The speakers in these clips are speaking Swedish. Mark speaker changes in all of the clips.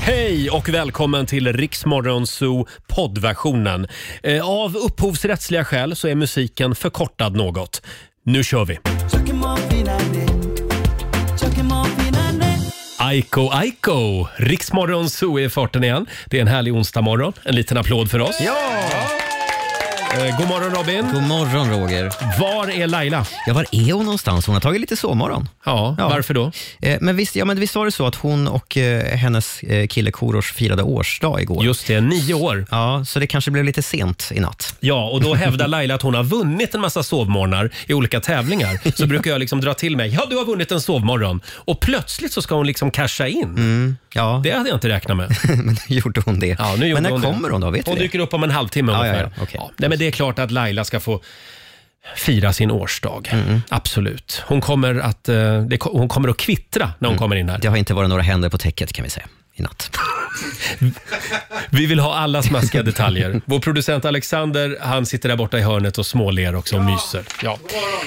Speaker 1: Hej och välkommen till Riksmorgon Zoo poddversionen. Eh, Av upphovsrättsliga skäl så är musiken förkortad något. Nu kör vi! Aiko Aiko! Riksmorgon Zoo är i farten igen. Det är en härlig onsdagmorgon. En liten applåd för oss. Ja! God morgon Robin!
Speaker 2: God morgon Roger.
Speaker 1: Var är Laila?
Speaker 2: Ja, var är hon någonstans? Hon har tagit lite sovmorgon.
Speaker 1: Ja,
Speaker 2: Ja.
Speaker 1: varför då?
Speaker 2: Eh, Men visst, ja, men visst var det så att hon och eh, hennes eh, kille Korosh firade årsdag igår?
Speaker 1: Just det, nio år.
Speaker 2: Ja, så det kanske blev lite sent i natt.
Speaker 1: Ja, och då hävdar Laila att hon har vunnit en massa sovmorgnar i olika tävlingar. Så brukar jag liksom dra till mig. Ja, du har vunnit en sovmorgon. Och plötsligt så ska hon liksom casha in.
Speaker 2: Ja,
Speaker 1: Det hade jag inte räknat med.
Speaker 2: men nu Mm, gjorde hon det.
Speaker 1: Ja, nu gjorde
Speaker 2: men när
Speaker 1: hon det.
Speaker 2: kommer hon då? Vet
Speaker 1: Hon
Speaker 2: vi det?
Speaker 1: dyker upp om en halvtimme
Speaker 2: Ja, ja,
Speaker 1: ungefär.
Speaker 2: ja, okej.
Speaker 1: nej, men det är klart att Laila ska få fira sin årsdag.
Speaker 2: Mm,
Speaker 1: Absolut. Hon kommer, att, eh, det, ko- hon kommer att kvittra när hon kommer in här.
Speaker 2: Mm. Det har inte varit några händer på täcket kan vi säga i natt.
Speaker 1: Vi vill ha alla smaskiga detaljer. Vår producent Alexander, han sitter där borta i hörnet och småler också och myser. Ja.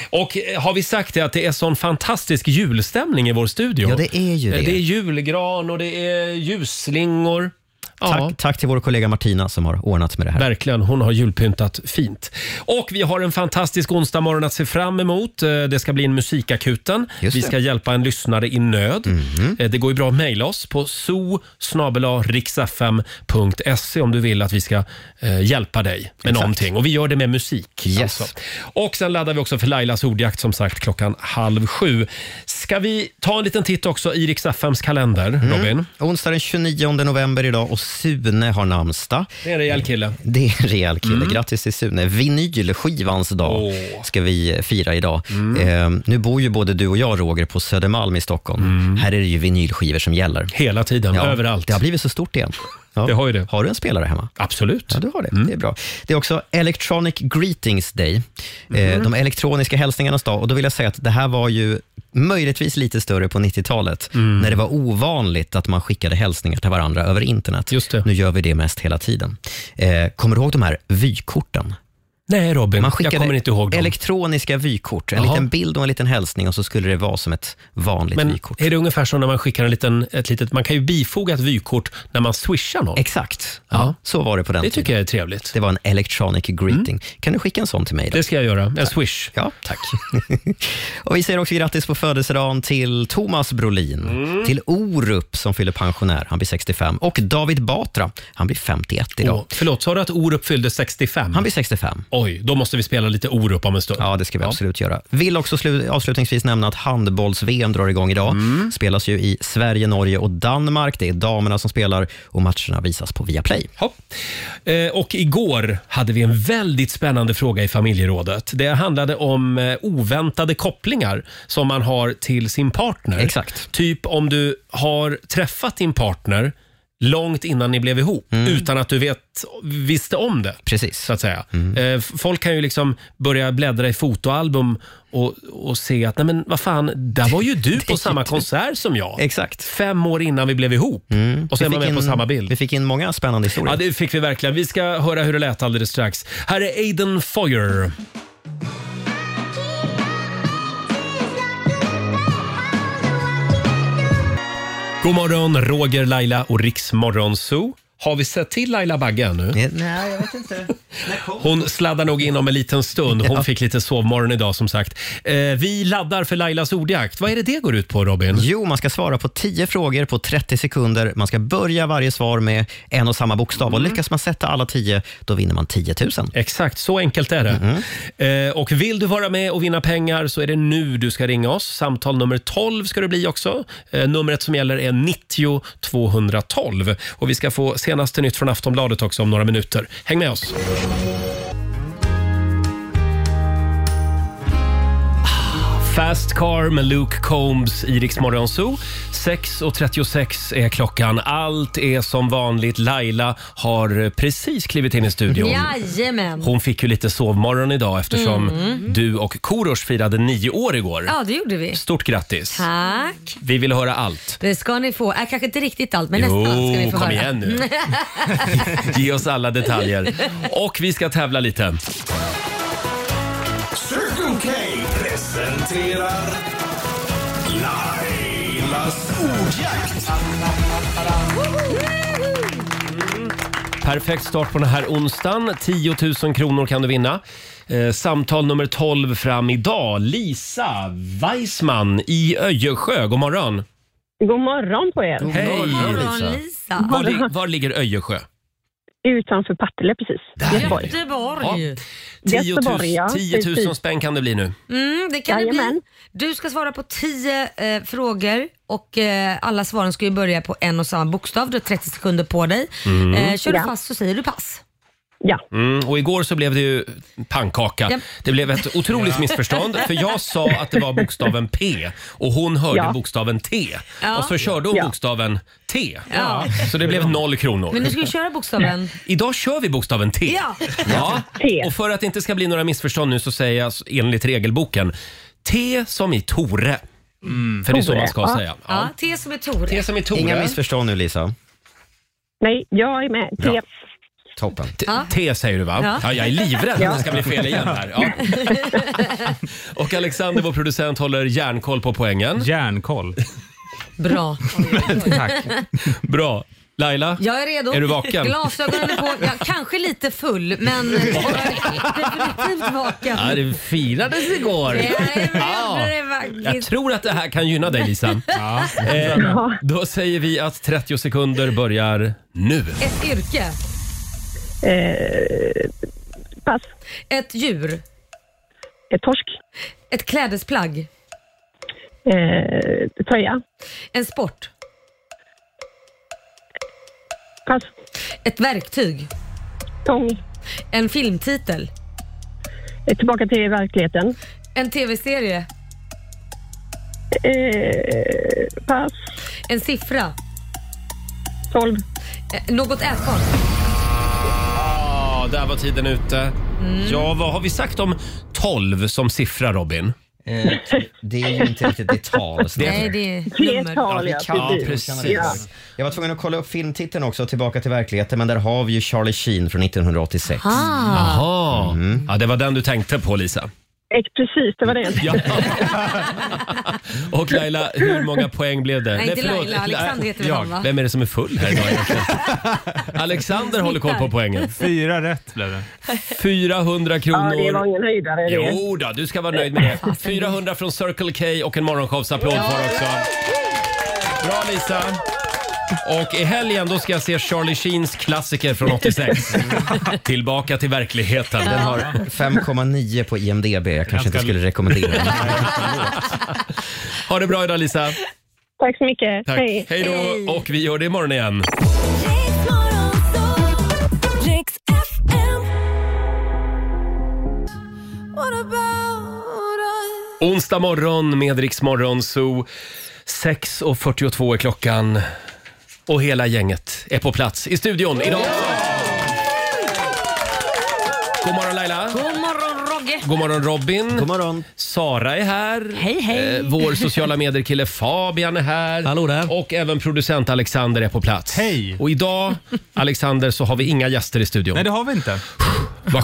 Speaker 1: Och eh, har vi sagt det att det är sån fantastisk julstämning i vår studio?
Speaker 2: Ja, det är ju det.
Speaker 1: Eh, Det är julgran och det är ljusslingor. Ja.
Speaker 2: Tack, tack till vår kollega Martina som har ordnat med det här.
Speaker 1: Verkligen, hon har julpyntat fint. Och vi har en fantastisk onsdag morgon att se fram emot. Eh, Det ska bli en musikakuten.
Speaker 2: Just
Speaker 1: vi
Speaker 2: det. Mhm.
Speaker 1: ska hjälpa en lyssnare i nöd. Eh, Det går ju bra att mejla oss på zoo.riksfm.se om du vill att vi ska eh, hjälpa dig med någonting. Och vi gör det med musik. alltså.
Speaker 2: Yes.
Speaker 1: Och sen laddar vi också för Lailas ordjakt som sagt klockan halv sju. Ska vi ta en liten titt också i Riks-FMs kalender, Robin?
Speaker 2: Mm. Onsdag den 29 november idag och Sune har namnsdag.
Speaker 1: Det är en rejäl kille. Mm.
Speaker 2: Det är en rejäl kille. Grattis till Sune. Vinylskivans dag
Speaker 1: Åh. Mm.
Speaker 2: ska vi fira idag. Eh, nu bor ju både du och jag, Roger, på Södermalm i Stockholm. Här är det ju vinylskivor som gäller.
Speaker 1: Mm. Hela tiden,
Speaker 2: Ja,
Speaker 1: överallt.
Speaker 2: Det har blivit så stort igen. Ja.
Speaker 1: Det har ju det.
Speaker 2: Har du en spelare hemma?
Speaker 1: Absolut. Mm.
Speaker 2: Ja, du har det. Det är bra. Det är också Electronic Greetings Day, eh, de elektroniska hälsningarnas dag. Och då vill jag säga att det här var ju möjligtvis lite större på 90-talet,
Speaker 1: Mm.
Speaker 2: när det var ovanligt att man skickade hälsningar till varandra över internet.
Speaker 1: Just det.
Speaker 2: Nu gör vi det mest hela tiden. Eh, kommer du ihåg de här vykorten?
Speaker 1: Nej Robin, jag kommer inte ihåg dem.
Speaker 2: elektroniska vykort, en
Speaker 1: Jaha.
Speaker 2: liten bild och en liten hälsning och så skulle det vara som ett vanligt
Speaker 1: Men
Speaker 2: vykort.
Speaker 1: är det ungefär som när man skickar en liten, ett litet, man kan ju bifoga ett vykort när man swishar någon.
Speaker 2: Exakt, ja. så var det på den
Speaker 1: Det
Speaker 2: tiden.
Speaker 1: tycker jag är trevligt. Mm.
Speaker 2: Det var en electronic greeting. Kan du skicka en sån till mig? Då?
Speaker 1: Det ska jag göra. En swish.
Speaker 2: Ja, tack. och vi säger också grattis på födelsedagen till Thomas Brolin,
Speaker 1: Mm.
Speaker 2: till Orup som fyller pensionär, han blir 65, och David Batra, han blir 51 idag.
Speaker 1: Åh, förlåt, sa du att Orup fyllde 65?
Speaker 2: Han blir 65.
Speaker 1: Oj, då måste vi spela lite Orup om en stund.
Speaker 2: Ja, det ska vi absolut göra. Vill också slu- avslutningsvis nämna att handbolls-VM drar igång idag.
Speaker 1: Mm.
Speaker 2: Spelas ju i Sverige, Norge och Danmark. Det är damerna som spelar och matcherna visas på Viaplay.
Speaker 1: Ja. Eh, Och igår hade vi en väldigt spännande fråga i familjerådet. Det handlade om eh, oväntade kopplingar som man har till sin partner.
Speaker 2: Exakt.
Speaker 1: Typ om du har träffat din partner långt innan ni blev ihop utan att du vet, visste om det.
Speaker 2: Mm. Precis. Mm.
Speaker 1: så att säga. Eh, f- Folk kan ju liksom börja bläddra i fotoalbum och, och se att, nej men vad fan, där var ju du på samma konsert som jag.
Speaker 2: Exakt.
Speaker 1: Fem år innan vi blev ihop.
Speaker 2: Mm.
Speaker 1: Och så är man med
Speaker 2: fick
Speaker 1: på
Speaker 2: in-
Speaker 1: samma bild.
Speaker 2: Vi fick in många spännande historier.
Speaker 1: Ja, det fick vi verkligen. Vi ska höra hur det lät alldeles strax. Här är Aiden Foyer. God morgon, Roger, Laila och Riksmorgon Zoo. Har vi sett till Laila Bagge ännu?
Speaker 2: Eh, Nej, jag vet inte. När kom-
Speaker 1: Hon sladdar nog in om en liten stund. Hon fick lite sovmorgon idag som sagt. Eh, vi laddar för Lailas ordjakt. Vad är det det går ut på Robin?
Speaker 2: Jo, man ska svara på 10 frågor på 30 sekunder. Man ska börja varje svar med en och samma bokstav. Och lyckas man sätta alla 10, då vinner man 10 000.
Speaker 1: Mm. Exakt, så enkelt är det. Eh, och vill du vara med och vinna pengar så är det nu du ska ringa oss. Samtal nummer 12 ska det bli också. Eh, numret som gäller är 90 212. Och vi ska få senaste nytt från Aftonbladet också om några minuter. Häng med oss! Fast Car med Luke Combs i Rix Morgon Zoo. 6.36 är klockan. Allt är som vanligt. Laila har precis klivit in i studion.
Speaker 3: Jajamän.
Speaker 1: Hon fick ju lite sovmorgon idag eftersom du och Korosh firade nio år igår.
Speaker 3: Ja, det gjorde vi.
Speaker 1: Stort grattis!
Speaker 3: Tack.
Speaker 1: Vi vill höra allt.
Speaker 3: Det ska ni få. Äh, kanske inte riktigt allt, men
Speaker 1: Jo,
Speaker 3: nästan ska ni få
Speaker 1: kom
Speaker 3: höra.
Speaker 1: igen nu. Ge oss alla detaljer. Och vi ska tävla lite.
Speaker 4: Circle K presenterar Lailas ordjakt.
Speaker 1: Perfekt start på den här onsdagen. 10 000 kronor kan du vinna. Eh, samtal nummer 12 fram idag. Lisa Weissman i Öjersjö. God morgon.
Speaker 5: God morgon på er.
Speaker 1: Hej.
Speaker 3: Morgon Lisa.
Speaker 1: Var, li- var ligger Öjersjö?
Speaker 5: Utanför Partille precis. Göteborg.
Speaker 1: Ja.
Speaker 3: Göteborg.
Speaker 1: 10 000,
Speaker 5: Göteborg, ja.
Speaker 1: 10 000 spänn kan det bli nu.
Speaker 3: Mm, det kan det bli.
Speaker 5: Jajamän.
Speaker 3: Du ska svara på 10 eh, frågor och eh, alla svaren ska ju börja på en och samma bokstav. Du har 30 sekunder på dig. Eh, kör du
Speaker 5: Ja.
Speaker 3: fast så säger du pass.
Speaker 5: Ja.
Speaker 1: Mm, och igår så blev det ju pannkaka.
Speaker 3: Ja.
Speaker 1: Det blev ett otroligt missförstånd för jag sa att det var bokstaven P och hon hörde
Speaker 5: Ja.
Speaker 1: bokstaven T.
Speaker 3: Ja.
Speaker 1: Och så körde hon
Speaker 5: Ja.
Speaker 1: bokstaven T.
Speaker 3: Ja.
Speaker 1: Så det blev noll kronor.
Speaker 3: Men nu ska vi köra bokstaven.
Speaker 1: Idag kör vi bokstaven T.
Speaker 3: Ja.
Speaker 1: Ja.
Speaker 5: T.
Speaker 1: Och för att det inte ska bli några missförstånd nu så säger jag s- enligt regelboken T som i Tore. För det är så
Speaker 5: Tore,
Speaker 1: man ska
Speaker 5: ja.
Speaker 1: säga.
Speaker 3: Mm. Ja, T som är Tore.
Speaker 1: T som i Tore.
Speaker 2: Inga missförstånd nu Lisa.
Speaker 5: Nej, jag är med.
Speaker 1: Bra.
Speaker 5: T.
Speaker 2: Toppen.
Speaker 1: T-
Speaker 3: Ja.
Speaker 1: T säger du va? Ja.
Speaker 3: Ja.
Speaker 1: jag är livrädd att det ska bli fel igen här. Ja. Och Alexander, vår producent, håller järnkoll på poängen.
Speaker 6: Järnkoll.
Speaker 3: Bra.
Speaker 6: Tack.
Speaker 1: Bra. Laila?
Speaker 3: Jag är redo.
Speaker 1: Är du vaken?
Speaker 3: Glasögonen är på. Jag, kanske lite full, men jag är definitivt vaken.
Speaker 1: Ja, det firades igår.
Speaker 3: Ja,
Speaker 1: Ja.
Speaker 3: jag gjorde det
Speaker 1: Jag
Speaker 3: faktiskt.
Speaker 1: tror att det här kan gynna dig Lisa.
Speaker 6: Ja.
Speaker 1: Eh, då säger vi att 30 sekunder börjar nu.
Speaker 3: Ett yrke.
Speaker 5: Eh, pass.
Speaker 3: Ett djur.
Speaker 5: Eh, torsk.
Speaker 3: Ett klädesplagg.
Speaker 5: Eh, tröja.
Speaker 3: En sport.
Speaker 5: Pass.
Speaker 3: Ett verktyg.
Speaker 5: Tång.
Speaker 3: En filmtitel.
Speaker 5: Eh, tillbaka till verkligheten.
Speaker 3: En tv-serie.
Speaker 5: Eh, pass.
Speaker 3: En siffra.
Speaker 5: 12.
Speaker 3: Eh, Något ätbart.
Speaker 1: Ja, där var tiden ute.
Speaker 3: Mm.
Speaker 1: Ja, vad har vi sagt om 12 som siffra Robin?
Speaker 2: Eh, det är ju inte riktigt ditt tal. så-
Speaker 3: Nej, det är nummer.
Speaker 5: Flertal, ja.
Speaker 1: kan-
Speaker 5: Precis.
Speaker 1: precis.
Speaker 5: Ja.
Speaker 2: Jag var tvungen att kolla upp filmtiteln också, Tillbaka till verkligheten, men där har vi ju Charlie Sheen från Mhm. 1986.
Speaker 3: Ah,
Speaker 1: Jaha, ja, det var den du tänkte på Lisa.
Speaker 5: Eh, precis, det var det.
Speaker 1: Ja. Och Laila, hur många poäng blev det?
Speaker 3: Nej, inte
Speaker 1: förlåt.
Speaker 3: Laila. Alexander heter väl
Speaker 1: Jag.
Speaker 3: han, va?
Speaker 1: Vem är det som är full här idag egentligen? Alexander håller koll på poängen.
Speaker 6: Fyra rätt blev det.
Speaker 1: 400
Speaker 5: Ja, det var
Speaker 1: kronor.
Speaker 5: ingen höjdare. det.
Speaker 1: Jo då, du ska vara nöjd med det. 400 från Circle K och en morgonshowsapplåd för också. Bra Lisa! Och i helgen då ska jag se Charlie Sheens klassiker från 86. Tillbaka till verkligheten.
Speaker 2: Den har 5,9 på IMDB. Jag kanske inte
Speaker 6: Ganska
Speaker 2: skulle rekommendera den.
Speaker 1: Ha det bra idag Lisa.
Speaker 5: Tack så mycket.
Speaker 1: Tack.
Speaker 5: Hej.
Speaker 1: Hej då. Och vi gör det imorgon igen. Onsdag morgon med Rix Morgon Zoo. 6.42 är klockan och hela gänget är på plats i studion idag. God morgon Laila.
Speaker 3: God morgon Rogge.
Speaker 1: God morgon Robin.
Speaker 2: God morgon.
Speaker 1: Sara är här.
Speaker 3: Hej, hej.
Speaker 1: Eh, vår sociala medier-kille Fabian är här.
Speaker 2: Hallå där.
Speaker 1: Och även producent Alexander är på plats.
Speaker 6: Hej.
Speaker 1: Och idag, Alexander, så har vi inga gäster i studion.
Speaker 6: Nej, det har vi inte.
Speaker 1: Vad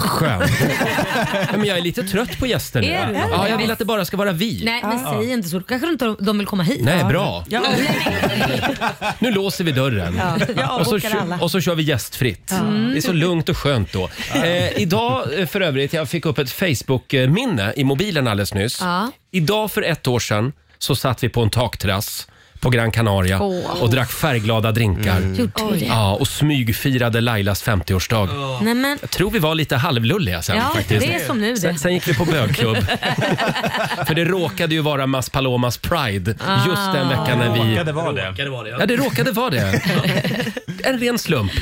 Speaker 1: skönt. Nej, Men jag är lite trött på gäster nu.
Speaker 3: Är du?
Speaker 1: Ja, jag vill att det bara ska vara vi.
Speaker 3: Nej, men säg inte så. Då kanske inte de vill komma hit.
Speaker 1: Nej, bra.
Speaker 3: Ja,
Speaker 1: Nu låser vi dörren.
Speaker 3: jag
Speaker 1: och, så,
Speaker 3: avbokar alla. Mm.
Speaker 1: och så kör vi gästfritt. Mm. Det är så lugnt och skönt då. Eh, idag eh, för övrigt, jag fick upp ett Facebook-minne i mobilen alldeles nyss.
Speaker 3: Ja.
Speaker 1: Idag för ett år sedan så satt vi på en takterrass på Gran Canaria
Speaker 3: Åh. Mm.
Speaker 1: och drack färgglada drinkar.
Speaker 3: Gjorde det?
Speaker 1: Ja, och smygfirade Lailas 50-årsdag.
Speaker 3: Nej, men,
Speaker 1: Jag tror vi var lite halvlulliga sen
Speaker 3: ja,
Speaker 1: faktiskt.
Speaker 3: det är som nu det.
Speaker 1: Sen, sen gick vi på bögklubb. För det råkade ju vara Mas Palomas Pride just
Speaker 3: Ah.
Speaker 1: den veckan när vi...
Speaker 6: Råkade vara det.
Speaker 1: Ja, det råkade vara det. En ren slump.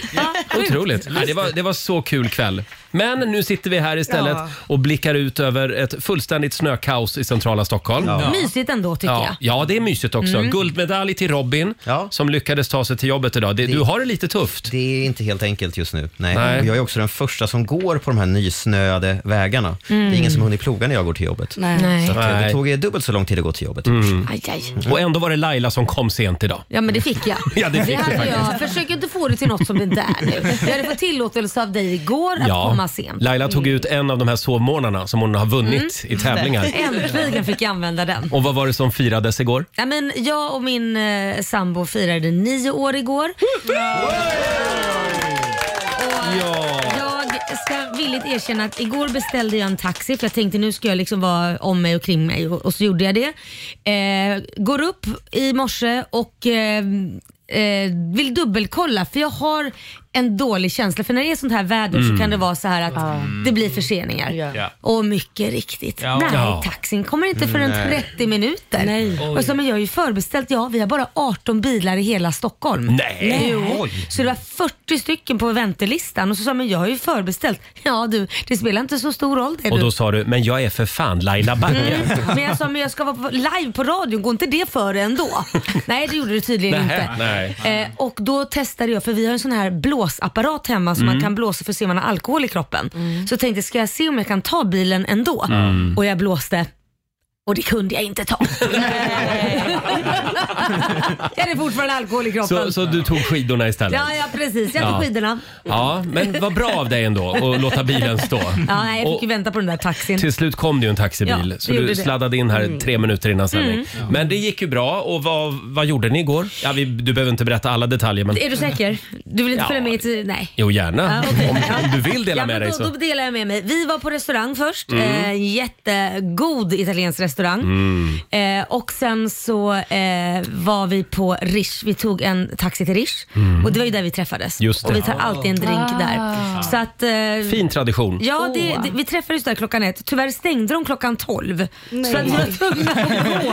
Speaker 1: Otroligt. Ja, det, var, det var så kul kväll. Men nu sitter vi här istället och blickar ut över ett fullständigt snökaos i centrala Stockholm. Ja.
Speaker 3: Mysigt ändå tycker
Speaker 1: Ja,
Speaker 3: jag. Mm.
Speaker 1: det är mysigt också. Guldmedalj till Robin
Speaker 2: Ja.
Speaker 1: som lyckades ta sig till jobbet idag. Det, du har det lite tufft.
Speaker 2: Det är inte helt enkelt just nu. Nej.
Speaker 1: Nej.
Speaker 2: Och Jag är också den första som går på de här nysnöade vägarna. Det är ingen som har hunnit ploga när jag går till jobbet. Så
Speaker 3: Mm. Nej.
Speaker 2: att, eh,
Speaker 1: Nej. Mm.
Speaker 2: det tog eh, dubbelt så lång tid att gå till jobbet. Mm.
Speaker 3: Aj, aj.
Speaker 1: Och ändå var det Laila som kom sent idag.
Speaker 3: Ja men det fick jag.
Speaker 1: Ja, det fick du
Speaker 3: hade
Speaker 1: faktiskt.
Speaker 3: jag. Försök inte få det till något som det inte är nu. Jag hade fått tillåtelse av dig igår att komma sent.
Speaker 1: Laila tog ut en av de här sovmorgnarna som hon har vunnit i tävlingar.
Speaker 3: Mm. Äntligen fick jag använda den.
Speaker 1: Och vad var det som firades igår?
Speaker 3: Ja, men jag och min
Speaker 1: Mm.
Speaker 3: eh, sambo firade nio år igår. Och
Speaker 1: Ja.
Speaker 3: Jag ska villigt erkänna att igår beställde jag en taxi för jag tänkte nu ska jag liksom vara om mig och kring mig och, och så gjorde jag det. Eh, går upp i morse och eh, eh, vill dubbelkolla för jag har en dålig känsla för när det är sånt här väder så kan det vara så här att det blir förseningar.
Speaker 6: Mm. Ja.
Speaker 3: Och mycket riktigt,
Speaker 6: Ja.
Speaker 3: nej
Speaker 1: Ja.
Speaker 3: taxin kommer inte förrän 30 minuter. Och så, men jag har ju förbeställt, ja vi har bara 18 bilar i hela Stockholm.
Speaker 1: Nej.
Speaker 3: Jo.
Speaker 6: Oj.
Speaker 3: Så det var 40 stycken på väntelistan och så sa jag, men jag har ju förbeställt. Ja du, det spelar inte så stor roll det
Speaker 1: Och
Speaker 3: du. Mm.
Speaker 1: då sa du, men jag är för fan Laila Bagge.
Speaker 3: Men jag sa, men jag ska vara på- live på radion, går inte det före ändå? nej, det gjorde det tydligen
Speaker 1: Nej,
Speaker 3: inte.
Speaker 1: nej.
Speaker 3: Eh, och då testade jag, för vi har en sån här blåsapparat hemma som
Speaker 1: Mm.
Speaker 3: man kan blåsa för att se om man har alkohol i kroppen. Så tänkte jag, ska jag se om jag kan ta bilen ändå?
Speaker 1: Mm.
Speaker 3: Och jag blåste. Och det kunde jag inte ta. jag hade fortfarande alkohol i kroppen.
Speaker 1: Så, så du tog skidorna istället?
Speaker 3: Ja, ja precis. Jag tog
Speaker 1: Ja.
Speaker 3: skidorna.
Speaker 1: Ja, men vad bra av dig ändå att låta bilen stå.
Speaker 3: Ja, nej, jag fick
Speaker 1: Och-
Speaker 3: ju vänta på den där taxin.
Speaker 1: Till slut kom det ju en
Speaker 3: Ja,
Speaker 1: taxibil,
Speaker 3: det
Speaker 1: så
Speaker 3: gjorde
Speaker 1: du
Speaker 3: det. Mm.
Speaker 1: sladdade in här tre minuter innan sändning. Men det gick ju bra. Och vad, vad gjorde ni igår? Ja, vi, du behöver inte berätta alla detaljer, men...
Speaker 3: Är du säker? Du vill inte
Speaker 1: Ja.
Speaker 3: följa med till... Nej.
Speaker 1: Jo, gärna.
Speaker 3: Ja, okej.
Speaker 1: om, om du vill dela
Speaker 3: ja,
Speaker 1: med
Speaker 3: men
Speaker 1: dig
Speaker 3: då,
Speaker 1: så.
Speaker 3: Då delar jag med mig. Vi var på restaurang först.
Speaker 1: Mm.
Speaker 3: Eh, jättegod italiensk restaurang. Eh, och sen så eh, var vi på Rish. Vi tog en taxi till Rish och det var ju där vi träffades.
Speaker 1: Mm. Just det.
Speaker 3: Och vi tar alltid en drink där. Så att... eh,
Speaker 1: Fin tradition.
Speaker 3: Ja, det,
Speaker 7: Åh.
Speaker 3: det, vi träffades där klockan ett. Tyvärr stängde de klockan tolv. Så att vi var tvungna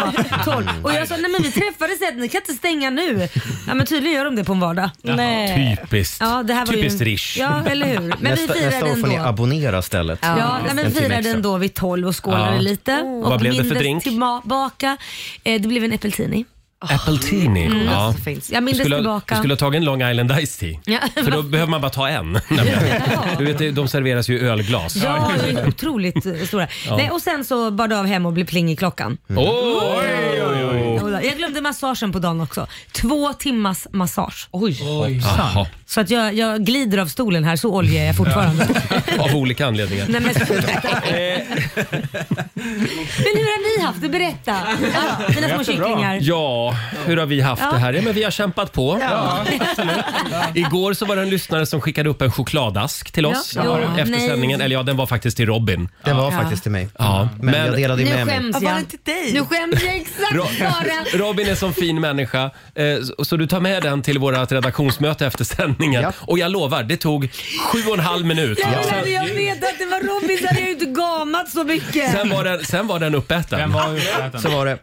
Speaker 3: att gå tolv. Och jag sa, nej men vi träffades ett, ni kan inte stänga nu. Ja, men tydligen gör de det på en vardag.
Speaker 7: Nej.
Speaker 1: Typiskt.
Speaker 3: Ja, det här var
Speaker 1: Typiskt
Speaker 3: ju,
Speaker 1: Rish.
Speaker 3: Ja, eller hur. Men
Speaker 2: nästa,
Speaker 3: vi
Speaker 2: nästa
Speaker 3: firade
Speaker 2: år får ni
Speaker 3: ändå.
Speaker 2: abonnera stället. Mm.
Speaker 3: Ja, nej, men
Speaker 2: En
Speaker 3: vi
Speaker 2: timme
Speaker 3: firade
Speaker 2: extra.
Speaker 3: ändå vid tolv och skålade
Speaker 1: Ja.
Speaker 3: lite. Och
Speaker 1: Vad blev det för
Speaker 3: mindes
Speaker 1: drink?
Speaker 3: Tillbaka. Eh, det blev en äppeltini.
Speaker 1: Appletini. Ja.
Speaker 7: Så fint.
Speaker 3: mm, alltså, Jag mindes
Speaker 1: Skulle, ha-
Speaker 3: tillbaka.
Speaker 1: du skulle ha tagit en Long Island Ice Tea.
Speaker 3: Ja.
Speaker 1: För då behöver man bara ta en. nämligen. du vet, det- de serveras ju i ölglas.
Speaker 3: Ja, det är otroligt eh, stora. Nej, och sen så bar det av hem och blev pling i klockan.
Speaker 1: Mm. Oj, oj, oj.
Speaker 3: Jodå, Jag glömde massagen på dagen också. Två timmars massage.
Speaker 1: Jaha.
Speaker 3: Så att jag, jag glider av stolen här, så olje är jag fortfarande.
Speaker 1: Av olika anledningar.
Speaker 3: Nej, men, men hur har ni haft det? Berätta. Ja, mina små kycklingar.
Speaker 1: Ja, hur har vi haft
Speaker 3: Ja.
Speaker 1: det här? Ja, men vi har kämpat på. Igår så var det en lyssnare som skickade upp en chokladask till oss
Speaker 3: Ja. Ja.
Speaker 1: efter
Speaker 3: Nej.
Speaker 1: sändningen. Eller ja, den var faktiskt till Robin.
Speaker 2: Det
Speaker 3: Ja.
Speaker 2: var faktiskt till mig.
Speaker 1: Ja.
Speaker 2: Men, jag
Speaker 1: Men-
Speaker 2: delade ju
Speaker 3: Nu
Speaker 2: med mig.
Speaker 3: skäms
Speaker 7: Ja, var
Speaker 3: jag.
Speaker 7: det inte dig?
Speaker 3: Nu skäms jag exakt bara.
Speaker 1: Robin är som fin människa, eh, så- så du tar med den till vårt redaktionsmöte efter sändningen.
Speaker 2: Ja.
Speaker 1: Och jag lovar, det tog sju och en halv minut.
Speaker 3: Ja, men
Speaker 1: Sen,
Speaker 3: hade jag vetat att det var Robin så hade jag ju inte gamat så mycket.
Speaker 1: sen, var den, sen var den uppäten.
Speaker 6: Den var ju
Speaker 2: Så var det.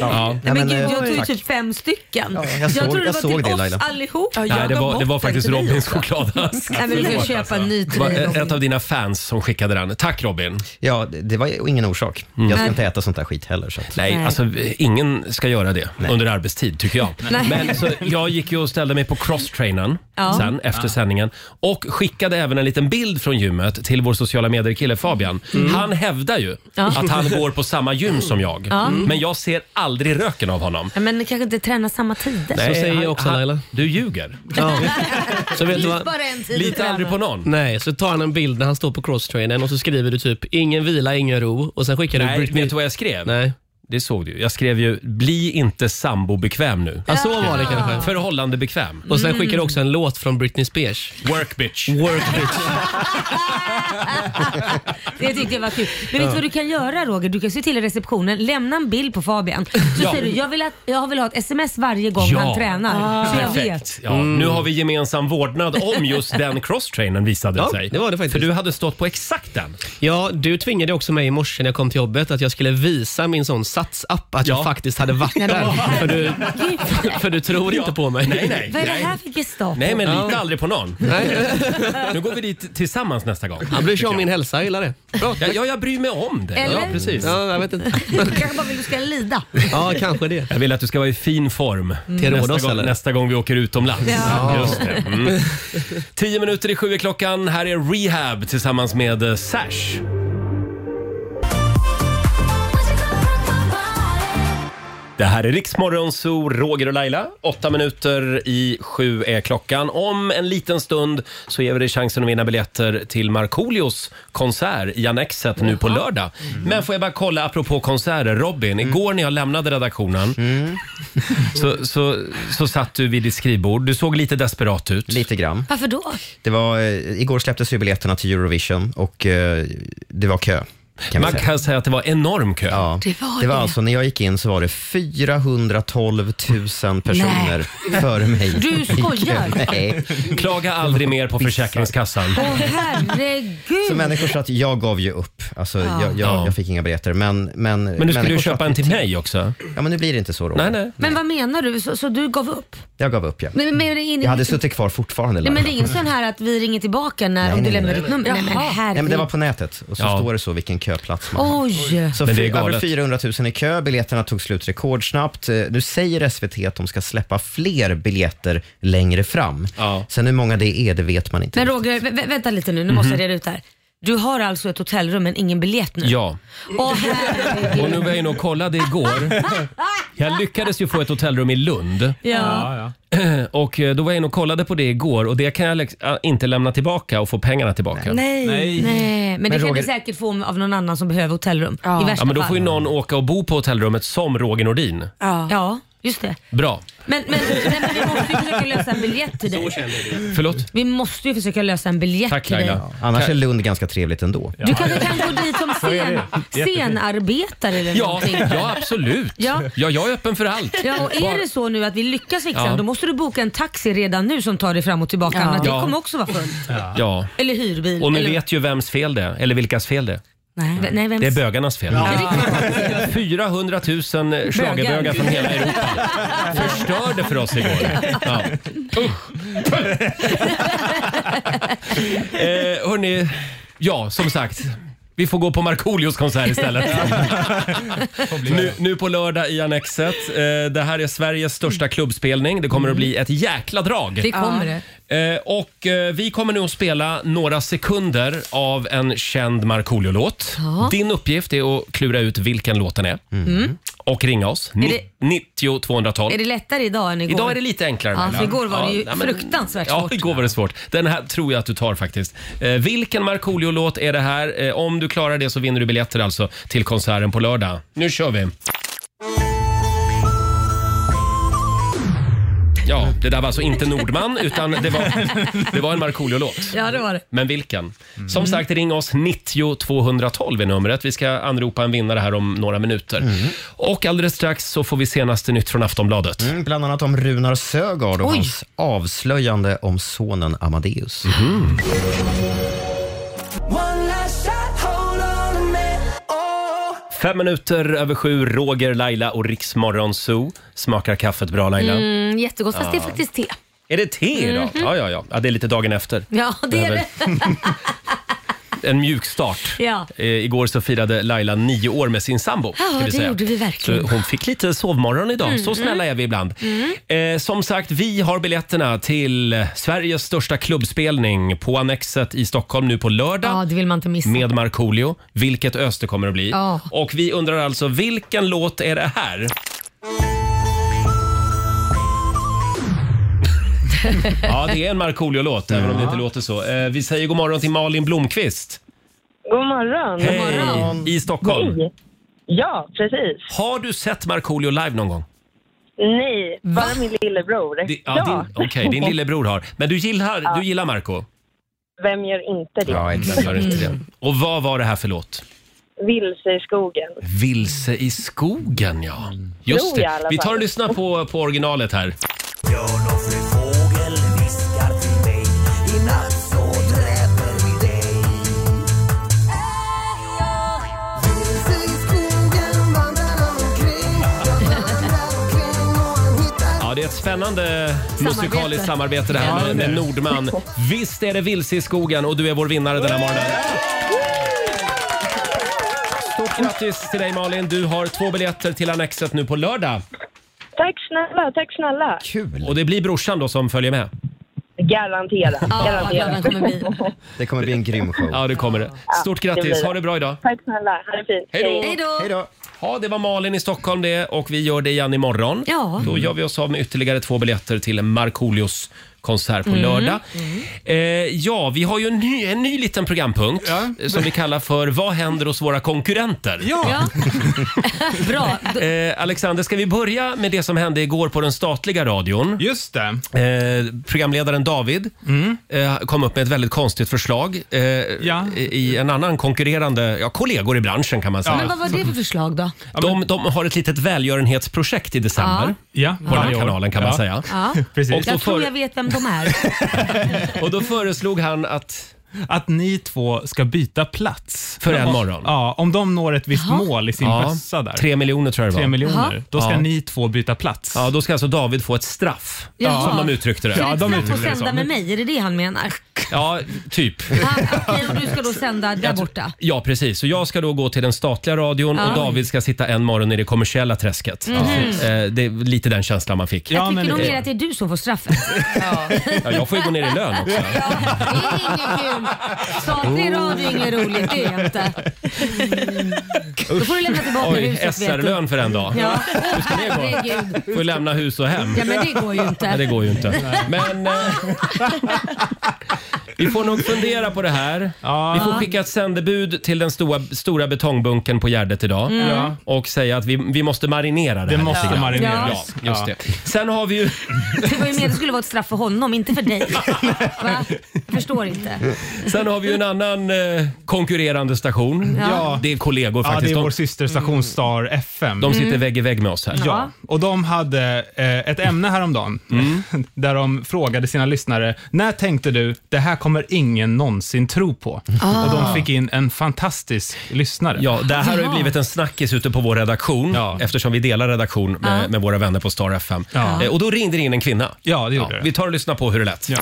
Speaker 1: Ja.
Speaker 2: Nej,
Speaker 3: men
Speaker 2: men,
Speaker 3: gud,
Speaker 2: eh,
Speaker 3: jag tog ju
Speaker 2: tack.
Speaker 3: typ fem stycken.
Speaker 2: Ja, jag såg-
Speaker 3: jag trodde det
Speaker 2: jag
Speaker 3: var
Speaker 2: såg
Speaker 3: till
Speaker 2: det,
Speaker 3: oss
Speaker 2: Laila.
Speaker 3: allihop.
Speaker 7: Ja, jag
Speaker 1: Nej, det
Speaker 7: gav
Speaker 1: var,
Speaker 7: bort
Speaker 1: det var
Speaker 7: den
Speaker 1: faktiskt
Speaker 7: till dig
Speaker 1: Robins
Speaker 7: också.
Speaker 1: chokladask.
Speaker 3: Nej, men du ska köpa en ny
Speaker 1: Det
Speaker 3: till
Speaker 1: var
Speaker 3: dig,
Speaker 1: ett
Speaker 3: Robin.
Speaker 1: av dina fans som skickade den. Tack Robin!
Speaker 2: Ja, det- det var ju ingen orsak. Jag ska inte äta sånt där skit heller. Så att.
Speaker 1: Mm. Nej,
Speaker 3: Nej.
Speaker 1: alltså ingen ska göra det under arbetstid tycker jag.
Speaker 3: Nej.
Speaker 1: Men så jag gick ju och ställde mig på crosstrainern
Speaker 3: Ja.
Speaker 1: sen efter sändningen och skickade även en liten bild från gymmet till vår sociala medier-kille Fabian. Han hävdar ju
Speaker 3: Mm. Ja.
Speaker 1: att han går på samma gym som jag,
Speaker 3: Ja.
Speaker 1: men jag ser aldrig röken av honom.
Speaker 3: Ja, men ni kanske inte tränar samma tider.
Speaker 8: Så säger
Speaker 1: han-
Speaker 8: jag också,
Speaker 1: han-
Speaker 8: Laila.
Speaker 1: Du ljuger.
Speaker 8: Så vet du
Speaker 3: Finns
Speaker 8: vad?
Speaker 3: bara en tid att
Speaker 1: Lita
Speaker 3: träna.
Speaker 1: aldrig på någon.
Speaker 8: Nej, så tar han en bild när han står på crosstrainern och så skriver du typ ingen vila, ingen ro och sen skickar
Speaker 1: Nej,
Speaker 8: du Britney.
Speaker 1: vet du vad jag skrev?
Speaker 8: Nej.
Speaker 1: Det såg du ju. Jag skrev ju “Bli inte sambobekväm nu”.
Speaker 8: Ja, så var det kanske.
Speaker 1: Förhållande bekväm.
Speaker 8: Och sen skickar du också en låt från Britney Spears.
Speaker 1: Work bitch.
Speaker 8: Work bitch.
Speaker 3: Det tyckte jag var kul. Men vet du vad du kan göra Roger? Du kan se till i receptionen, lämna en bild på Fabian. Så
Speaker 1: Ja.
Speaker 3: säger du, jag vill, att, jag vill ha ett sms varje gång
Speaker 1: Ja. Ah.
Speaker 3: han tränar. Så jag vet. Mm.
Speaker 1: Perfekt. Ja,
Speaker 8: Mm.
Speaker 1: Nu har vi gemensam vårdnad om just den crosstrainern visade
Speaker 8: Ja,
Speaker 1: sig.
Speaker 8: det var det faktiskt.
Speaker 1: För du hade stått på exakt den.
Speaker 8: Ja, du tvingade också mig i morse när jag kom till jobbet att jag skulle visa min sån satsapp att
Speaker 1: Ja.
Speaker 8: jag faktiskt hade varit där. För du, för du tror inte på mig.
Speaker 1: Nej, nej.
Speaker 3: Vad är det här för gestapo?
Speaker 1: Nej, men lita
Speaker 8: Ja.
Speaker 1: aldrig på någon. Nu går vi dit tillsammans nästa gång.
Speaker 8: Han bryr sig om
Speaker 1: tycker
Speaker 8: min
Speaker 1: jag.
Speaker 8: hälsa, jag gillar det. Bra.
Speaker 1: Ja, ja, jag bryr mig om dig.
Speaker 3: Eller?
Speaker 1: Ja, precis.
Speaker 8: Ja, jag vet inte.
Speaker 3: Du kanske bara vill att du ska lida.
Speaker 8: Ja, kanske det. Mm.
Speaker 1: Jag vill att du ska vara i fin form
Speaker 8: Till
Speaker 1: nästa,
Speaker 8: Rhodos,
Speaker 1: gång,
Speaker 8: eller?
Speaker 1: nästa gång vi åker utomlands.
Speaker 3: Ja.
Speaker 1: Just det. Mm. Tio minuter i sju är klockan. Här är Rehab tillsammans med eh, Sash. Det här är Riksmorgon Zoo, Roger och Laila. Åtta minuter i sju är klockan. Om en liten stund så ger vi dig chansen att vinna biljetter till Markoolios konsert i Annexet nu på lördag. Men får jag bara kolla, apropå konserter, Robin, igår när jag lämnade redaktionen så, så, så satt du vid ditt skrivbord. Du såg lite desperat ut.
Speaker 2: Lite grann.
Speaker 3: Varför då?
Speaker 2: Det var, eh, igår släpptes ju biljetterna till Eurovision och eh, det var kö. Kan man
Speaker 1: Man
Speaker 2: säga.
Speaker 1: kan säga att det var enorm kö.
Speaker 2: Ja.
Speaker 3: Det var
Speaker 2: det var
Speaker 3: det.
Speaker 2: alltså när jag gick in så var det 412 000 personer före mig.
Speaker 3: Du skojar.
Speaker 2: I kö. Nej.
Speaker 1: Klaga aldrig mer på Försäkringskassan.
Speaker 3: Åh herregud.
Speaker 2: Så människor så att jag gav ju upp. Alltså, jag, jag,
Speaker 1: Ja.
Speaker 2: jag fick inga biljetter. Men,
Speaker 1: Men
Speaker 2: men,
Speaker 1: du skulle ju
Speaker 2: människor
Speaker 1: köpa
Speaker 2: satt
Speaker 1: en
Speaker 2: i
Speaker 1: till
Speaker 2: te-
Speaker 1: mig också.
Speaker 2: Ja, men nu blir det inte så. Roger.
Speaker 1: Nej, nej.
Speaker 3: Men vad menar du? Så, så du gav upp?
Speaker 2: Jag gav upp, ja.
Speaker 3: Men, men, men, det är ingen-
Speaker 2: Jag hade suttit kvar fortfarande.
Speaker 3: Nej,
Speaker 2: Laila.
Speaker 3: men det är ingen sån här att vi ringer tillbaka när
Speaker 2: Nej,
Speaker 3: om du
Speaker 2: nej,
Speaker 3: lämnar
Speaker 2: nej.
Speaker 3: ditt nummer? Nej, men
Speaker 2: Nej, men det
Speaker 3: herregud.
Speaker 2: var på nätet och så
Speaker 1: Ja.
Speaker 2: står det så vilken köplats man har.
Speaker 3: Oj.
Speaker 2: Så
Speaker 1: Men det är
Speaker 2: fy- över
Speaker 1: galet.
Speaker 2: 400 000 i kö, biljetterna tog slut rekordsnabbt. Eh, Nu säger SVT att de ska släppa fler biljetter längre fram.
Speaker 1: Ja.
Speaker 2: Sen hur många det är, det vet man inte.
Speaker 3: Men Roger, vä- vä- vänta lite nu. Nu måste jag reda ut det här. Du har alltså ett hotellrum men ingen biljett nu?
Speaker 1: Ja.
Speaker 3: Åh herregud.
Speaker 1: Och nu var jag inne och kollade igår. Jag lyckades ju få ett hotellrum i Lund
Speaker 3: Ja.
Speaker 6: Ja, ja.
Speaker 1: och eh, då var jag inne och kollade på det igår och det kan jag lex- äh, inte lämna tillbaka och få pengarna tillbaka.
Speaker 3: Nej.
Speaker 6: Nej.
Speaker 3: Men, det kan
Speaker 2: Roger-
Speaker 3: du säkert få av någon annan som behöver hotellrum. I värsta
Speaker 1: Ja, men då
Speaker 3: fall.
Speaker 1: får ju någon åka och bo på hotellrummet som Roger Nordin.
Speaker 3: Ja, just det.
Speaker 1: Bra.
Speaker 3: Men, men, nej, men vi måste ju försöka lösa en biljett till dig.
Speaker 1: Förlåt?
Speaker 3: Vi måste ju försöka lösa en biljett
Speaker 1: Tack
Speaker 3: till dig.
Speaker 1: Laila.
Speaker 2: Annars är Lund ganska trevligt ändå.
Speaker 3: Du kanske kan gå dit som scen, scenarbetare eller
Speaker 1: Ja,
Speaker 3: någonting.
Speaker 1: ja absolut. Ja.
Speaker 3: Ja.
Speaker 1: jag är öppen för allt.
Speaker 3: Ja, och är det så nu att vi lyckas fixa
Speaker 1: Ja.
Speaker 3: den, då måste du boka en taxi redan nu som tar dig fram och tillbaka. Annars det
Speaker 1: Ja.
Speaker 3: kommer också vara fullt.
Speaker 1: Ja.
Speaker 3: Eller hyrbil.
Speaker 1: Och ni
Speaker 3: eller...
Speaker 1: vet ju vems fel det är, eller vilkas fel det är.
Speaker 3: Nej, nej, vem...
Speaker 1: Det är bögarnas fel.
Speaker 3: Ja, det är klart.
Speaker 1: 400 000 schlagerbögar från hela Europa förstörde för oss igår. Ja. eh, hörni, ja som sagt. Vi får gå på Markoolios konsert istället. nu, nu på lördag i Annexet. Eh, det här är Sveriges största klubbspelning. Det kommer att bli ett jäkla drag.
Speaker 3: Det kommer det.
Speaker 1: Eh, och eh, vi kommer nu att spela några sekunder av en känd Markoolio-låt. Din uppgift är att klura ut vilken låt den är. Och ringa oss. Ni-
Speaker 3: Mm. det-
Speaker 1: 90 212.
Speaker 3: Är det lättare idag än igår?
Speaker 1: Idag är det lite enklare.
Speaker 3: Ja,
Speaker 1: Laila.
Speaker 3: för igår var det ju
Speaker 1: nej,
Speaker 3: fruktansvärt
Speaker 1: ja,
Speaker 3: svårt.
Speaker 1: igår var det svårt. Den här tror jag att du tar faktiskt. Eh, vilken Markoolio-låt är det här? Eh, om du klarar det så vinner du biljetter alltså till konserten på lördag. Nu kör vi! Ja, det där var alltså inte Nordman utan det var, det var en Markoolio-låt.
Speaker 3: Ja, det var det.
Speaker 1: Men vilken?
Speaker 2: Mm.
Speaker 1: Som sagt, ring oss 90 212 är numret. Vi ska anropa en vinnare här om några minuter.
Speaker 2: Mm.
Speaker 1: Och alldeles strax så får vi senaste nytt från Aftonbladet.
Speaker 2: Mm, Bland annat om Runar Sögaard och
Speaker 3: Oj.
Speaker 2: hans avslöjande om sonen Amadeus.
Speaker 1: Mhm. Fem minuter över sju, Roger, Laila och Riksmorgon Zoo. Smakar kaffet bra Laila?
Speaker 3: Mm, jättegott, fast det är faktiskt te.
Speaker 1: Är det te idag? Ja, ja, ja, ja. Det är lite dagen efter.
Speaker 3: Ja, det är
Speaker 1: Behöver-
Speaker 3: det.
Speaker 1: En mjuk start.
Speaker 3: Ja.
Speaker 1: Eh, igår så firade Laila nio år med sin sambo.
Speaker 3: Ja,
Speaker 1: ska vi
Speaker 3: det
Speaker 1: säga.
Speaker 3: gjorde vi verkligen. Mm.
Speaker 1: Så hon fick lite sovmorgon idag. Så snälla är vi ibland. Eh, som sagt, vi har biljetterna till Sveriges största klubbspelning på Annexet i Stockholm nu på lördag.
Speaker 3: Ja, det vill man inte missa.
Speaker 1: Med Markoolio, vilket ös det kommer att bli.
Speaker 3: Ja.
Speaker 1: Och vi undrar alltså, vilken låt är det här? ja, det är en Markoolio-låt, även om det inte låter så. Eh, vi säger god morgon till Malin Blomqvist.
Speaker 5: God morgon.
Speaker 1: Hej! I Stockholm.
Speaker 5: Hej. Ja, precis.
Speaker 1: Har du sett Markoolio live någon gång?
Speaker 5: Nej, bara min lillebror.
Speaker 1: Di-
Speaker 5: ja.
Speaker 1: din- Okej, din lillebror har. Men du gillar, du gillar Marco?
Speaker 5: Vem gör inte det? Mm.
Speaker 2: Ja,
Speaker 1: Jag
Speaker 2: exakt.
Speaker 1: gör inte det. Och vad var det här för låt?
Speaker 5: Vilse i skogen.
Speaker 1: Vilse i skogen, ja. Just
Speaker 5: Tror jag Mm. i
Speaker 1: det.
Speaker 5: alla
Speaker 1: Vi tar och
Speaker 5: fall.
Speaker 1: lyssnar på, på originalet här.
Speaker 4: Björn och fru fågel viskar till mig I natt så dräper vi dig Vilse i skogen vandrar omkring Jag vandrar omkring och han hittar
Speaker 1: Ja, det är ett spännande musikaliskt samarbete det här med, med Nordman. Visst är det Vilse i skogen och du är vår vinnare den här morgonen. Stort grattis till dig Malin. Du har två biljetter till Annexet nu på lördag.
Speaker 5: Tack snälla, tack snälla.
Speaker 2: Kul.
Speaker 1: Och det blir brorsan då som följer med.
Speaker 5: Garanterat.
Speaker 3: Ja, vad glad han
Speaker 5: garanterat.
Speaker 3: kommer bli.
Speaker 2: Det kommer bli en grym show.
Speaker 1: Ja, det kommer det. Stort
Speaker 5: det blir
Speaker 1: grattis.
Speaker 5: det.
Speaker 1: Ha det bra idag.
Speaker 5: Tack snälla, ha det fint.
Speaker 1: Hej då!
Speaker 3: Hej då!
Speaker 2: Hej då.
Speaker 1: Ja, det var Malin i Stockholm det och vi gör det igen imorgon.
Speaker 3: Ja.
Speaker 1: Då gör vi oss av med ytterligare två biljetter till Markoolios konsert
Speaker 3: Mm.
Speaker 1: på lördag. Eh, ja, vi har ju en ny, en ny liten programpunkt eh, som vi kallar för Vad händer hos våra konkurrenter?
Speaker 3: Ja. Bra. Då-
Speaker 1: Eh, Alexander, ska vi börja med det som hände igår på den statliga radion?
Speaker 6: Just det. Mm.
Speaker 1: Eh, programledaren David eh, kom upp med ett väldigt konstigt förslag eh,
Speaker 6: Ja.
Speaker 1: i i en annan konkurrerande, ja kollegor i branschen kan man säga.
Speaker 3: Men vad var det för förslag då?
Speaker 1: De, de har ett litet välgörenhetsprojekt i december
Speaker 6: Ja,
Speaker 1: på den här
Speaker 6: varje år.
Speaker 1: kanalen kan
Speaker 6: ja.
Speaker 1: man säga.
Speaker 3: Ja.
Speaker 1: Och
Speaker 6: Precis.
Speaker 1: då,
Speaker 3: Jag tror
Speaker 1: för,
Speaker 3: jag vet vem de är.
Speaker 1: och då föreslog han att...
Speaker 6: Att ni två ska byta plats.
Speaker 1: För en
Speaker 6: Om-
Speaker 1: morgon.
Speaker 6: Ja, om de når ett visst
Speaker 3: Jaha.
Speaker 6: mål i sin
Speaker 1: Ja,
Speaker 6: bössa där.
Speaker 1: Tre miljoner tror jag det
Speaker 6: Tre
Speaker 1: var.
Speaker 6: miljoner.
Speaker 3: Jaha.
Speaker 6: Då ska
Speaker 1: Ja.
Speaker 6: ni två byta plats.
Speaker 1: Ja, då ska alltså David få ett straff,
Speaker 3: Jaha.
Speaker 1: som de uttryckte det.
Speaker 3: Så
Speaker 1: Ja,
Speaker 3: det
Speaker 6: de
Speaker 3: är ett
Speaker 6: uttrycker
Speaker 3: straff
Speaker 6: det
Speaker 3: att sända
Speaker 6: så.
Speaker 3: med mig, är det det han menar?
Speaker 1: typ.
Speaker 3: Ah, Okej, och du ska då sända där borta?
Speaker 1: Ja, precis. Så jag ska då gå till den statliga radion och
Speaker 3: Ja.
Speaker 1: David ska sitta en morgon i det kommersiella träsket. Eh, det är lite den känslan man fick.
Speaker 3: Mhm. Jag
Speaker 6: Ja,
Speaker 3: tycker
Speaker 6: men-
Speaker 3: nog mer att det är du som får straffet.
Speaker 1: Ja, jag får ju gå ner i lön också.
Speaker 3: Det är inget kul. Statlig
Speaker 1: Oh.
Speaker 3: radio är inget roligt, det är det inte. Då får du lämna tillbaka
Speaker 1: Oj,
Speaker 3: huset vet du.
Speaker 1: SR-lön för en dag.
Speaker 3: Ja,
Speaker 1: ska det gå?
Speaker 3: herregud.
Speaker 1: Får ju lämna hus och hem.
Speaker 3: Ja men det går ju inte.
Speaker 1: Nej, det går ju inte. Men eh, vi får nog fundera på det här. Vi får skicka ett sändebud till den stora, stora betongbunken på Gärdet idag
Speaker 3: Mm.
Speaker 6: Ja.
Speaker 1: och säga att vi, vi måste marinera det,
Speaker 6: Det
Speaker 1: här
Speaker 6: måste
Speaker 1: lite grann.
Speaker 6: marineras.
Speaker 1: Ja, just det. Sen har vi ju
Speaker 3: Det var ju mer det skulle vara ett straff för honom, inte för dig. Va? Förstår inte.
Speaker 1: Sen har vi ju en annan eh, konkurrerande station.
Speaker 6: Ja.
Speaker 1: Det är kollegor
Speaker 6: Ja, det
Speaker 1: faktiskt.
Speaker 6: är vår
Speaker 1: De,
Speaker 6: systerstation Star FM.
Speaker 1: de
Speaker 3: Mm.
Speaker 1: sitter vägg i vägg med oss här.
Speaker 6: Ja, och de hade eh, ett ämne häromdagen
Speaker 1: Mm.
Speaker 6: där de frågade sina lyssnare, när tänkte du, det här kommer ingen någonsin tro på?
Speaker 3: Ah.
Speaker 6: Och de fick in en fantastisk lyssnare.
Speaker 1: Ja, det här har ju
Speaker 3: Ja.
Speaker 1: blivit en snackis ute på vår redaktion
Speaker 6: Ja.
Speaker 1: eftersom vi delar redaktion med,
Speaker 3: Ah.
Speaker 1: med våra vänner på Star FM.
Speaker 6: Ja.
Speaker 1: Eh, Och då ringde det in en kvinna.
Speaker 6: Ja, det gjorde det.
Speaker 1: Vi tar och lyssnar på hur det lät.
Speaker 6: Ja.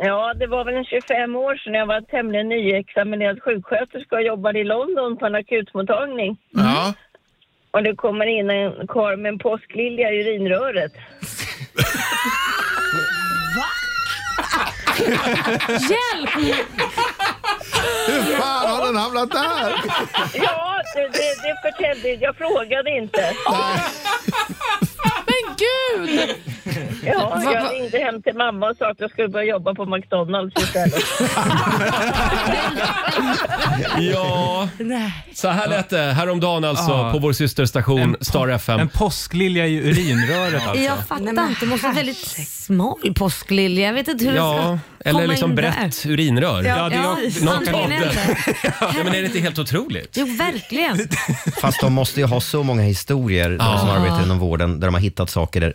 Speaker 5: Ja, det var väl en 25 år sedan jag var tämligen nyexaminerad sjuksköterska och jobbade i London på en akutmottagning.
Speaker 7: Ja.
Speaker 5: Och det kommer in en karl med en påsklilja i urinröret.
Speaker 3: Hjälp!
Speaker 7: Hur fan har den hamnat där?
Speaker 5: Ja, det, det, det förtällde jag. frågade inte.
Speaker 9: Men gud!
Speaker 5: Ja, jag ringde hem till mamma och sa att jag skulle börja jobba på McDonalds istället.
Speaker 1: Ja,
Speaker 3: Nej.
Speaker 1: så här lät det häromdagen alltså
Speaker 6: Ja.
Speaker 1: på vår systerstation
Speaker 6: po-
Speaker 1: Star FM.
Speaker 6: Ah. En påsklilja i urinröret alltså.
Speaker 3: Jag fattar inte. Det måste vara väldigt smal påsklilja. Jag vet inte hur
Speaker 1: Ja,
Speaker 3: det ska
Speaker 1: eller
Speaker 3: komma
Speaker 1: liksom
Speaker 3: in
Speaker 1: brett urinrör. Ja.
Speaker 6: Ja, det är
Speaker 3: där.
Speaker 1: någon
Speaker 3: Antingen
Speaker 1: kabel.
Speaker 3: eller.
Speaker 1: men är det inte helt otroligt?
Speaker 3: Jo, verkligen.
Speaker 2: Fast de måste ju ha så många historier, de som
Speaker 3: Ja.
Speaker 2: arbetar inom vården, där de har hittat saker där,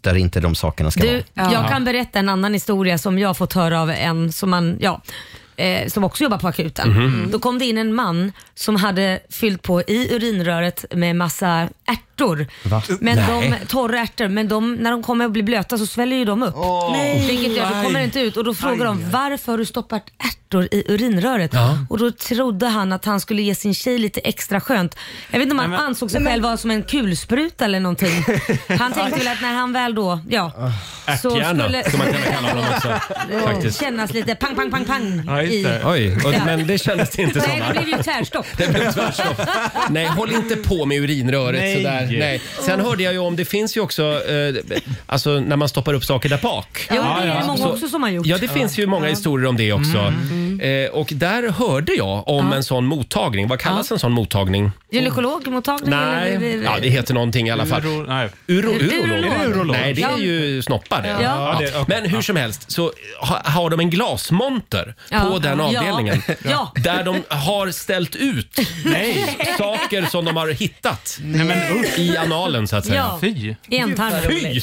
Speaker 2: där inte de sakerna ska vara.
Speaker 3: Du, jag kan berätta en annan historia som jag har fått höra av en som, man, ja, eh, som också jobbar på akuten.
Speaker 2: Mhm.
Speaker 3: Då kom det in en man som hade fyllt på i urinröret med massa ärtor. Men de, torra ärtor, men de, när de kommer att bli blöta så sväljer ju de upp. Vilket gör att de kommer inte ut och då frågar de varför har du stoppat ärtor i urinröret? Och då trodde han att han skulle ge sin tjej lite extra skönt. Jag vet inte om han ansåg sig själv vara som en kulspruta eller någonting. Han tänkte väl att när han väl då, ja.
Speaker 1: Ärthjärna, som man kan kalla honom också.
Speaker 3: Det
Speaker 1: Faktiskt.
Speaker 3: kännas lite pang, pang, pang, pang.
Speaker 6: Ja, just det.
Speaker 1: Oj, och,
Speaker 3: Ja.
Speaker 1: men det kändes inte som.
Speaker 3: Nej, det
Speaker 1: va?
Speaker 3: blev ju tvärstopp.
Speaker 1: Det blev tvärstopp. Nej, håll inte på med urinröret
Speaker 6: Nej.
Speaker 1: sådär. Nej. Sen hörde jag ju om, det finns ju också, eh, alltså när man stoppar upp saker där bak.
Speaker 3: Jo, det är det många
Speaker 1: Så-
Speaker 3: också som har gjort. Mm.
Speaker 1: Ja, det finns ju många historier om det också. Eh, och där hörde jag om en sån mottagning. Vad kallas en sån mottagning?
Speaker 3: Gynekologmottagning
Speaker 1: Nej,
Speaker 3: eller?
Speaker 1: ja, det heter någonting i alla fall.
Speaker 6: Uro- nej.
Speaker 1: Uro, urolog.
Speaker 3: Urolog.
Speaker 6: Urolog.
Speaker 1: Nej, det är
Speaker 3: Ja.
Speaker 1: ju snoppar det.
Speaker 3: Ja.
Speaker 1: Ja.
Speaker 6: Ja, det- okej.
Speaker 1: Men hur som helst så ha, har de en glasmonter
Speaker 3: Ja.
Speaker 1: på den
Speaker 3: Ja.
Speaker 1: avdelningen.
Speaker 3: Ja.
Speaker 1: Där de har ställt ut
Speaker 6: Nej.
Speaker 1: saker som de har hittat
Speaker 6: Nej, men usch.
Speaker 1: i analen så att säga.
Speaker 3: Ja.
Speaker 6: Fy.
Speaker 3: Entarm.
Speaker 1: Fy!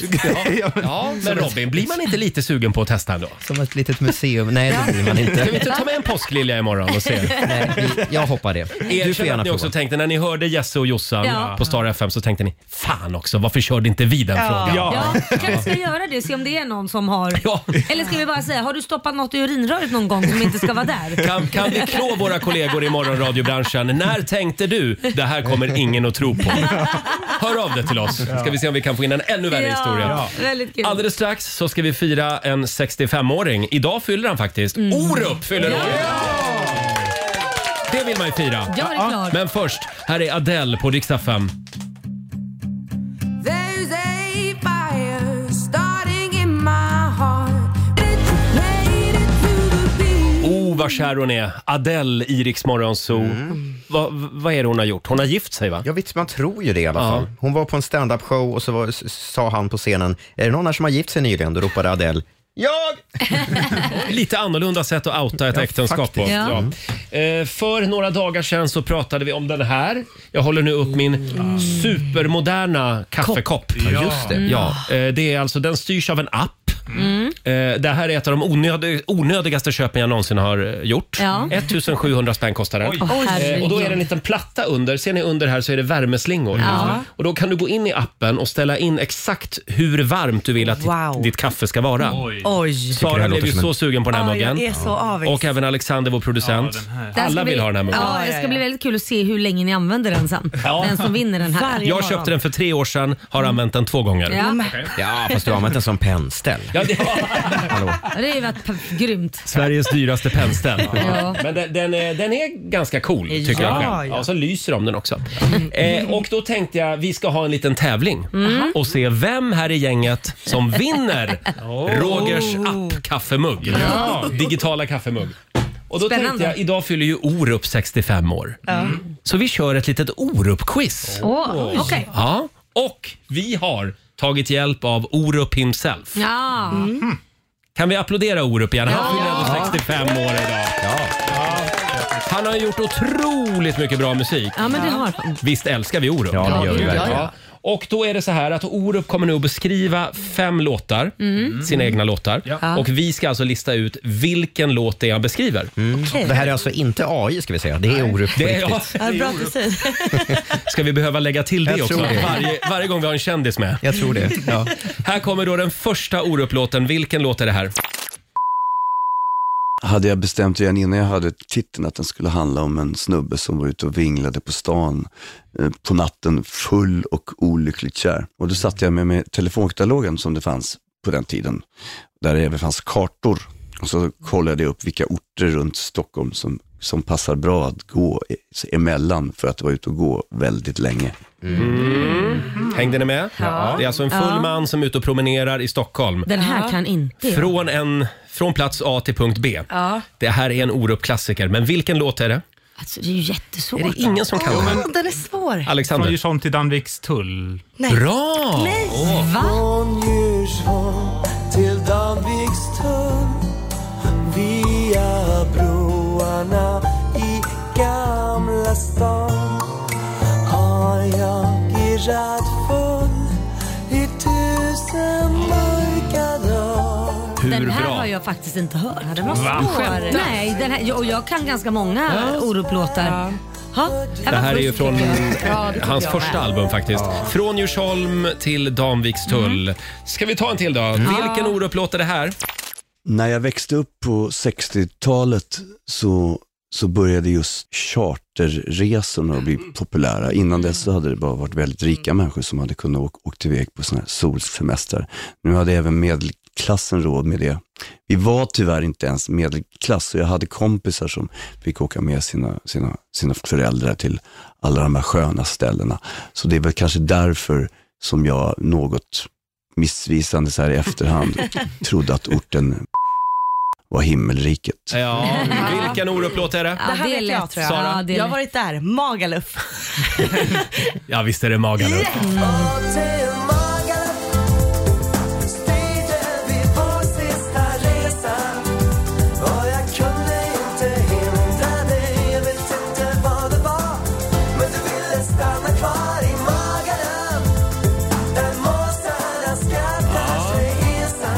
Speaker 1: Ja. ja, men Robin, blir man inte lite sugen på att testa ändå?
Speaker 2: Som ett litet museum. Nej, det blir
Speaker 1: Kan
Speaker 2: man
Speaker 1: vi
Speaker 2: inte.
Speaker 1: inte ta med en påsklilja imorgon och se?
Speaker 2: Nej, vi- jag hoppar det. Du får
Speaker 1: Erkänn
Speaker 2: gärna
Speaker 1: att ni också
Speaker 2: prova.
Speaker 1: tänkte, när ni hörde Jesse och Jossan
Speaker 3: Ja.
Speaker 1: på Star FM så tänkte ni, fan också, varför körde inte vi den frågan?
Speaker 3: Ja, kanske ska jag göra det se om det är någon som har...
Speaker 1: Ja.
Speaker 3: Eller ska vi bara säga, har du stoppat något i urinröret någon gång som inte ska vara där?
Speaker 1: Kan, kan vi klå våra kollegor i morgonradiobranschen? När tänkte du, det här kommer ingen att tro på? Hör av dig till oss, ska vi se om vi kan få in en ännu värre historia.
Speaker 3: Ja, väldigt kul.
Speaker 1: Alldeles strax så ska vi fira en
Speaker 3: Mm.
Speaker 1: 65-åring. Idag fyller han faktiskt. Orup fyller år! Det Det vill man ju fira.
Speaker 3: Ja, det är klart.
Speaker 1: Men först, här är Adele på Rix FM.
Speaker 4: There's a fire starting in my heart. It's related to the beat.
Speaker 1: Oh, vad kär hon är. Adele i Rix Morgon Zoo. Va, vad är det hon har gjort? Hon har gift sig, va?
Speaker 2: Mm. Ja visst, man tror ju det i alla
Speaker 1: Ja.
Speaker 2: fall. Hon var på en stand-up show och så var, s- sa han på scenen, är det någon här som har gift sig nyligen? Då ropade Adele, jag!
Speaker 1: Lite annorlunda sätt att outa ett
Speaker 2: Ja,
Speaker 1: äktenskap på.
Speaker 2: faktiskt.
Speaker 1: Ja. Eh, för några dagar sedan så pratade vi om den här. Jag håller nu upp min supermoderna kaffekopp.
Speaker 2: Mm. Ja, just det. Ja. Mm.
Speaker 1: Eh, Det är alltså, den styrs av en app. Eh, Det här är ett av de onödig, onödigaste köpen jag någonsin har eh, gjort.
Speaker 3: Ja.
Speaker 1: 1700 spänn kostar den.
Speaker 3: Åh,
Speaker 1: Eh,
Speaker 3: herregud.
Speaker 1: Och då är det en liten platta under. Ser ni under här så är det värmeslingor. Och då kan du gå in i appen och ställa in exakt hur varmt du vill att
Speaker 9: Wow.
Speaker 1: ditt, ditt kaffe ska vara.
Speaker 9: Oj.
Speaker 2: det
Speaker 1: Sara
Speaker 2: här
Speaker 1: blev ju
Speaker 2: låter som
Speaker 1: så sugen på den här
Speaker 9: Ja, jag
Speaker 1: muggen.
Speaker 9: är så avig.
Speaker 1: Och även Alexander, vår producent.
Speaker 3: Det här ska
Speaker 1: Alla
Speaker 3: bli-
Speaker 1: vill ha den här muggen.
Speaker 3: Ja, det
Speaker 9: Ja,
Speaker 3: ska
Speaker 9: ja,
Speaker 3: bli
Speaker 9: ja.
Speaker 3: väldigt kul att se hur länge ni använder den sen.
Speaker 1: Ja.
Speaker 3: Den som vinner den här.
Speaker 9: Varje
Speaker 1: Jag
Speaker 9: morgon.
Speaker 1: köpte den för tre år sedan, har använt den två gånger.
Speaker 3: Ja,
Speaker 2: ja, fast du har använt den som pennställ.
Speaker 1: Ja, det,
Speaker 2: Hallå.
Speaker 3: det har ju varit p- grymt.
Speaker 1: Sveriges dyraste pennställ.
Speaker 3: Ja.
Speaker 1: Men den, den, är, den är ganska cool tycker
Speaker 9: Ja,
Speaker 1: jag själv.
Speaker 9: ja.
Speaker 1: Ja, så lyser om den också. Eh, och då tänkte jag vi ska ha en liten tävling och se vem här i gänget som vinner Rogers app-kaffemugg. Digitala kaffemugg. Och då tänkte
Speaker 3: Spännande.
Speaker 1: jag, idag fyller ju Orup 65 år. Så vi kör ett litet Orup-quiz.
Speaker 3: Åh, okej.
Speaker 1: Ja. Och vi har tagit hjälp av Orup himself.
Speaker 3: Ja.
Speaker 1: Kan vi applådera Orup igen? Han fyller ändå 65 år idag. Han har gjort otroligt mycket bra musik.
Speaker 3: ja, men det har den.
Speaker 1: Visst älskar vi Orup?
Speaker 2: Ja, det gör vi
Speaker 9: Ja,
Speaker 2: verkligen.
Speaker 9: ja.
Speaker 1: Och då är det så här att Orup kommer nu att beskriva fem låtar,
Speaker 3: Mm.
Speaker 1: sina egna låtar. Och vi ska alltså lista ut vilken låt det är han beskriver.
Speaker 2: Det här är alltså inte AI ska vi säga, det är Orup på
Speaker 1: Det är,
Speaker 2: riktigt.
Speaker 1: ja,
Speaker 9: Ja, bra att du säger.
Speaker 1: ska vi behöva lägga till det
Speaker 2: Jag
Speaker 1: också?
Speaker 2: tror det.
Speaker 1: Varje, varje gång vi har en kändis med.
Speaker 2: Jag tror det. Ja.
Speaker 1: Här kommer då den första Orup-låten. Vilken låt är det här?
Speaker 10: hade jag bestämt redan innan jag hade titeln att den skulle handla om en snubbe som var ute och vinglade på stan eh, på natten full och olyckligt kär. Och då satte jag mig med telefonkatalogen som det fanns på den tiden, där det även fanns kartor. Och så kollade jag upp vilka orter runt Stockholm som, som passar bra att gå e- emellan för att vara ute och gå väldigt länge.
Speaker 1: Mm. Hängde ni med? Det är alltså en full
Speaker 3: Ja.
Speaker 1: man som är ute och promenerar i Stockholm.
Speaker 3: Den här kan inte jag.
Speaker 1: Från, en, från plats A till punkt B.
Speaker 9: Ja.
Speaker 1: Det här är en Orup-klassiker, men vilken låt är det?
Speaker 3: Alltså, det är ju jättesvårt.
Speaker 1: Är det ingen som kan den?
Speaker 9: Åh, den är svår.
Speaker 6: Från
Speaker 1: Alexander?
Speaker 6: Djursholm till Danviks tull.
Speaker 9: Nej.
Speaker 1: Bra!
Speaker 9: Nej.
Speaker 3: Va?
Speaker 10: Från Djursholm till Danvikstull Via broarna i Gamla stan Har jag irrat full i tusen mörka dagar
Speaker 1: Hur
Speaker 3: Den här
Speaker 1: bra?
Speaker 3: har jag faktiskt inte hört. Den
Speaker 9: var Va? svår.
Speaker 3: Nej, den här, och jag kan ganska många ja. Orup-låtar. Ja.
Speaker 1: Det här är ju från
Speaker 9: Ja, det tycker
Speaker 1: hans
Speaker 9: jag
Speaker 1: första
Speaker 9: med.
Speaker 1: album faktiskt. Från Djursholm till Danvikstull.
Speaker 3: Mm.
Speaker 1: Ska vi ta en till då? Vilken Orup-låt är det här?
Speaker 10: När jag växte upp på 60-talet så, så började just charterresorna att bli populära. Innan dess så hade det bara varit väldigt rika människor som hade kunnat åka, åkt iväg på sådana här solsemestrar. Nu hade även medelklassen råd med det. Vi var tyvärr inte ens medelklass, så jag hade kompisar som fick åka med sina, sina, sina föräldrar till alla de här sköna ställena. Så det är väl kanske därför som jag något missvisande så här i efterhand trodde att orten var himmelriket.
Speaker 1: Ja, vilken Orup-låt är det?
Speaker 3: Ja,
Speaker 9: Det här
Speaker 3: det är
Speaker 9: vet jag
Speaker 3: lätt.
Speaker 9: tror
Speaker 1: Sara?
Speaker 9: jag.
Speaker 3: Ja, det är
Speaker 9: jag har
Speaker 3: lätt.
Speaker 9: varit där. Magaluf.
Speaker 1: Ja, visst är det Magaluf.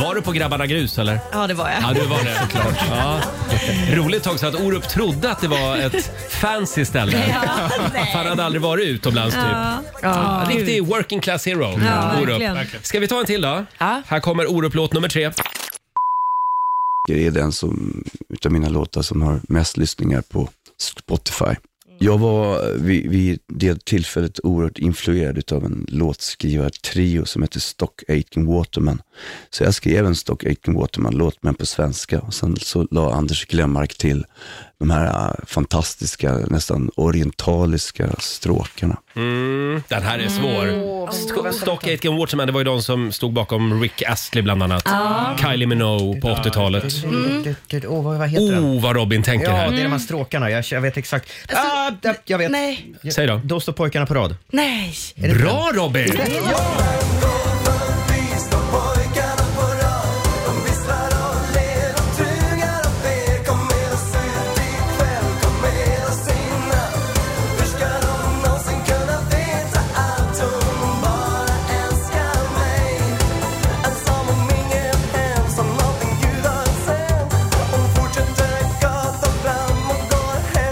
Speaker 1: Var du på Grabbarna Grus eller?
Speaker 9: Ja, det var jag.
Speaker 1: Ja, du var det. Såklart. Ja. Roligt också att Orup trodde att det var ett fancy ställe. För han hade aldrig varit utomlands typ.
Speaker 9: Ja.
Speaker 1: Riktig working class hero.
Speaker 3: Ja, verkligen.
Speaker 1: Orup. Ska vi ta en till då?
Speaker 9: Ja.
Speaker 1: Här kommer Orup-låt nummer tre.
Speaker 10: Det är den som, utav mina låtar som har mest lyssningar på Spotify.
Speaker 1: Mm.
Speaker 10: Jag var vid, vid det tillfället oerhört influerad utav en låtskrivartrio som heter Stock Aitken Waterman. Så jag skrev en Stock Aitken Waterman-låt, men på svenska. Och sen så la Anders Glenmark till de här eh, fantastiska, nästan orientaliska stråkarna.
Speaker 1: Mm, den här är svår. Mm. Stockgate and Waterman, det var ju de som stod bakom Rick Astley bland annat.
Speaker 11: Ja.
Speaker 1: Kylie Minogue på 80-talet.
Speaker 11: Mm. Du, du, du, åh, vad, vad heter den?
Speaker 1: Oh, vad Robin tänker
Speaker 11: ja,
Speaker 1: här.
Speaker 11: det är de här stråkarna. Jag, jag vet exakt.
Speaker 3: Alltså,
Speaker 11: ah, jag, jag vet.
Speaker 9: Nej.
Speaker 1: Säg då.
Speaker 11: Då står pojkarna på rad.
Speaker 9: Nej.
Speaker 1: Bra Robin!
Speaker 3: Ja,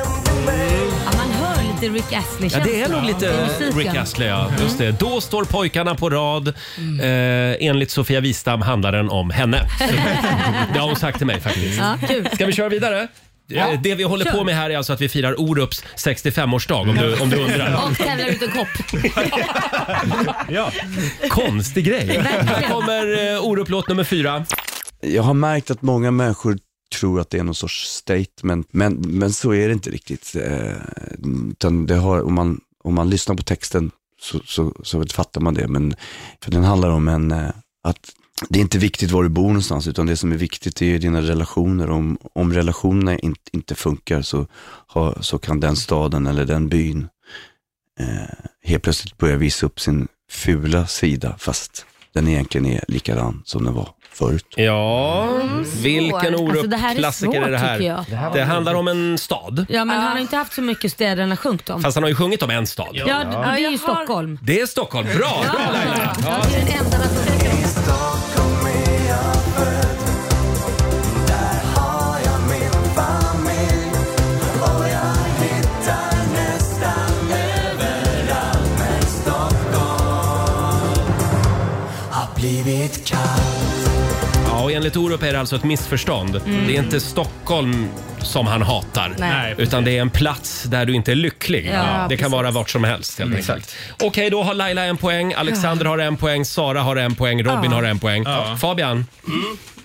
Speaker 3: man hör lite Rick Astley
Speaker 1: Ja, det är nog lite Rick Astley, ja. Just det. Då står pojkarna på rad. Eh, enligt Sofia Wistam handlar den om henne. Så, det har hon sagt till mig faktiskt.
Speaker 4: Ja, kul.
Speaker 1: Ska vi köra vidare?
Speaker 4: Ja.
Speaker 1: Eh, Det vi håller
Speaker 4: Kör.
Speaker 1: på med här är alltså att vi firar Orups 65-årsdag om du, om du undrar.
Speaker 3: Och tävlar ut en kopp.
Speaker 1: Ja. Konstig grej.
Speaker 3: Verkligen.
Speaker 1: Här kommer eh, Orup-låt nummer fyra.
Speaker 10: Jag har märkt att många människor tror att det är någon sorts statement, men, men så är det inte riktigt. Eh, utan det har, om, man, om man lyssnar på texten så, så, så fattar man det, men för den handlar om en, eh, att det är inte viktigt var du bor någonstans, utan det som är viktigt är ju dina relationer. Om, om relationerna in, inte funkar så, har, så kan den staden eller den byn eh, helt plötsligt börja visa upp sin fula sida, fast den egentligen är likadan som den var förut.
Speaker 1: Ja, vilken
Speaker 3: Alltså, det här är
Speaker 1: Orup-klassiker är det
Speaker 3: svårt,
Speaker 1: här?
Speaker 3: tycker jag. Det här var
Speaker 1: Det
Speaker 3: väldigt
Speaker 1: handlar om en stad.
Speaker 3: Ja, men han har inte haft så mycket städerna sjunkit om.
Speaker 1: Fast han har ju sjungit om en stad.
Speaker 3: Ja, d- och det är ju Stockholm.
Speaker 1: Det är Stockholm. Bra! bra Laila. Ja.
Speaker 3: Det är den enda
Speaker 4: Blivit kall
Speaker 1: Ja, och enligt Orup är det alltså ett missförstånd.
Speaker 4: Mm.
Speaker 1: Det är inte Stockholm som han hatar,
Speaker 4: Nej.
Speaker 1: utan det är en plats där du inte är lycklig.
Speaker 4: Ja,
Speaker 1: det kan
Speaker 4: precis.
Speaker 1: vara vart som helst helt enkelt. Okej, då har Laila en poäng, Alexander har en poäng, Sara har en poäng, Robin
Speaker 8: Ja.
Speaker 1: har en poäng.
Speaker 8: Ja.
Speaker 1: Fabian,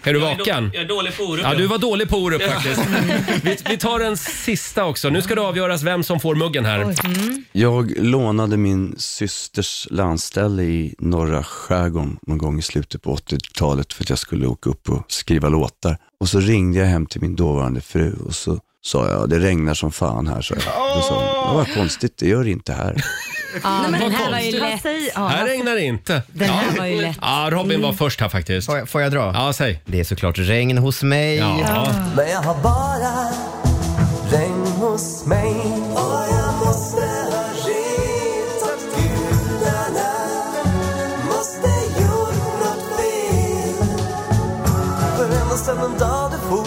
Speaker 1: är du
Speaker 8: Mm. Jag är
Speaker 1: vaken?
Speaker 8: då- jag är dålig på Orup,
Speaker 1: Ja,
Speaker 8: ja.
Speaker 1: du var dålig på Orup
Speaker 8: Ja.
Speaker 1: faktiskt. Vi, vi tar en sista också. Nu ska det avgöras vem som får muggen här.
Speaker 10: Jag lånade min systers landställe i norra skärgården någon gång i slutet på 80-talet för att jag skulle åka upp och skriva låtar. Och så ringde jag hem till min dåvarande fru och så sa jag, det regnar som fan här, sa jag. Då sa hon, vad konstigt, det gör det inte här.
Speaker 3: Ja,
Speaker 4: men
Speaker 3: men den
Speaker 4: vad
Speaker 3: här var ju
Speaker 4: konstigt.
Speaker 3: lätt.
Speaker 1: Här regnar det inte.
Speaker 3: Den här var ju lätt. Mm.
Speaker 1: Ja, Robin var först här faktiskt. Får
Speaker 11: jag, får jag dra?
Speaker 1: Ja, säg.
Speaker 2: Det är såklart regn hos mig.
Speaker 1: Ja.
Speaker 4: Men jag har bara regn hos mig Och jag måste ha ritat gudarna Måste gjort något fel För ända sedan den dag du for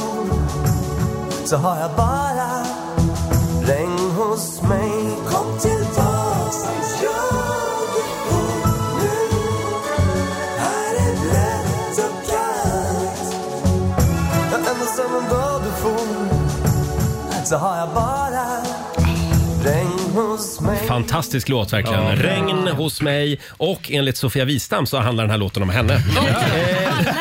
Speaker 4: Så har jag bara regn hos mig Kom tillbaks, jag är på nu Här är blött och kallt Ja, ända sedan den dag du for Så har jag bara regn hos mig
Speaker 1: Fantastisk låt verkligen.
Speaker 4: Ja.
Speaker 1: Regn hos mig och enligt Sofia Wistam så handlar den här låten om henne.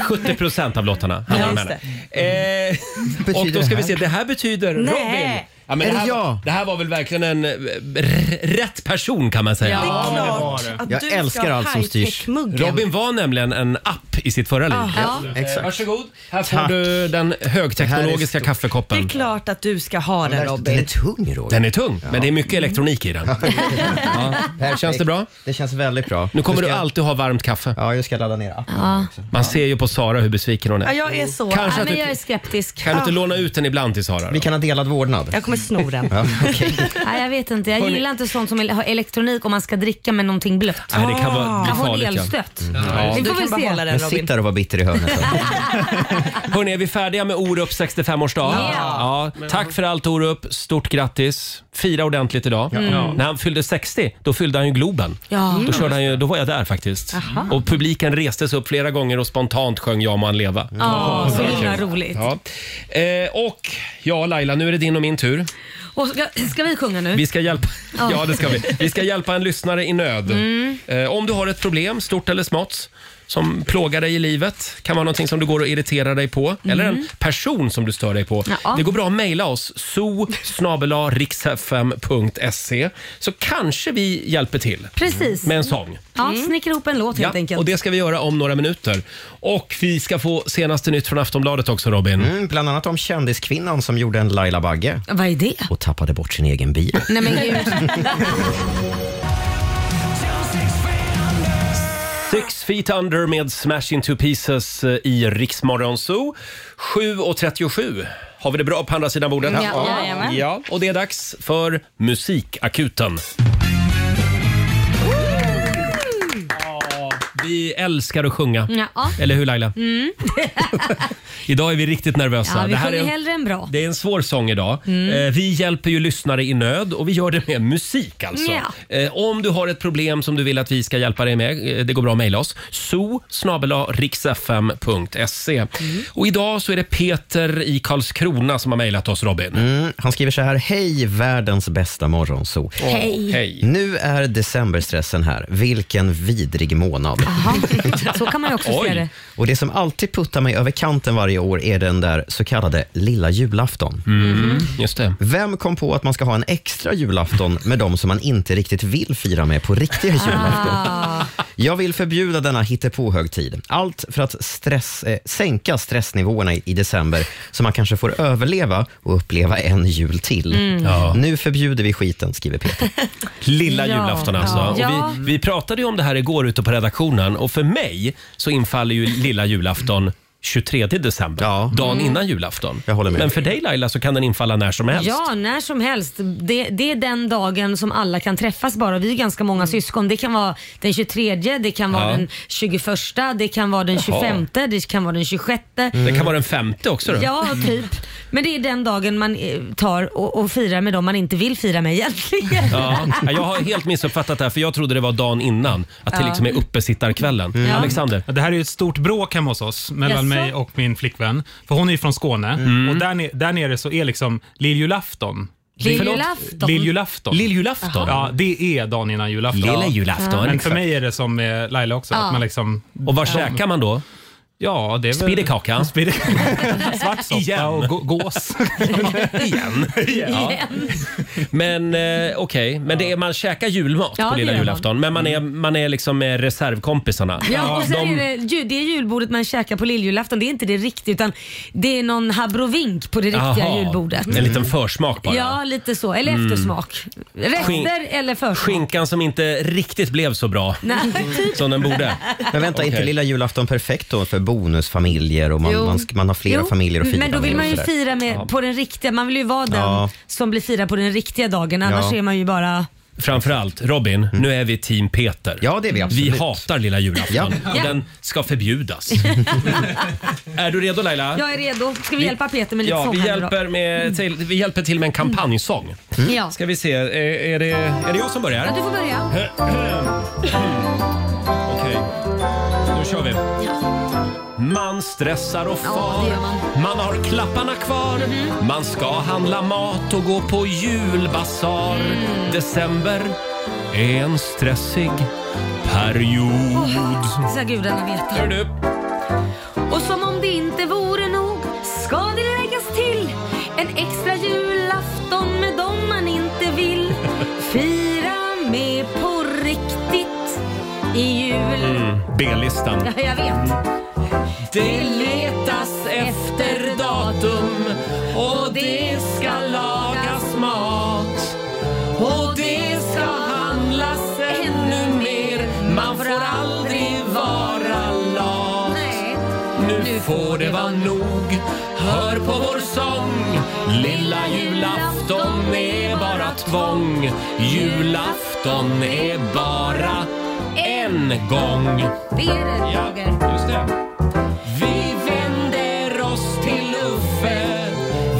Speaker 1: Eh, 70 procent av låtarna handlar om
Speaker 4: Ja,
Speaker 1: henne. Eh, och då
Speaker 4: det
Speaker 1: ska vi
Speaker 4: här?
Speaker 1: se, det här betyder
Speaker 4: Nej.
Speaker 1: Robin.
Speaker 4: Är
Speaker 1: det,
Speaker 4: det
Speaker 1: här, var- det här var väl verkligen en eh, r- rätt person kan man säga.
Speaker 4: Ja, Ja, det är klart men det var det. att
Speaker 1: Jag
Speaker 4: du ska
Speaker 1: älskar
Speaker 4: ha
Speaker 1: allt som styrs.
Speaker 4: high-tech-muggen.
Speaker 1: Robin var nämligen en app i sitt förra liv.
Speaker 9: Ja, Ja,
Speaker 1: Eh,
Speaker 9: exakt.
Speaker 1: Varsågod, här får
Speaker 9: Tack.
Speaker 1: du den högteknologiska
Speaker 9: Det är
Speaker 1: kaffekoppen.
Speaker 9: klart att du ska ha den Robin.
Speaker 2: tung Roger.
Speaker 1: Den är tung, men det är mycket elektronik i den.
Speaker 2: Perfekt.
Speaker 1: Känns det bra?
Speaker 2: Det känns väldigt bra.
Speaker 1: Nu kommer
Speaker 2: Nu
Speaker 1: du
Speaker 2: ska jag-
Speaker 1: alltid ha varmt kaffe.
Speaker 2: Ja, jag ska ladda ner appen.
Speaker 1: Man ser ju på Sara hur besviken hon är.
Speaker 9: Ja, jag är så.
Speaker 1: Kanske
Speaker 9: Ja,
Speaker 1: att
Speaker 9: men
Speaker 1: du,
Speaker 9: jag
Speaker 3: är skeptisk.
Speaker 1: Kan du inte
Speaker 3: Ja.
Speaker 1: låna ut den ibland till Sara? Vi
Speaker 2: kan ha delad vårdnad.
Speaker 9: Jag kommer sno den.
Speaker 3: Nej, jag vet inte. Jag
Speaker 1: Hörni.
Speaker 3: gillar inte sånt som el- har elektronik om man ska dricka med någonting blött.
Speaker 2: Nej, det kan vara- bli
Speaker 3: jag har
Speaker 2: farligt, ja.
Speaker 3: elstöt.
Speaker 2: Mm. Ja.
Speaker 3: Ah. Vi
Speaker 2: Du
Speaker 3: får
Speaker 2: kan
Speaker 3: väl
Speaker 2: bara
Speaker 3: se.
Speaker 2: hålla den, Men Robin. sitt där och var bitter i hörnet.
Speaker 1: Hörni, är vi färdiga med Orup 65-årsdag?
Speaker 4: Ja.
Speaker 1: Ja, Tack för allt Orup. Stort grattis. Fira ordentligt idag.
Speaker 4: Ja. Mm.
Speaker 1: När han fyllde 60, då fyllde han ju Globen.
Speaker 4: Ja.
Speaker 1: Då, körde han ju, då var jag där faktiskt.
Speaker 4: Aha.
Speaker 1: Och publiken restes upp flera gånger och spontant sjöng Jag må han leva.
Speaker 3: Ja, så
Speaker 1: Det var
Speaker 3: himla
Speaker 1: kul.
Speaker 3: roligt.
Speaker 1: Ja. Eh, och ja, Laila, nu är det din och min tur.
Speaker 3: Och ska, ska vi sjunga nu?
Speaker 1: Vi ska hjälpa,
Speaker 3: Ja.
Speaker 1: ja, det ska vi. vi ska hjälpa en lyssnare i nöd.
Speaker 3: Mm.
Speaker 1: Eh, om du har ett problem, stort eller smått, som plågar dig i livet. kan vara någonting som du går och irriterar dig på. Eller en
Speaker 3: Mm.
Speaker 1: person som du stör dig på.
Speaker 3: Ja.
Speaker 1: Det går bra att mejla oss, so så kanske vi hjälper till
Speaker 3: Precis.
Speaker 1: med en sång.
Speaker 3: Ja, Mm.
Speaker 2: Mm.
Speaker 3: snickra ihop en låt helt enkelt.
Speaker 1: Och det ska vi göra om några minuter. Och vi ska få senaste nytt från Aftonbladet också Robin.
Speaker 2: Mm, bland annat om kändiskvinnan som gjorde en Laila Bagge.
Speaker 3: Vad är det?
Speaker 2: Och tappade bort sin egen bil.
Speaker 3: Nej men gud.
Speaker 1: Six feet under med Smash into pieces eh, i Riksmorgon Zoo. 7.37 har vi det bra på andra sidan bordet.
Speaker 4: Ja, jajamän.
Speaker 1: ja, och det är dags för Musikakuten. Vi älskar att sjunga.
Speaker 3: Ja.
Speaker 1: Eller hur Laila?
Speaker 3: Mm.
Speaker 1: Idag är vi riktigt nervösa.
Speaker 3: Ja, vi
Speaker 1: Det här
Speaker 3: sjunger
Speaker 1: är en-
Speaker 3: hellre än bra.
Speaker 1: Det är en svår sång idag.
Speaker 3: Mm.
Speaker 1: Eh, Vi hjälper ju lyssnare i nöd och vi gör det med musik alltså.
Speaker 3: Ja.
Speaker 1: Eh, Om du har ett problem som du vill att vi ska hjälpa dig med, eh, det går bra att mejla oss. so
Speaker 3: Mm.
Speaker 1: Och idag så är det Peter i Karlskrona som har mejlat oss, Robin.
Speaker 2: Mm, han skriver så här. Hej världens bästa morgonso.
Speaker 3: Hej. Hej.
Speaker 2: Nu är decemberstressen här. Vilken vidrig månad.
Speaker 3: Så kan man ju också se det.
Speaker 2: Och det som alltid puttar mig över kanten varje år är den där så kallade lilla julafton.
Speaker 3: Mhm.
Speaker 1: Mm, just det.
Speaker 2: Vem kom på att man ska ha en extra julafton med de som man inte riktigt vill fira med på
Speaker 3: Ah.
Speaker 2: riktiga julafton? Jag vill förbjuda denna hittepåhögtid. Allt för att stress, eh, sänka stressnivåerna i, i december så man kanske får överleva och uppleva en jul till.
Speaker 1: Mm. Ja.
Speaker 2: Nu förbjuder vi skiten, skriver Peter.
Speaker 1: Lilla julafton alltså.
Speaker 2: Ja.
Speaker 1: Och vi, vi pratade ju om det här igår ute på redaktionen och för mig så infaller ju lilla julafton 23 december, dagen
Speaker 3: Mm.
Speaker 1: innan julafton. Jag håller med. Men för dig Laila så kan den infalla när som helst.
Speaker 3: Ja, när som helst. Det, det är den dagen som alla kan träffas bara. Vi är ganska många syskon. Det kan vara den 23, det kan vara
Speaker 1: Mm. Ja.
Speaker 3: den 21, det kan vara den
Speaker 1: Jaha. Mm.
Speaker 3: 25, det kan vara den 26.
Speaker 1: Det kan vara den femte också då.
Speaker 3: Ja, typ. Men det är den dagen man eh, tar och, och firar med dem man inte vill fira med egentligen.
Speaker 1: Ja, jag har helt missuppfattat det här för jag trodde det var dagen innan. Att det
Speaker 3: Ja.
Speaker 1: liksom är uppesittarkvällen.
Speaker 6: Mm. Ja.
Speaker 1: Alexander?
Speaker 6: Det här är ju ett stort bråk hemma hos oss mellan
Speaker 1: Jaså?
Speaker 6: mig och min flickvän. För hon är ju från Skåne
Speaker 1: Mm.
Speaker 6: och där, ne- där nere så är liksom lilljulafton
Speaker 3: Lilljulafton?
Speaker 6: Lilljulafton.
Speaker 1: Lilljulafton?
Speaker 6: Ja, det är dagen innan julafton.
Speaker 1: Lilla julafton,
Speaker 6: Ja. Men för
Speaker 1: exakt.
Speaker 6: mig är det som med Laila också.
Speaker 1: Ja.
Speaker 6: Att man liksom,
Speaker 1: Och vad käkar man då?
Speaker 6: Ja, det är väl...
Speaker 1: Spiddekaka?
Speaker 6: Svartsoppa och gå- gås.
Speaker 1: Igen. Ja. Men eh, okej, men det är, man käkar julmat
Speaker 3: Ja,
Speaker 1: på
Speaker 3: det
Speaker 1: lilla
Speaker 3: gör man. Mm.
Speaker 1: julafton. Men man är, man är liksom med reservkompisarna.
Speaker 3: Ja, och sen
Speaker 1: De-
Speaker 3: är det, ju- det är julbordet man käkar på lilljulafton. Det är inte det riktiga utan det är någon habrovink på det riktiga
Speaker 1: Jaha,
Speaker 3: julbordet.
Speaker 1: En liten försmak bara.
Speaker 3: Ja, lite så. Eller
Speaker 1: Mm.
Speaker 3: eftersmak. Rester
Speaker 1: Skin-
Speaker 3: eller försmak.
Speaker 1: Skinkan som inte riktigt blev så bra
Speaker 3: Nej. typ.
Speaker 1: som den borde.
Speaker 2: Men vänta, är inte
Speaker 1: Okej.
Speaker 2: lilla julafton perfekt då för bonusfamiljer och man,
Speaker 3: Jo.
Speaker 2: man, ska- man har flera
Speaker 3: Jo,
Speaker 2: familjer att fira
Speaker 3: Men då vill
Speaker 2: med
Speaker 3: man
Speaker 2: och
Speaker 3: ju
Speaker 2: sådär?
Speaker 3: fira med,
Speaker 2: Ja.
Speaker 3: på den riktiga. Man vill ju vara den
Speaker 1: Ja.
Speaker 3: som blir firad på den riktiga dagen. Annars
Speaker 1: Ja.
Speaker 3: är man ju bara...
Speaker 1: Framförallt, Robin, nu är vi team Peter. Ja,
Speaker 2: Mm. det är vi absolut.
Speaker 1: Vi hatar lilla julafton och
Speaker 3: Ja.
Speaker 1: den ska förbjudas. är du redo Laila?
Speaker 3: Jag är redo. Ska vi, hjälpa Peter med lite
Speaker 1: Ja,
Speaker 3: sång
Speaker 1: vi
Speaker 3: här nu då?
Speaker 1: hjälper, med till, vi hjälper till med en kampanjsång.
Speaker 3: Mm. Ja.
Speaker 1: Ska vi se, är, är, det, är det jag som börjar?
Speaker 3: Ja, du får börja.
Speaker 1: Okej, nu kör vi. Man stressar och far, man. Mhm. har klapparna kvar. Man ska handla mat och gå på julbasar. December är en stressig period.
Speaker 3: Åh, Ska gudarna
Speaker 1: Hör
Speaker 3: veta.
Speaker 1: du?
Speaker 3: Och som om det inte vore nog ska det läggas till en extra julafton med dem man inte vill fira med på riktigt i jul.
Speaker 1: Mm, B-listan.
Speaker 3: Ja, jag vet.
Speaker 1: Det letas efter datum och det ska lagas mat. Och det ska handlas ännu mer. Man får aldrig vara lat. Nu får det vara nog. Hör på vår sång. Lilla julafton är bara tvång. Julafton är bara en gång.
Speaker 3: Det är det,
Speaker 1: Ja,
Speaker 3: Roger.
Speaker 1: just det. Vi vänder oss till Uffe,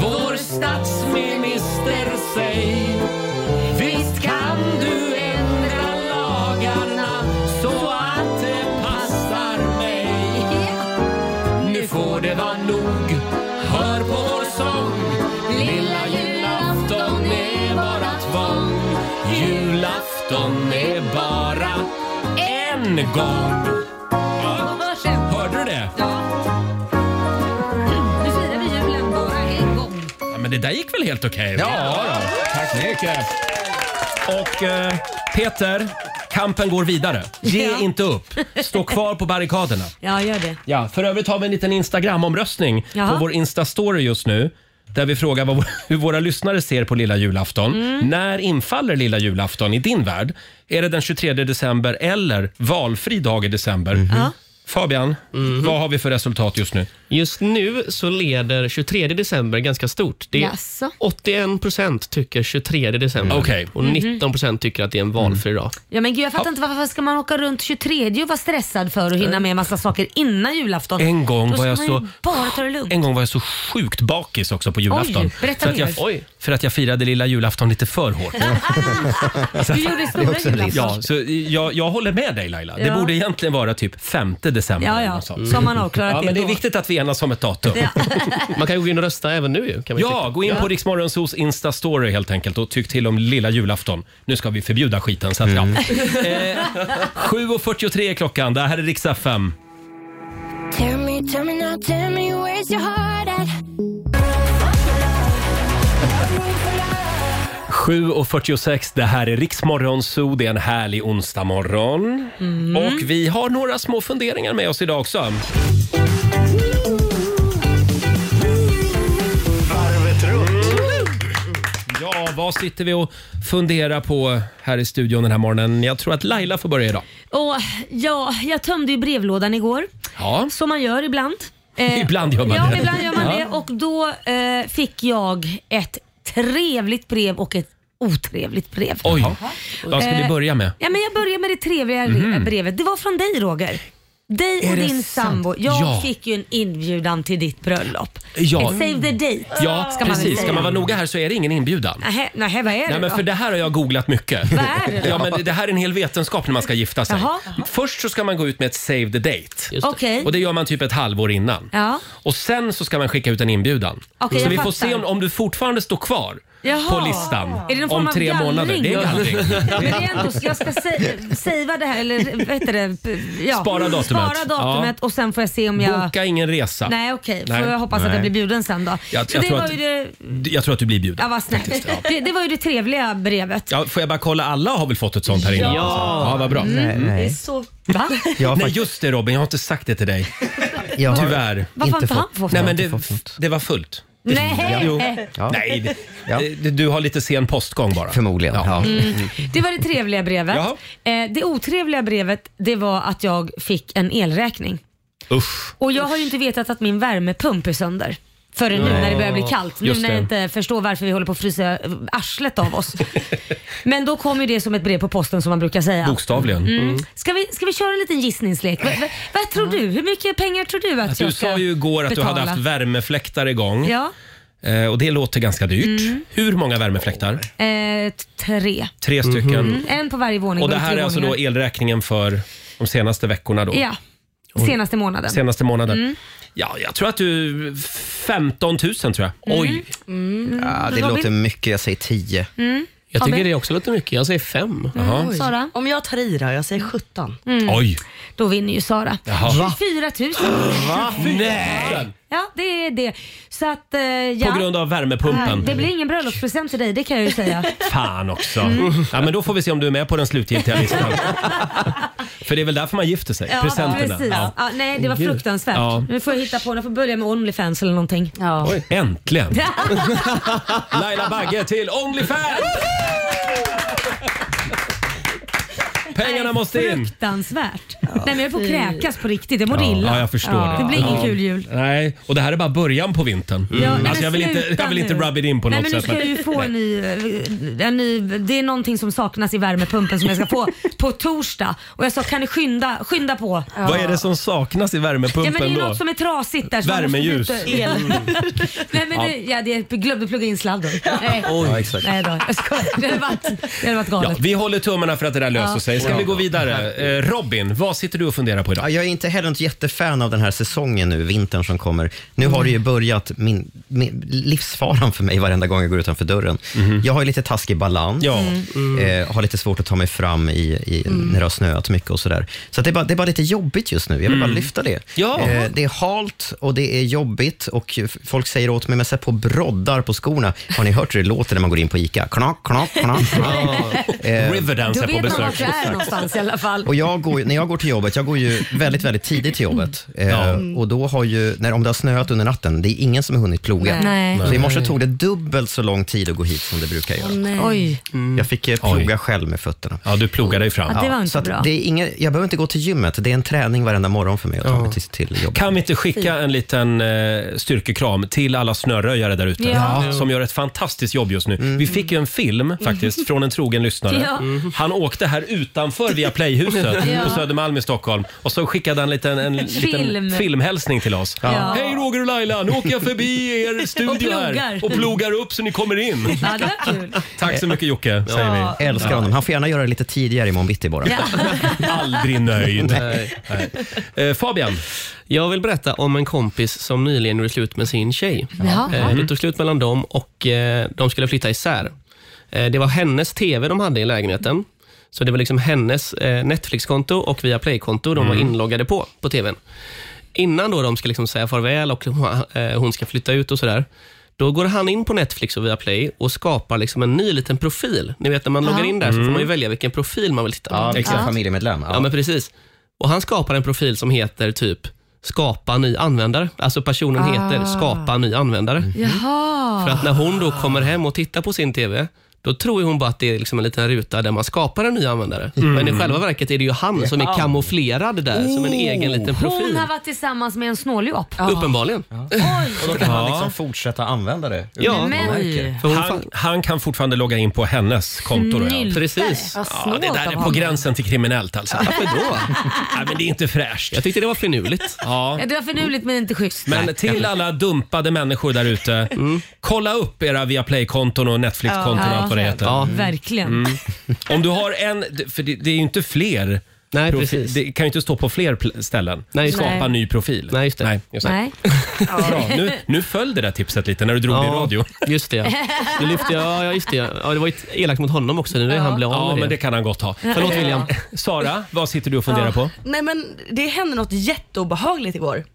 Speaker 1: vår statsminister, säg. Visst kan du ändra lagarna så att det passar mig. Nu får det vara nog. Hör på vår sång. Lilla julafton är bara tvång. Julafton är bara en gång. Ja. men det där gick väl helt okej? va?
Speaker 4: Ja,
Speaker 1: då. Tack så mycket. Och eh, Peter, kampen går vidare. Ge
Speaker 3: Ja.
Speaker 1: inte upp. Stå kvar på barrikaderna.
Speaker 3: Ja, gör det.
Speaker 1: Ja, för övrigt har vi en liten Instagram-omröstning
Speaker 3: Jaha.
Speaker 1: på vår Insta-story just nu. Där vi frågar vad, hur våra lyssnare ser på lilla julafton.
Speaker 4: Mm.
Speaker 1: När infaller lilla julafton i din värld? Är det den 23 december eller valfri dag i december?
Speaker 8: Ja.
Speaker 1: Fabian, vad har vi för resultat just nu?
Speaker 8: Just nu så leder 23 december ganska stort. Det är
Speaker 3: Jaså?
Speaker 8: 81 procent tycker 23 december
Speaker 1: Okej. Mm.
Speaker 8: och
Speaker 3: Mhm.
Speaker 8: 19 procent tycker att det är en valfri dag.
Speaker 3: Ja men gud jag fattar inte varför ska man åka runt 23 och vara stressad för och hinna med massa saker innan julafton?
Speaker 1: En gång var
Speaker 3: Då ska
Speaker 1: jag
Speaker 3: man
Speaker 1: så-
Speaker 3: ju bara ta det lugnt.
Speaker 1: En gång var jag så sjukt bakis också på julafton.
Speaker 3: Oj, berätta
Speaker 1: för, att jag,
Speaker 3: mer. Oj.
Speaker 1: för att jag firade lilla julafton lite för hårt.
Speaker 3: Du gjorde stora Det är också en julafton. risk.
Speaker 1: Ja, så jag, jag håller med dig Laila. Det
Speaker 3: Ja.
Speaker 1: borde egentligen vara typ 5 december.
Speaker 3: Ja, ja.
Speaker 1: eller något sånt.
Speaker 3: Så har man avklarat
Speaker 1: ja,
Speaker 3: det
Speaker 1: men Det är
Speaker 3: då.
Speaker 1: viktigt att vi enas om ett datum.
Speaker 8: Man kan ju gå in och rösta även nu. ju, Kan man ju
Speaker 1: Ja,
Speaker 8: tycka.
Speaker 1: gå in
Speaker 8: Ja.
Speaker 1: på Riksmorgonsos Insta-story helt enkelt och tyck till om lilla julafton. Nu ska vi förbjuda skiten. Så att,
Speaker 8: Mm.
Speaker 1: ja. Eh, 7.43 är klockan. Det här är Rix FM.
Speaker 4: Tell me, tell me now, tell me where's your heart at?
Speaker 1: 7.46, det här är Riksmorgon Zoo. Det är en härlig onsdagmorgon. Och vi har några små funderingar med oss idag också. Ja, vad sitter vi och funderar på här i studion den här morgonen? Jag tror att Laila får börja idag.
Speaker 3: Och, ja, jag tömde ju brevlådan igår.
Speaker 1: Ja.
Speaker 3: Som man gör ibland. Eh,
Speaker 1: Ibland gör man
Speaker 3: ja,
Speaker 1: det.
Speaker 3: ibland gör man
Speaker 1: Ja.
Speaker 3: det. Och då eh, fick jag ett trevligt brev och ett otrevligt brev.
Speaker 1: Oj, vad ska vi
Speaker 3: Eh,
Speaker 1: börja med?
Speaker 3: Ja, men jag börjar med det trevliga re-
Speaker 1: Mhm.
Speaker 3: brevet. Det var från dig Roger. Dig
Speaker 1: Är
Speaker 3: och
Speaker 1: det
Speaker 3: din
Speaker 1: sant?
Speaker 3: sambo. Jag
Speaker 1: Ja.
Speaker 3: fick ju en inbjudan till ditt bröllop.
Speaker 1: Ja.
Speaker 3: Ett save the date.
Speaker 1: Ja,
Speaker 3: ska man väl
Speaker 1: precis. Ska
Speaker 3: säga.
Speaker 1: man vara noga här så är det ingen inbjudan.
Speaker 3: Nähä, nähä, vad är det
Speaker 1: Nej, men
Speaker 3: då?
Speaker 1: för det här har jag googlat mycket.
Speaker 3: Vad är det då?
Speaker 1: ja, men det här är en hel vetenskap när man ska gifta sig.
Speaker 3: Jaha.
Speaker 1: Först så ska man gå ut med ett save the date.
Speaker 3: det. Okej.
Speaker 1: Och det gör man typ ett halvår innan.
Speaker 3: Ja.
Speaker 1: Och sen så ska man skicka ut en inbjudan.
Speaker 3: Okej,
Speaker 1: så
Speaker 3: jag
Speaker 1: vi får
Speaker 3: fattar.
Speaker 1: se om, om du fortfarande står kvar
Speaker 3: Jaha.
Speaker 1: på listan
Speaker 3: Är det någon form
Speaker 1: om
Speaker 3: av
Speaker 1: tre
Speaker 3: gallring
Speaker 1: månader. Det är
Speaker 3: då?
Speaker 1: gallring.
Speaker 3: Ja, men det är ändå, så jag ska sa- savea det här, eller vad heter det? P- Ja.
Speaker 1: Spara datumet.
Speaker 3: Spara datumet
Speaker 1: Ja.
Speaker 3: och sen får jag se om jag...
Speaker 1: Boka ingen resa.
Speaker 3: Nej okej, får
Speaker 1: Nej.
Speaker 3: jag hoppas att
Speaker 1: Nej.
Speaker 3: jag blir bjuden sen då.
Speaker 1: Jag,
Speaker 3: Så
Speaker 1: jag,
Speaker 3: det
Speaker 1: tror
Speaker 3: var
Speaker 1: att,
Speaker 3: ju det...
Speaker 1: jag tror att du blir bjuden.
Speaker 3: Ja, vad snällt. Det, det var ju det trevliga brevet.
Speaker 1: Ja, får jag bara kolla, alla har väl fått ett sånt här innan?
Speaker 3: Ja.
Speaker 1: ja vad bra.
Speaker 3: Mm,
Speaker 1: Mm.
Speaker 3: Det är så... Va?
Speaker 1: Nej, just det Robin. Jag har inte sagt det till dig.
Speaker 3: Jag har
Speaker 1: Tyvärr.
Speaker 3: Varför har inte han fått
Speaker 1: Nej, men
Speaker 3: något?
Speaker 1: det, det var fullt.
Speaker 3: Nej.
Speaker 1: Jo.
Speaker 3: Ja.
Speaker 1: Nej, det- det- du har lite sen postgång bara.
Speaker 2: Förmodligen. Ja.
Speaker 3: Mm. Det var det trevliga brevet.
Speaker 1: Jaha.
Speaker 3: Eh, det otrevliga brevet det var att jag fick en elräkning.
Speaker 1: Usch.
Speaker 3: Och jag har ju inte vetat att min värmepump är sönder. Förrän nu
Speaker 4: Ja.
Speaker 3: när det börjar bli kallt. Nu
Speaker 4: Just
Speaker 3: när jag
Speaker 4: det.
Speaker 3: inte förstår varför vi håller på att frysa eh, arslet av oss. Men då kom ju det som ett brev på posten som man brukar säga.
Speaker 1: Bokstavligen.
Speaker 3: Mm.
Speaker 1: Mm.
Speaker 3: Ska, vi, ska vi köra en liten gissningslek? Va, va, vad tror du? Hur mycket pengar tror du att,
Speaker 1: Att
Speaker 3: jag
Speaker 1: Alltså, du
Speaker 3: ska
Speaker 1: sa ju igår att
Speaker 3: betala?
Speaker 1: du hade haft värmefläktar igång.
Speaker 3: Ja,
Speaker 1: Eh, Och det låter ganska dyrt.
Speaker 3: Mm.
Speaker 1: Hur många värmefläktar?
Speaker 3: eh, t- tre.
Speaker 1: Tre stycken.
Speaker 3: Mm, en på varje våning.
Speaker 1: Och
Speaker 3: går
Speaker 1: det
Speaker 3: i tre
Speaker 1: här är alltså då
Speaker 3: våningar.
Speaker 1: elräkningen för de senaste veckorna då?
Speaker 3: Ja, senaste månaden.
Speaker 1: Senaste månaden.
Speaker 3: Mm.
Speaker 1: Ja, jag tror att du... 15 000 tror jag. Oj!
Speaker 3: Mm.
Speaker 2: Ja, det
Speaker 3: Robin?
Speaker 2: låter mycket. Jag säger 10.
Speaker 3: Mm.
Speaker 8: Jag
Speaker 3: Robin?
Speaker 8: tycker det också låter mycket. Jag säger fem.
Speaker 3: Mm. Sara?
Speaker 9: Om jag tar i då, jag säger 17.
Speaker 3: Mm.
Speaker 1: Oj.
Speaker 3: Då vinner ju Sara.
Speaker 9: Jaha. Va?
Speaker 3: 24 000.
Speaker 1: Va? Nej!
Speaker 3: Ja, det är det. Så att, eh, ja.
Speaker 1: På grund av värmepumpen.
Speaker 3: Nej, Det blir ingen bröllopspresent till dig, det kan jag ju säga.
Speaker 1: Fan också.
Speaker 3: Mm.
Speaker 1: Ja, men då får vi se om du är med på den slutgiltiga listan. För det är väl därför man gifter sig. Presenterna.
Speaker 3: precis.
Speaker 1: Ja.
Speaker 3: Ja. nej, det var
Speaker 1: Gud.
Speaker 3: fruktansvärt.
Speaker 1: Ja.
Speaker 3: Nu får jag hitta på, jag får börja med Onlyfans eller någonting. Ja.
Speaker 1: Oj, äntligen! Laila Bagge till Onlyfans! Pengarna måste in!
Speaker 3: Fruktansvärt. Nej, men jag får kräkas på riktigt. Jag mår
Speaker 1: Ja,
Speaker 3: illa.
Speaker 1: ja, jag förstår det.
Speaker 3: Det blir ingen
Speaker 1: Ja.
Speaker 3: kul jul. Mm.
Speaker 1: Nej, och det här är bara början på vintern.
Speaker 3: Ja, nej, men
Speaker 1: alltså jag vill inte,
Speaker 3: sluta
Speaker 1: jag vill inte
Speaker 3: nu.
Speaker 1: rub it in på
Speaker 3: Nej,
Speaker 1: något
Speaker 3: men
Speaker 1: sätt.
Speaker 3: Nu ska jag ju få en ny, eh, en ny, det är någonting som saknas i värmepumpen som jag ska få på torsdag. Och jag sa kan ni skynda, skynda på?
Speaker 1: Vad är det som saknas i
Speaker 3: Ja,
Speaker 1: värmepumpen
Speaker 3: men det är
Speaker 1: då?
Speaker 3: något som är trasigt där. så man måste
Speaker 1: Värmeljus.
Speaker 3: byta- Nej men det, ja, det, jag glömde plugga in sladden. Nej.
Speaker 1: Oj. Ja, exakt.
Speaker 3: Nej då, jag skojar. Det hade varit, det hade varit
Speaker 1: Ja,
Speaker 3: galet.
Speaker 1: vi håller tummarna för att det där löser
Speaker 3: Ja.
Speaker 1: sig. Ska
Speaker 3: Ja.
Speaker 1: vi gå vidare? Eh, Robin, vad sitter du och funderar på
Speaker 2: Ja,
Speaker 1: idag?
Speaker 2: jag är inte heller något jättefan av den här säsongen nu, vintern som kommer. Nu har det ju börjat, min, min, livsfaran för mig varenda gång jag går utanför dörren. Jag har ju lite taskig
Speaker 1: Mhm.
Speaker 2: balans,
Speaker 1: Ja. Mm.
Speaker 2: eh, har lite svårt att ta mig fram i, i,
Speaker 11: Mm.
Speaker 2: när det har snöat mycket och sådär. Så att det, är bara, det är bara lite jobbigt just nu. Jag vill
Speaker 11: Mm.
Speaker 2: bara lyfta det.
Speaker 11: Ja.
Speaker 2: Eh, det är halt och det är jobbigt och f- folk säger åt mig, men sätt på broddar på skorna. Har ni hört hur det låter när man går in på ICA? Knack, knack, knack. Eh,
Speaker 3: Då vet man vart du är någonstans i alla fall.
Speaker 2: och jag går, ju- när jag går till jobbet, jag går ju väldigt, väldigt tidigt till jobbet. Eh,
Speaker 1: Mm.
Speaker 2: Och då har ju, när, om det har snöat under natten, det är ingen som har hunnit ploga.
Speaker 3: Nej.
Speaker 2: Så i morse
Speaker 3: Nej.
Speaker 2: tog det dubbelt så lång tid att gå hit som det brukar göra.
Speaker 3: Oj.
Speaker 2: Jag fick eh, ploga själv med fötterna.
Speaker 1: Ja, du plogade dig fram.
Speaker 3: Ja, det var inte
Speaker 2: så att
Speaker 3: bra.
Speaker 2: Det är inget, jag behöver inte gå till gymmet, det är en träning varenda morgon för mig att ta mig till, till jobbet.
Speaker 1: Kan vi inte skicka en liten eh, styrkekram till alla snöröjare där ute
Speaker 2: Ja. Mm. Ja.
Speaker 1: som gör ett fantastiskt jobb just nu. Vi fick ju en film faktiskt från en trogen lyssnare.
Speaker 4: Mm. Ja.
Speaker 2: Mm.
Speaker 4: Mhm.
Speaker 1: Han åkte här utanför via Playhuset
Speaker 4: Ja.
Speaker 1: på Södermalm i Stockholm och så skickade han en liten, en liten
Speaker 4: Film.
Speaker 1: filmhälsning till oss.
Speaker 4: Ja.
Speaker 1: Hej Roger och Laila, nu åker jag förbi er studio
Speaker 4: Och plogar.
Speaker 1: här och plogar upp så ni kommer in.
Speaker 4: Ja, det var kul.
Speaker 1: Tack så mycket Jocke, säger vi.
Speaker 2: Eh, Älskar honom. Han får gärna göra det lite tidigare imorgon bitti bara.
Speaker 1: Aldrig nöjd. Eh,
Speaker 8: Nej.
Speaker 1: Fabian?
Speaker 8: Jag vill berätta om en kompis som nyligen gjorde slut med sin tjej.
Speaker 4: Jaha.
Speaker 8: Eh,
Speaker 4: Mm.
Speaker 8: Det tog slut mellan dem och eh, de skulle flytta isär. Eh, Det var hennes TV de hade i lägenheten. Så det var liksom hennes eh, Netflix-konto och Viaplay-konto de var
Speaker 1: Mm.
Speaker 8: inloggade på, på TVn. Innan då de ska liksom säga farväl och hon- eh, hon ska flytta ut och sådär, då går han in på Netflix och Viaplay och skapar liksom en ny liten profil. Ni vet när man
Speaker 2: Ja.
Speaker 8: loggar in där så får
Speaker 2: Mm.
Speaker 8: man ju välja vilken profil man vill titta på.
Speaker 2: Ja, exakt. Ja. Familjemedlem.
Speaker 8: Ja. men precis. Och han skapar en profil som heter typ skapa ny användare. Alltså personen
Speaker 3: Ah.
Speaker 8: heter skapa ny användare.
Speaker 4: Mm.
Speaker 3: Jaha.
Speaker 8: För att när hon då kommer hem och tittar på sin TV, då tror ju hon bara att det är liksom en liten ruta där man skapar en ny användare.
Speaker 1: Mm.
Speaker 8: Men i själva verket är det ju han som
Speaker 1: Ja.
Speaker 8: är kamouflerad där
Speaker 1: Eh,
Speaker 8: som en egen liten
Speaker 3: Oh. Hon
Speaker 8: profil.
Speaker 3: har varit tillsammans med en snåljåp.
Speaker 8: Uppenbarligen.
Speaker 2: Och då kan han liksom fortsätta använda det.
Speaker 1: Ja.
Speaker 3: Men- Nej.
Speaker 1: För hon han, han kan fortfarande logga in på hennes konto. Då, ja.
Speaker 8: Snyltare. Precis. Vad
Speaker 1: Ja,
Speaker 8: snålt
Speaker 1: det
Speaker 8: av
Speaker 1: där är på
Speaker 8: honom.
Speaker 1: gränsen till kriminellt alltså.
Speaker 8: Varför då?
Speaker 1: Nej, men det är inte fräscht. Jag
Speaker 8: tyckte det var finurligt.
Speaker 1: Ja.
Speaker 3: Ja, det var finurligt men inte schysst.
Speaker 1: Men till alla dumpade människor där ute. Kolla upp era Viaplay-konton och Netflix-konton
Speaker 3: Ja.
Speaker 1: och allt vad det heter. Mm,
Speaker 3: Ja. Verkligen.
Speaker 1: Om du har en, för det, det är ju inte fler.
Speaker 8: Nej,
Speaker 1: profi-
Speaker 8: precis.
Speaker 1: Det kan ju inte stå på fler pl- ställen.
Speaker 8: Nej, just det.
Speaker 1: Skapa
Speaker 8: Nej.
Speaker 1: ny profil.
Speaker 8: Nej, just det.
Speaker 1: Nej,
Speaker 3: Nej.
Speaker 1: Bra, nu, nu föll det där tipset lite när du drog det i radio.
Speaker 8: Just det, ja. Nu lyfte jag, ja, just det. Ja, Ja, det var ju elakt mot honom också. Nu är
Speaker 1: Ja.
Speaker 8: han blev av
Speaker 1: Ja,
Speaker 8: med
Speaker 1: men
Speaker 8: det.
Speaker 1: det kan han gott ha. Eh,
Speaker 8: Förlåt William.
Speaker 1: Sara, vad sitter du och funderar
Speaker 9: Ja.
Speaker 1: på?
Speaker 9: Nej men det hände något jätteobehagligt igår.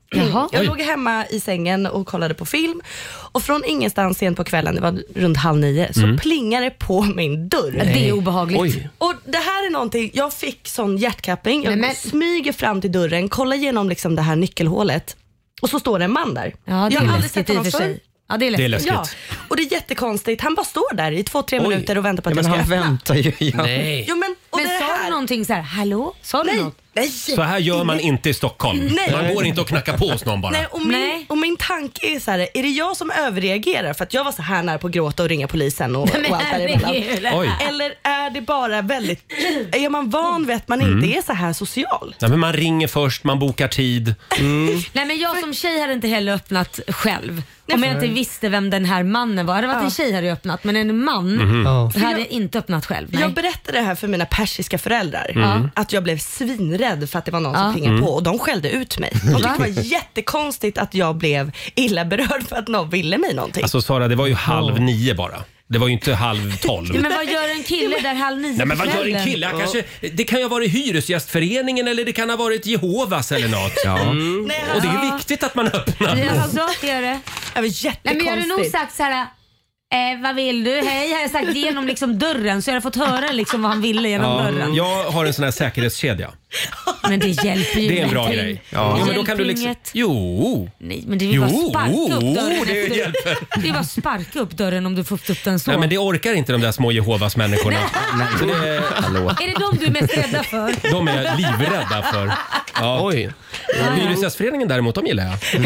Speaker 9: Jag
Speaker 1: Oj.
Speaker 9: låg hemma i sängen och kollade på film och från ingenstans sent på kvällen, det var runt halv nio, så
Speaker 3: Mm.
Speaker 9: plingade det på min dörr.
Speaker 3: Ja, det är obehagligt. Oj.
Speaker 9: Och det här är någonting, jag fick sån hjärtklappning. Jag
Speaker 3: Nej, men-
Speaker 9: smyger fram till dörren, kollar igenom liksom det här nyckelhålet och så står det en man där.
Speaker 3: Ja, det
Speaker 9: jag
Speaker 3: är
Speaker 9: har aldrig
Speaker 3: läskigt
Speaker 9: sett
Speaker 3: i
Speaker 9: honom
Speaker 3: och för sig.
Speaker 9: förr.
Speaker 3: Ja, det är läskigt. Det är läskigt.
Speaker 9: Ja, och det är jättekonstigt. Han bara står där i två, tre
Speaker 2: Oj.
Speaker 9: minuter och väntar på att
Speaker 2: Ja, men
Speaker 9: jag
Speaker 2: han
Speaker 9: ska öppna.
Speaker 2: väntar ju. Ja.
Speaker 9: Jo, men och
Speaker 3: Men
Speaker 9: det
Speaker 3: sa
Speaker 9: här...
Speaker 3: du någonting så här, hallå? Sa du
Speaker 9: Nej,
Speaker 3: något?
Speaker 9: nej.
Speaker 1: Så här gör man inte i Stockholm.
Speaker 9: Nej.
Speaker 1: Man går inte och knackar på hos någon bara.
Speaker 9: Nej, och, min,
Speaker 3: Nej.
Speaker 9: och min tanke är så här, är det jag som överreagerar för att jag var så här nära på att gråta och ringa polisen och,
Speaker 3: Nej, men
Speaker 9: och allt däremellan?
Speaker 3: herregud.
Speaker 1: Oj.
Speaker 9: Eller är det bara väldigt, är man van vid att man
Speaker 1: Mm.
Speaker 9: inte är så här social?
Speaker 1: Nej, men man ringer först, man bokar tid.
Speaker 8: Mm.
Speaker 3: Nej men jag som tjej hade inte heller öppnat själv. Om jag inte
Speaker 1: Nej.
Speaker 3: visste vem den här mannen var. Hade det varit en tjej hade jag öppnat men en man
Speaker 9: Mhm. Ja.
Speaker 3: hade jag inte öppnat själv. Nej.
Speaker 9: Jag berättade det här för mina persiska föräldrar,
Speaker 3: Mm.
Speaker 9: att jag blev svinrädd för att det var någon
Speaker 3: Ja.
Speaker 9: som plingade
Speaker 3: Mm.
Speaker 9: på och de skällde ut mig.
Speaker 1: Mm.
Speaker 9: De tyckte det var jättekonstigt att jag blev illa berörd för att någon ville mig någonting.
Speaker 1: Alltså Sara, det var ju halv nio bara. Det var ju inte halv tolv.
Speaker 3: Men vad gör en kille där halv nio
Speaker 1: Nej, men
Speaker 3: på
Speaker 1: vad gör en
Speaker 3: kvällen?
Speaker 1: kille? Han Kanske, det kan ju ha varit Hyresgästföreningen eller det kan ha varit Jehovas eller något. Mm.
Speaker 3: Nej,
Speaker 1: Och det är ju
Speaker 3: alltså-
Speaker 1: viktigt att man öppnar.
Speaker 3: Ja, klart det alltså gör det.
Speaker 9: Det var
Speaker 3: Nej, men jag hade nog
Speaker 9: jättekonstigt.
Speaker 3: sagt så här. Eh, vad vill du? Hej, hade jag sagt genom liksom dörren så jag hade fått höra liksom vad han ville genom
Speaker 1: Ja,
Speaker 3: dörren.
Speaker 1: jag har en sån här säkerhetskedja.
Speaker 3: Men det hjälper ju
Speaker 1: Det är en bra
Speaker 3: ingenting.
Speaker 1: grej.
Speaker 3: Det
Speaker 1: Jo, men då kan
Speaker 3: hjälper
Speaker 1: du liksom...
Speaker 3: inget.
Speaker 1: Jo.
Speaker 3: Nej, men det är ju bara att sparka upp dörren.
Speaker 1: det
Speaker 3: efter-
Speaker 1: hjälper.
Speaker 3: Det är bara att sparka upp dörren om du får upp den så.
Speaker 1: Nej, men det orkar inte de där små Jehovas människorna. Så det,
Speaker 3: Är det de du är mest rädda för?
Speaker 1: De är jag livrädda för. Ja. Oj. Hyresgästföreningen däremot, de gillar jag.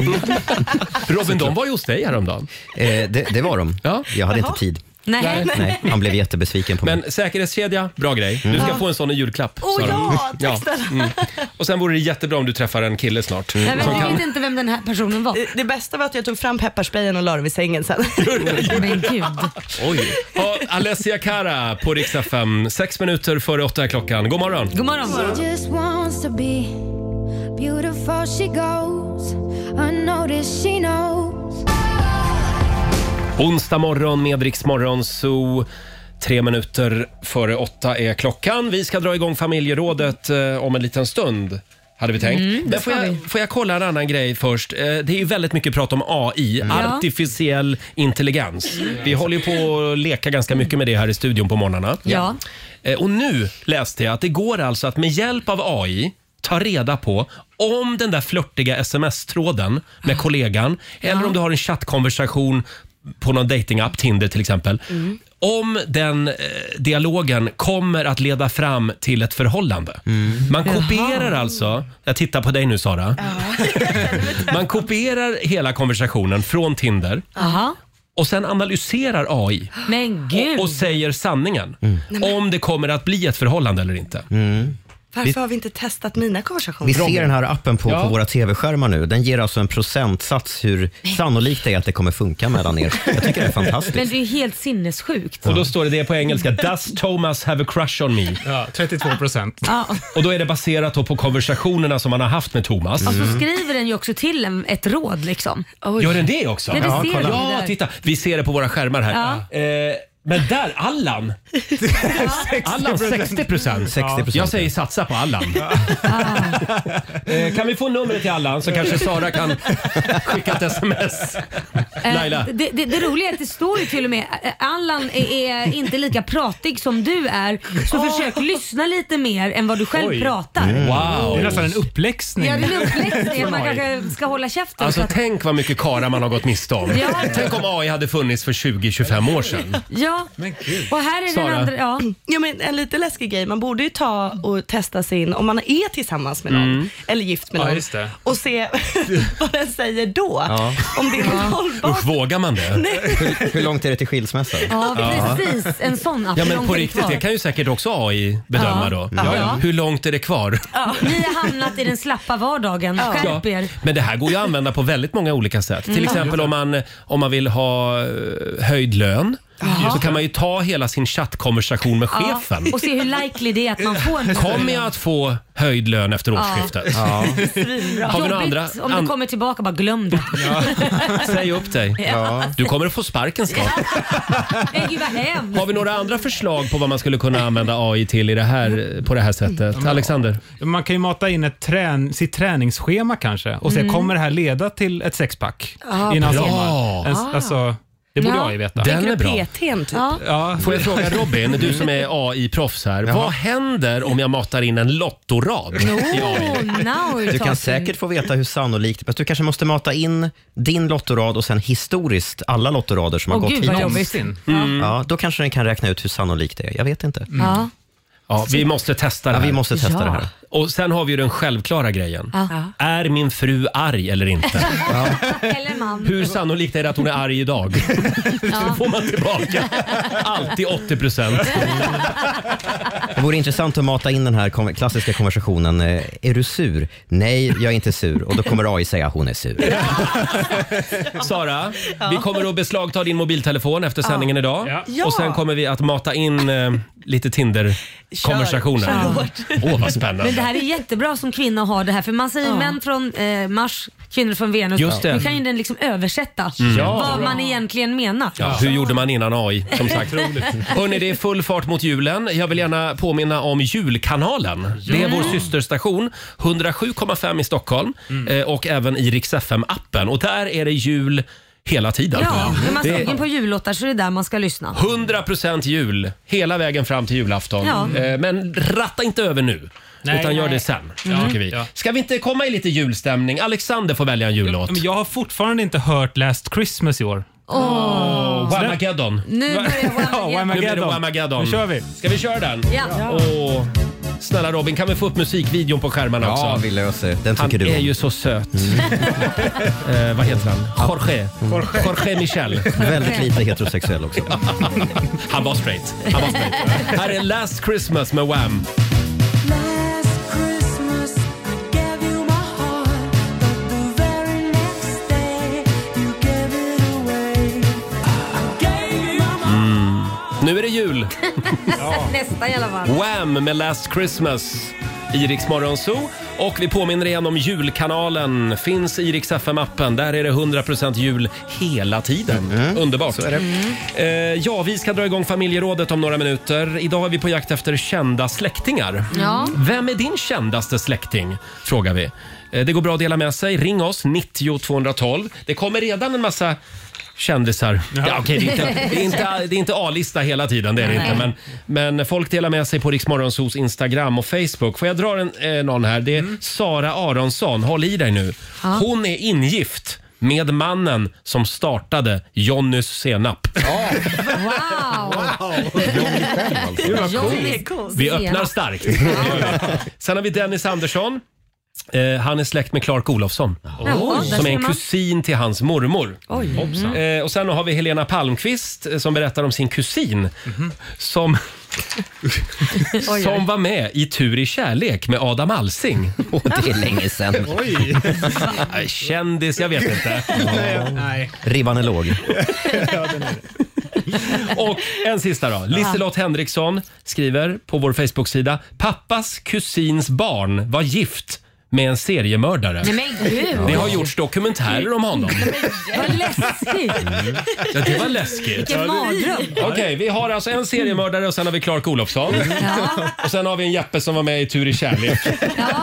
Speaker 1: Robin, de var ju hos dig häromdagen.
Speaker 2: Eh, det, det var de. Jag hade inte tid.
Speaker 3: Nej. Nej.
Speaker 2: Nej, han blev jättebesviken på mig. Mm.
Speaker 1: Men säkerhetskedja, bra grej. Du ska
Speaker 3: Ja.
Speaker 1: få en sån i julklapp.
Speaker 3: Åh,
Speaker 1: Sara.
Speaker 3: ja, tack snälla.
Speaker 1: Mm. Och sen vore det jättebra om du träffar en kille snart.
Speaker 3: Nej, men
Speaker 1: Som
Speaker 3: jag
Speaker 1: kan...
Speaker 3: vet inte vem den här personen var.
Speaker 9: Mm. Det bästa var att jag tog fram pepparsprayen och la den vid sängen sen.
Speaker 3: men gud.
Speaker 1: Oj. Ja, Alessia Cara på riksdag 5. Sex minuter före åtta är klockan. God morgon.
Speaker 3: God morgon.
Speaker 12: She just wants to be beautiful she goes unnoticed she knows
Speaker 1: Onsdag morgon med Rix Morgon Zoo. Tre minuter före åtta är klockan. Vi ska dra igång familjerådet eh, om en liten stund. Hade vi tänkt.
Speaker 4: Mm, det
Speaker 1: Men får
Speaker 4: ska
Speaker 1: jag, får jag kolla en annan grej först? Eh, Det är ju väldigt mycket prat om AI,
Speaker 4: Mm. Ja.
Speaker 1: artificiell intelligens. Vi håller ju på att leka ganska mycket med det här i studion på morgnarna.
Speaker 4: Ja.
Speaker 1: Eh, Och nu läste jag att det går alltså att med hjälp av AI ta reda på om den där flörtiga sms-tråden med kollegan eller om du har en chattkonversation på någon datingapp, Tinder till exempel. Om den eh, dialogen kommer att leda fram till ett förhållande. Man kopierar alltså, jag tittar på dig nu Sara. Man kopierar hela konversationen från Tinder
Speaker 3: Aha.
Speaker 1: och sen analyserar AI
Speaker 3: Men gud.
Speaker 1: och, och säger sanningen.
Speaker 9: Nej, men-
Speaker 1: Om det kommer att bli ett förhållande eller inte.
Speaker 9: Varför har vi inte testat mina konversationer?
Speaker 2: Vi ser den här appen på,
Speaker 9: Ja.
Speaker 2: på våra tv-skärmar nu. Den ger alltså en procentsats hur sannolikt det är att det kommer funka mellan er. Jag tycker det är fantastiskt.
Speaker 3: Men det är ju helt sinnessjukt.
Speaker 1: Och då står det, det på engelska, “Does Thomas have a crush on me?”
Speaker 6: Ja, 32 procent.
Speaker 3: Ja.
Speaker 1: Och då är det baserat då på konversationerna som man har haft med Thomas.
Speaker 3: Och så skriver den ju också till en, ett råd liksom.
Speaker 1: Mm. Gör den det också?
Speaker 3: Ja, det ser
Speaker 1: kolla.
Speaker 3: du
Speaker 1: ja
Speaker 3: där.
Speaker 1: titta. Vi ser det på våra skärmar här. Eh, men där, Allan! Allan, 60 procent.
Speaker 2: 60%.
Speaker 1: Jag säger satsa på Allan.
Speaker 6: Ah.
Speaker 1: Eh, kan vi få numret till Allan så kanske Sara kan skicka ett sms?
Speaker 3: Eh,
Speaker 1: Laila?
Speaker 3: Det, det, det roliga är att det står ju till och med eh, Allan är, är inte lika pratig som du är så försök lyssna lite mer än vad du själv
Speaker 1: Oj. Mm.
Speaker 3: pratar.
Speaker 1: Wow.
Speaker 6: Det är nästan en uppläxning.
Speaker 3: Ja, det är en uppläxning att
Speaker 1: Från
Speaker 3: man
Speaker 1: AI.
Speaker 3: kanske ska hålla käften. så
Speaker 1: Alltså
Speaker 3: att,
Speaker 1: tänk vad mycket kara man har gått miste om.
Speaker 3: Ja.
Speaker 1: Tänk om AI hade funnits för 20-25 år sedan.
Speaker 3: ja. Och här är
Speaker 1: Sara?
Speaker 3: den andra. Ja.
Speaker 9: ja, men en lite läskig grej. Man borde ju ta och testa sin, om man är tillsammans med någon
Speaker 4: Mm.
Speaker 9: eller gift med
Speaker 4: Ja,
Speaker 9: någon
Speaker 4: just det.
Speaker 9: och se vad den säger då.
Speaker 2: Ja.
Speaker 9: Om det är hållbart.
Speaker 1: Usch, vågar man det?
Speaker 2: Hur, hur långt är det till skilsmässa?
Speaker 3: Ja, precis. En sån app.
Speaker 1: Ja
Speaker 3: Hur
Speaker 1: men
Speaker 3: långt
Speaker 1: på
Speaker 3: är det
Speaker 1: riktigt,
Speaker 3: kvar?
Speaker 1: det kan ju säkert också AI bedöma
Speaker 3: Ja.
Speaker 1: då.
Speaker 3: Ja, ja.
Speaker 1: Hur långt är det kvar?
Speaker 3: Ni har hamnat i den slappa vardagen. Skärp er.
Speaker 1: Men det här går ju att använda på väldigt många olika sätt. Till
Speaker 3: Mm.
Speaker 1: exempel om man, om man vill ha eh, höjd lön.
Speaker 3: Jaha.
Speaker 1: Så kan man ju ta hela sin chattkonversation med
Speaker 3: Ja,
Speaker 1: chefen.
Speaker 3: Och se hur likely det är att man får en
Speaker 1: Kommer jag att få höjd lön efter
Speaker 3: Ja.
Speaker 1: årsskiftet?
Speaker 3: Ja.
Speaker 1: Har vi några
Speaker 3: Jobbigt
Speaker 1: andra?
Speaker 3: om
Speaker 1: an-
Speaker 3: du kommer tillbaka och bara glöm det.
Speaker 1: Säg upp dig.
Speaker 3: Ja.
Speaker 1: Du kommer att få sparken snart.
Speaker 3: Nej, gud vad hemskt.
Speaker 1: Har vi några andra förslag på vad man skulle kunna använda AI till i det här, på det här sättet? Alexander?
Speaker 6: Man kan ju mata in ett trän sitt träningsschema kanske och se,
Speaker 1: Mm.
Speaker 6: kommer det här leda till ett sexpack
Speaker 1: Ah,
Speaker 6: innan
Speaker 1: bra.
Speaker 6: sommaren? En-
Speaker 1: Ah.
Speaker 6: Alltså, det borde
Speaker 1: Ja.
Speaker 6: jag ju veta.
Speaker 1: Den Tänker är du bra.
Speaker 9: PT'n typ?
Speaker 6: Ja.
Speaker 1: Får jag fråga Robin, du som är AI-proffs här. Vad händer om jag matar in en lottorad i AI?
Speaker 3: Oh, now we're
Speaker 2: Du
Speaker 3: talking.
Speaker 2: kan säkert få veta hur sannolikt, men du kanske måste mata in din lottorad och sen historiskt alla lottorader som har
Speaker 3: Åh,
Speaker 2: gått
Speaker 3: gud, vad
Speaker 2: hittills.
Speaker 3: jobbigt. Mm.
Speaker 2: Ja, då kanske den kan räkna ut hur sannolikt det är. Jag vet inte.
Speaker 1: Mm.
Speaker 3: Ja.
Speaker 1: Ja, vi måste testa det
Speaker 2: Ja,
Speaker 1: här.
Speaker 2: vi måste testa Ja. det här.
Speaker 1: Och sen har vi ju den självklara grejen.
Speaker 3: Ja.
Speaker 1: Är min fru arg eller inte?
Speaker 3: Eller man.
Speaker 1: Hur sannolikt är det att hon är arg idag?
Speaker 3: Ja.
Speaker 1: Får man tillbaka. Alltid 80 procent.
Speaker 2: Det vore intressant att mata in den här kom- klassiska konversationen. eh, Är du sur? Nej, jag är inte sur. Och då kommer AI säga hon är sur.
Speaker 1: Sara, vi kommer att beslagta din mobiltelefon efter sändningen idag.
Speaker 9: Ja.
Speaker 1: Och sen kommer vi att mata in eh, lite Tinder-konversationer.
Speaker 3: Kör, kör
Speaker 1: Åh, vad
Speaker 3: Men det
Speaker 1: spännande.
Speaker 3: här är jättebra som kvinna att ha det här för man säger män från eh, Mars, kvinnor från Venus.
Speaker 1: Just det.
Speaker 3: Nu kan ju den liksom översätta
Speaker 1: Mm. Ja,
Speaker 3: vad
Speaker 1: bra.
Speaker 3: man egentligen menar.
Speaker 1: Ja, alltså. hur gjorde man innan AI? Som sagt.
Speaker 3: Otroligt.
Speaker 1: Hörrni, det är full fart mot julen. Jag vill gärna påminna om Julkanalen. Det är
Speaker 4: Ja.
Speaker 1: vår systerstation, 107,5 i Stockholm
Speaker 3: Mm.
Speaker 1: eh, och även i Rix FM-appen. Och där är det jul hela tiden.
Speaker 3: Ja, är man
Speaker 1: Det-
Speaker 3: sugen på jullåtar så är det där man ska lyssna.
Speaker 1: 100% jul hela vägen fram till julafton.
Speaker 3: Ja.
Speaker 1: Eh, Men ratta inte över nu.
Speaker 6: Nej,
Speaker 1: utan gör
Speaker 6: nej.
Speaker 1: det sen,
Speaker 6: Ja.
Speaker 1: tycker vi.
Speaker 6: Ja.
Speaker 1: Ska vi inte komma i lite julstämning? Alexander får välja en jullåt.
Speaker 6: Men jag har fortfarande inte hört Last Christmas i år.
Speaker 1: Åh. Oh, Whamageddon.
Speaker 3: Nu börjar
Speaker 6: Ja,
Speaker 1: Nu blir det
Speaker 6: Whamageddon.
Speaker 1: Whamageddon.
Speaker 6: Nu kör vi.
Speaker 1: Ska vi köra den?
Speaker 3: Ja. Ja.
Speaker 1: Åh. Snälla Robin, kan vi få upp musikvideon på skärmarna
Speaker 2: Ja,
Speaker 1: också?
Speaker 2: vi löser det. Den
Speaker 1: Han
Speaker 2: tycker du
Speaker 1: är
Speaker 2: om.
Speaker 1: ju så söt. eh, vad heter han? Jorge. Jorge, Michel.
Speaker 2: Mm. Väldigt lite heterosexuell också.
Speaker 1: Han var straight. Han var straight. Här är Last Christmas med Wham.
Speaker 4: Last Christmas I gave you my heart, but the very next day you gave it away. I gave you my
Speaker 1: Mm. Nu är det jul.
Speaker 3: Nästan i alla fall.
Speaker 1: Wham med Last Christmas i Rix Morgon Zoo. Och vi påminner igen om julkanalen. Finns i Rix FM-appen. Där är det 100% jul hela tiden. Underbart.
Speaker 4: Mm. är det.
Speaker 1: Eh, ja, vi ska dra igång familjerådet om några minuter. Idag är vi på jakt efter kända släktingar.
Speaker 4: Ja.
Speaker 1: Vem är din kändaste släkting? Frågar vi. Eh, Det går bra att dela med sig. Ring oss, 90 212. Det kommer redan en massa kändisar. Ja. okej, det, är inte, det, är inte, det är inte A-lista hela tiden, det är det
Speaker 4: Nej.
Speaker 1: inte. Men, men folk delar med sig på Riksmorgonsos Instagram och Facebook. Får jag dra en, eh, någon här? Det är Sara Aronsson. Håll i dig nu.
Speaker 4: Ja.
Speaker 1: Hon är ingift med mannen som startade Jonnys senap.
Speaker 4: Wow!
Speaker 1: Gud, vad alltså. coolt. Vi öppnar starkt. Det gör vi. Sen har vi Dennis Andersson. Eh, han är släkt med Clark Olofsson,
Speaker 4: Jaha, där
Speaker 1: som är
Speaker 4: ser
Speaker 1: en
Speaker 4: man.
Speaker 1: kusin till hans mormor.
Speaker 4: Oj. Hoppsan.
Speaker 1: Eh, och Sen har vi Helena Palmqvist eh, som berättar om sin kusin som,
Speaker 4: Mhm. oj.
Speaker 1: som var med i Tur i kärlek med Adam Alsing. Oh,
Speaker 2: det är länge sedan. Oj.
Speaker 1: Kändis, jag vet inte.
Speaker 2: Mm.
Speaker 6: Nej.
Speaker 2: Ribban är låg.
Speaker 1: Och en sista då. Liselott Henriksson skriver på vår Facebook-sida. Pappas kusins barn var gift med en seriemördare.
Speaker 4: Nej, men gud.
Speaker 1: Det har gjorts dokumentärer om honom.
Speaker 4: Vad läskigt!
Speaker 1: Ja, det var läskigt.
Speaker 4: Vilken
Speaker 1: Ja, det-
Speaker 4: mardröm.
Speaker 1: Okej, vi har alltså en seriemördare och sen har vi Clark Olofsson. Och sen har vi en Jeppe som var med i Tur i kärlek.
Speaker 3: Ja,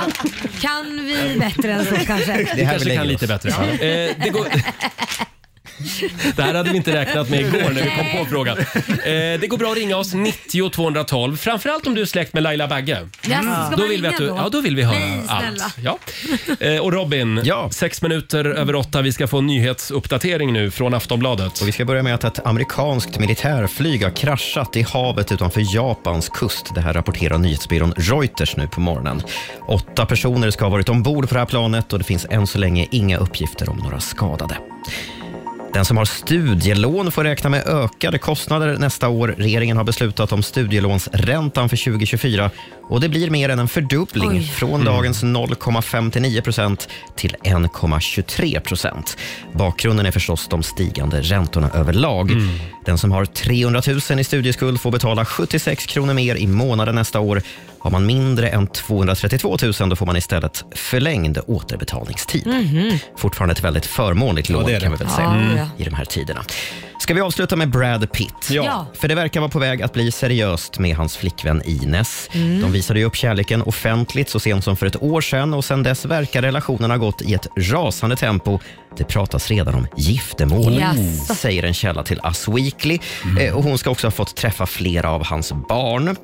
Speaker 3: kan vi bättre än så kanske?
Speaker 1: Vi kanske kan lite bättre. Eh, det, går... det här hade vi inte räknat med igår när vi kom på frågan. Eh, det går bra att ringa oss 90 212. Framförallt om du är släkt med Laila Bagge. Mm.
Speaker 4: Ja, ska man
Speaker 1: Då vill vi, att
Speaker 4: ringa
Speaker 1: du...
Speaker 4: då?
Speaker 1: ja, då vill vi höra
Speaker 4: Nej, snälla.
Speaker 1: allt. Ja. Eh, och Robin, sex minuter över åtta. Vi ska få en nyhetsuppdatering nu från Aftonbladet.
Speaker 2: Och vi ska börja med att ett amerikanskt militärflyg har kraschat i havet utanför Japans kust. Det här rapporterar nyhetsbyrån Reuters nu på morgonen. Åtta personer ska ha varit ombord på det här planet och det finns än så länge inga uppgifter om några skadade. Den som har studielån får räkna med ökade kostnader nästa år. Regeringen har beslutat om studielånsräntan för 2024 och det blir mer än en fördubbling
Speaker 11: Oj.
Speaker 2: från dagens 0,59 procent till 1,23 procent. Bakgrunden är förstås de stigande räntorna överlag. Den som har 300 000 i studieskuld får betala 76 kronor mer i månaden nästa år. Har man mindre än 232 000 då får man istället förlängd återbetalningstid. Fortfarande ett väldigt förmånligt lån
Speaker 11: det är det.
Speaker 2: kan vi väl säga
Speaker 11: Ja, ja.
Speaker 2: i de här tiderna. Ska vi avsluta med Brad Pitt?
Speaker 11: Ja. Ja.
Speaker 2: För det verkar vara på väg att bli seriöst med hans flickvän Ines.
Speaker 11: Mm.
Speaker 2: De visade ju upp kärleken offentligt så sent som för ett år sedan och sedan dess verkar relationen ha gått i ett rasande tempo. Det pratas redan om giftermål,
Speaker 11: Jaså.
Speaker 2: säger en källa till Us Weekly.
Speaker 3: Mm.
Speaker 2: Eh, Och hon ska också ha fått träffa flera av hans barn.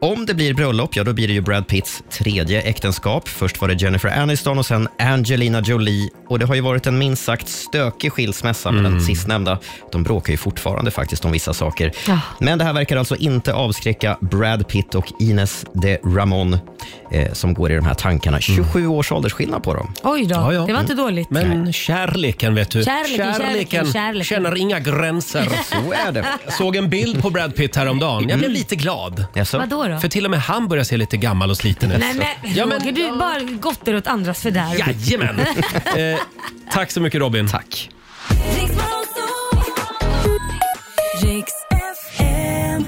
Speaker 2: Om det blir bröllop, ja då blir det ju Brad Pitts tredje äktenskap. Först var det Jennifer Aniston och sen Angelina Jolie. Och det har ju varit en minst sagt stökig skilsmässa med
Speaker 3: Mm.
Speaker 2: den sistnämnda. De bråkar ju fortfarande faktiskt om vissa saker.
Speaker 11: Ja.
Speaker 2: Men det här verkar alltså inte avskräcka Brad Pitt och Ines de Ramon eh, som går i de här
Speaker 3: Mm.
Speaker 2: tankarna. 27 års åldersskillnad på dem.
Speaker 3: Oj då,
Speaker 2: Ja, ja.
Speaker 3: det var inte dåligt.
Speaker 2: Men
Speaker 1: kärleken vet du.
Speaker 3: Kärleken, kärleken, kärleken.
Speaker 1: känner inga gränser.
Speaker 2: Så är det. Mm.
Speaker 1: Jag såg en bild på Brad Pitt häromdagen. Jag blev lite glad.
Speaker 3: Vadå då?
Speaker 1: För till och med han börjar se lite gammal och sliten ut.
Speaker 3: Nej men,
Speaker 1: ja, men
Speaker 3: Roger, du bara gottar åt andras fördärv.
Speaker 1: Jajamän! eh, tack så mycket Robin.
Speaker 2: Tack.
Speaker 4: Oh,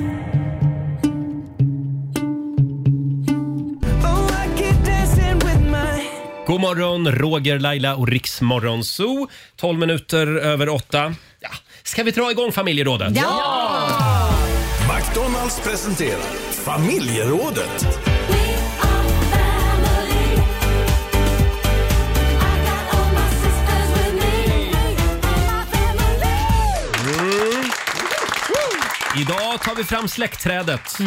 Speaker 1: God morgon, Roger, Laila och Riksmorgon Zoo. 12 minuter över åtta. Ja. Ska vi dra igång familjerådet?
Speaker 13: McDonalds presenterar Familjerådet.
Speaker 1: Mm. Mm. Idag tar vi fram släktträdet.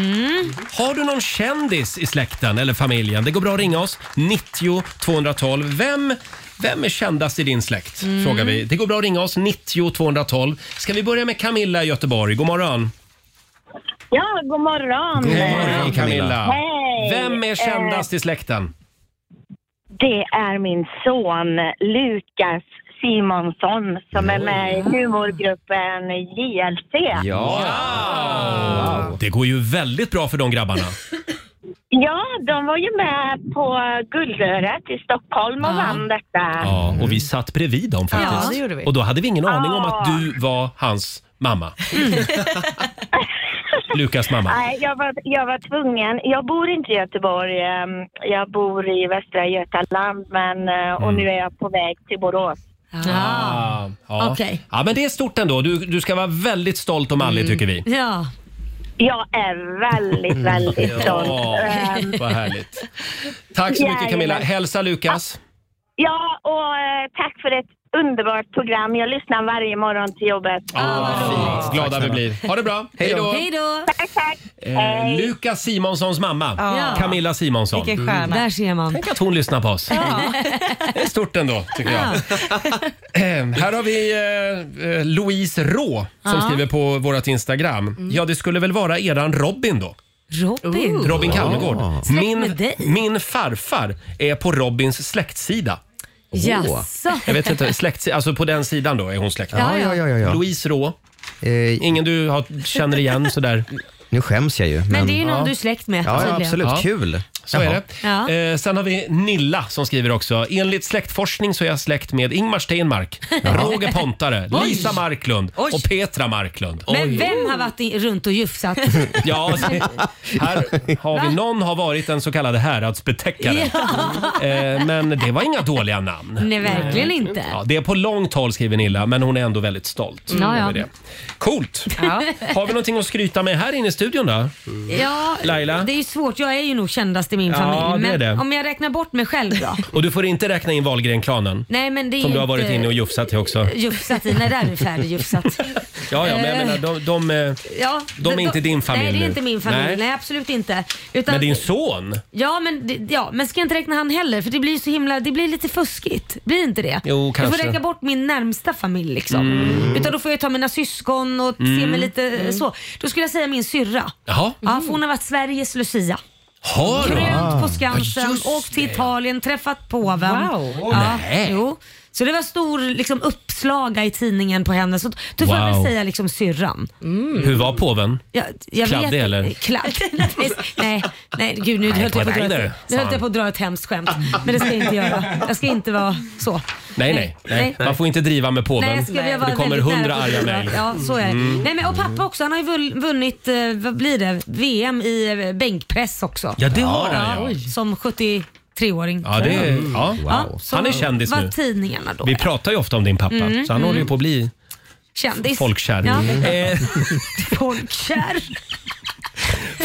Speaker 1: Har du någon kändis i släkten eller familjen? Det går bra att ringa oss. 90 212. Vem, vem är kändast i din släkt?
Speaker 4: Mm.
Speaker 1: Frågar vi. Det går bra att ringa oss. 90 212. Ska vi börja med Camilla i Göteborg? God morgon.
Speaker 14: Ja, god morgon.
Speaker 1: Hej Camilla.
Speaker 14: Hej.
Speaker 1: Vem är kändast i släkten?
Speaker 14: Eh, det är min son Lukas Simonsson som är med i humorgruppen JLC.
Speaker 1: Wow. Det går ju väldigt bra för de grabbarna.
Speaker 14: Ja, de var ju med på Guldörat i Stockholm och vann detta.
Speaker 1: Ja, och vi satt bredvid dem faktiskt.
Speaker 14: Ja, det gjorde vi.
Speaker 1: Och då hade vi ingen aning om
Speaker 14: Ah.
Speaker 1: att du var hans mamma. Lukas mamma.
Speaker 14: Nej, jag var, jag var tvungen. Jag bor inte i Göteborg. ehm, Jag bor i Västra Götaland men, eh, och
Speaker 1: Mm.
Speaker 14: nu är jag på väg till Borås.
Speaker 1: Ah, ja.
Speaker 14: Okej.
Speaker 1: ja, men det är stort ändå. Du, du ska vara väldigt stolt och mallig tycker vi.
Speaker 3: Ja.
Speaker 14: Jag Mm. är väldigt, väldigt stolt.
Speaker 1: Mm. Ja,
Speaker 14: Ehm,
Speaker 1: vad härligt. Tack så mycket Camilla.
Speaker 14: Jajamän.
Speaker 1: Hälsa Lukas.
Speaker 14: Ja, och eh, tack för ett underbart program. Jag lyssnar varje morgon till jobbet. Ah,
Speaker 1: Glada vi blir. Ha det bra. Hej då.
Speaker 3: då!
Speaker 14: Tack, tack.
Speaker 1: Eh, Lukas Simonssons mamma,
Speaker 3: Ja.
Speaker 1: Camilla Simonsson.
Speaker 3: Vilken stjärna. Där ser man.
Speaker 1: Tänk att hon lyssnar på oss. Det är stort ändå, tycker jag. Eh, Här har vi eh, eh, Louise Rå som
Speaker 3: Ja. Mm.
Speaker 1: skriver på vårt Instagram. Ja, det skulle väl vara eran Robin då?
Speaker 3: Robin.
Speaker 1: Robin Calmegård.
Speaker 3: Mm. Släkt med
Speaker 1: Min,
Speaker 3: dig.
Speaker 1: min farfar är på Robins släktsida.
Speaker 3: Jaså?
Speaker 1: Jag vet inte, släkt, alltså på den sidan då är hon släkt.
Speaker 3: Ja, ja, ja, ja, ja. Eh,
Speaker 1: Louise Rå. Ingen du har, känner igen sådär.
Speaker 2: Nu skäms jag ju. Men,
Speaker 3: det är ju någon du är släkt med, Ja, ja, tydligen. absolut. Kul.
Speaker 1: Så
Speaker 3: Jaha.
Speaker 1: är det.
Speaker 3: Ja.
Speaker 1: Eh, sen har vi Nilla som skriver också. Enligt släktforskning så är jag släkt med Ingmar Stenmark, Roger Pontare,
Speaker 3: Oj.
Speaker 1: Lisa Marklund
Speaker 3: Oj.
Speaker 1: och Petra Marklund.
Speaker 3: Men vem har varit i, runt och jufsat?
Speaker 1: Ja, se- här har vi, någon har varit den så kallade häradsbetäckare.
Speaker 3: Ja.
Speaker 1: Eh, men det var inga dåliga namn.
Speaker 3: Nej, verkligen inte.
Speaker 1: Ja, det är på långt håll skriver Nilla, men hon är ändå väldigt stolt.
Speaker 3: Mm. Ja, ja.
Speaker 1: över det. Coolt!
Speaker 3: Ja.
Speaker 1: Har vi någonting att skryta med här inne i studion då?
Speaker 3: Ja,
Speaker 1: Laila?
Speaker 3: det är ju svårt. Jag är ju nog kändast i min
Speaker 1: Ja,
Speaker 3: familj.
Speaker 1: det är
Speaker 3: Men
Speaker 1: det.
Speaker 3: om jag räknar bort mig själv då?
Speaker 1: Och du får inte räkna in Wahlgren-klanen.
Speaker 3: Nej, men det är
Speaker 1: Som du har
Speaker 3: inte-
Speaker 1: varit inne och jufsat i också.
Speaker 3: Jufsat i. Nej, där är vi färdigjufsat.
Speaker 1: Ja, ja, men jag
Speaker 3: Eh.
Speaker 1: menar, de, de, eh,
Speaker 3: Ja,
Speaker 1: de är inte din familj
Speaker 3: Nej, det är
Speaker 1: nu.
Speaker 3: inte min familj. Nej,
Speaker 1: Nej.
Speaker 3: absolut inte. Utan,
Speaker 1: Men
Speaker 3: Mm.
Speaker 1: din son?
Speaker 3: Ja men, det- ja, men ska jag inte räkna han heller? För det blir ju så himla, det blir lite fuskigt. Blir inte det?
Speaker 1: Jo,
Speaker 3: jag får
Speaker 1: kanske.
Speaker 3: räkna bort min närmsta familj liksom.
Speaker 1: Mm.
Speaker 3: Utan då får jag ta mina syskon och se
Speaker 1: Mm.
Speaker 3: mig lite eh, så. Då skulle jag säga min syrra.
Speaker 1: Jaha.
Speaker 3: Ja, för hon har varit Sveriges Lucia.
Speaker 1: Har du?
Speaker 3: Krönt
Speaker 1: Ja,
Speaker 3: på Skansen,
Speaker 1: just
Speaker 3: åkt till Italien, träffat påven.
Speaker 1: Wow. Åh,
Speaker 3: Ja,
Speaker 1: nej.
Speaker 3: jo. Så det var stor liksom, uppslaga i tidningen på henne. Så då får jag
Speaker 1: Wow.
Speaker 3: väl säga liksom syrran.
Speaker 1: Hur var påven?
Speaker 3: Jag, jag
Speaker 1: Kladdig,
Speaker 3: vet,
Speaker 1: eller?
Speaker 3: Kladd. nej, nej, gud nu
Speaker 1: Nej,
Speaker 3: höll, jag på att dra,
Speaker 1: Kleiner,
Speaker 3: ett- nu höll
Speaker 1: fan.
Speaker 3: jag på att dra ett hemskt skämt. Men det ska jag inte göra. Jag ska inte vara så.
Speaker 1: Nej, nej, nej. Man får inte driva med påven.
Speaker 3: Nej, jag skulle vilja
Speaker 1: För
Speaker 3: vara
Speaker 1: det kommer
Speaker 3: väldigt nära
Speaker 1: hundra
Speaker 3: på
Speaker 1: arga
Speaker 3: fyra.
Speaker 1: mejl.
Speaker 3: Ja, så är det.
Speaker 1: Mm.
Speaker 3: Nej, men, och pappa också, han har ju vull- vunnit, eh, vad blir det, VM i eh, bänkpress också.
Speaker 1: Ja, det har han, ja.
Speaker 3: oj. Som 73-åring.
Speaker 1: Ja, det är, ja.
Speaker 3: så
Speaker 1: Han är kändis
Speaker 3: var
Speaker 1: nu.
Speaker 3: tidningarna då.
Speaker 1: Vi pratar ju ofta om din pappa,
Speaker 3: Mm,
Speaker 1: så han
Speaker 3: mm.
Speaker 1: håller ju på att bli
Speaker 3: Kändis.
Speaker 1: folkkär.
Speaker 3: Ja.
Speaker 1: Eh,
Speaker 3: Folkkär.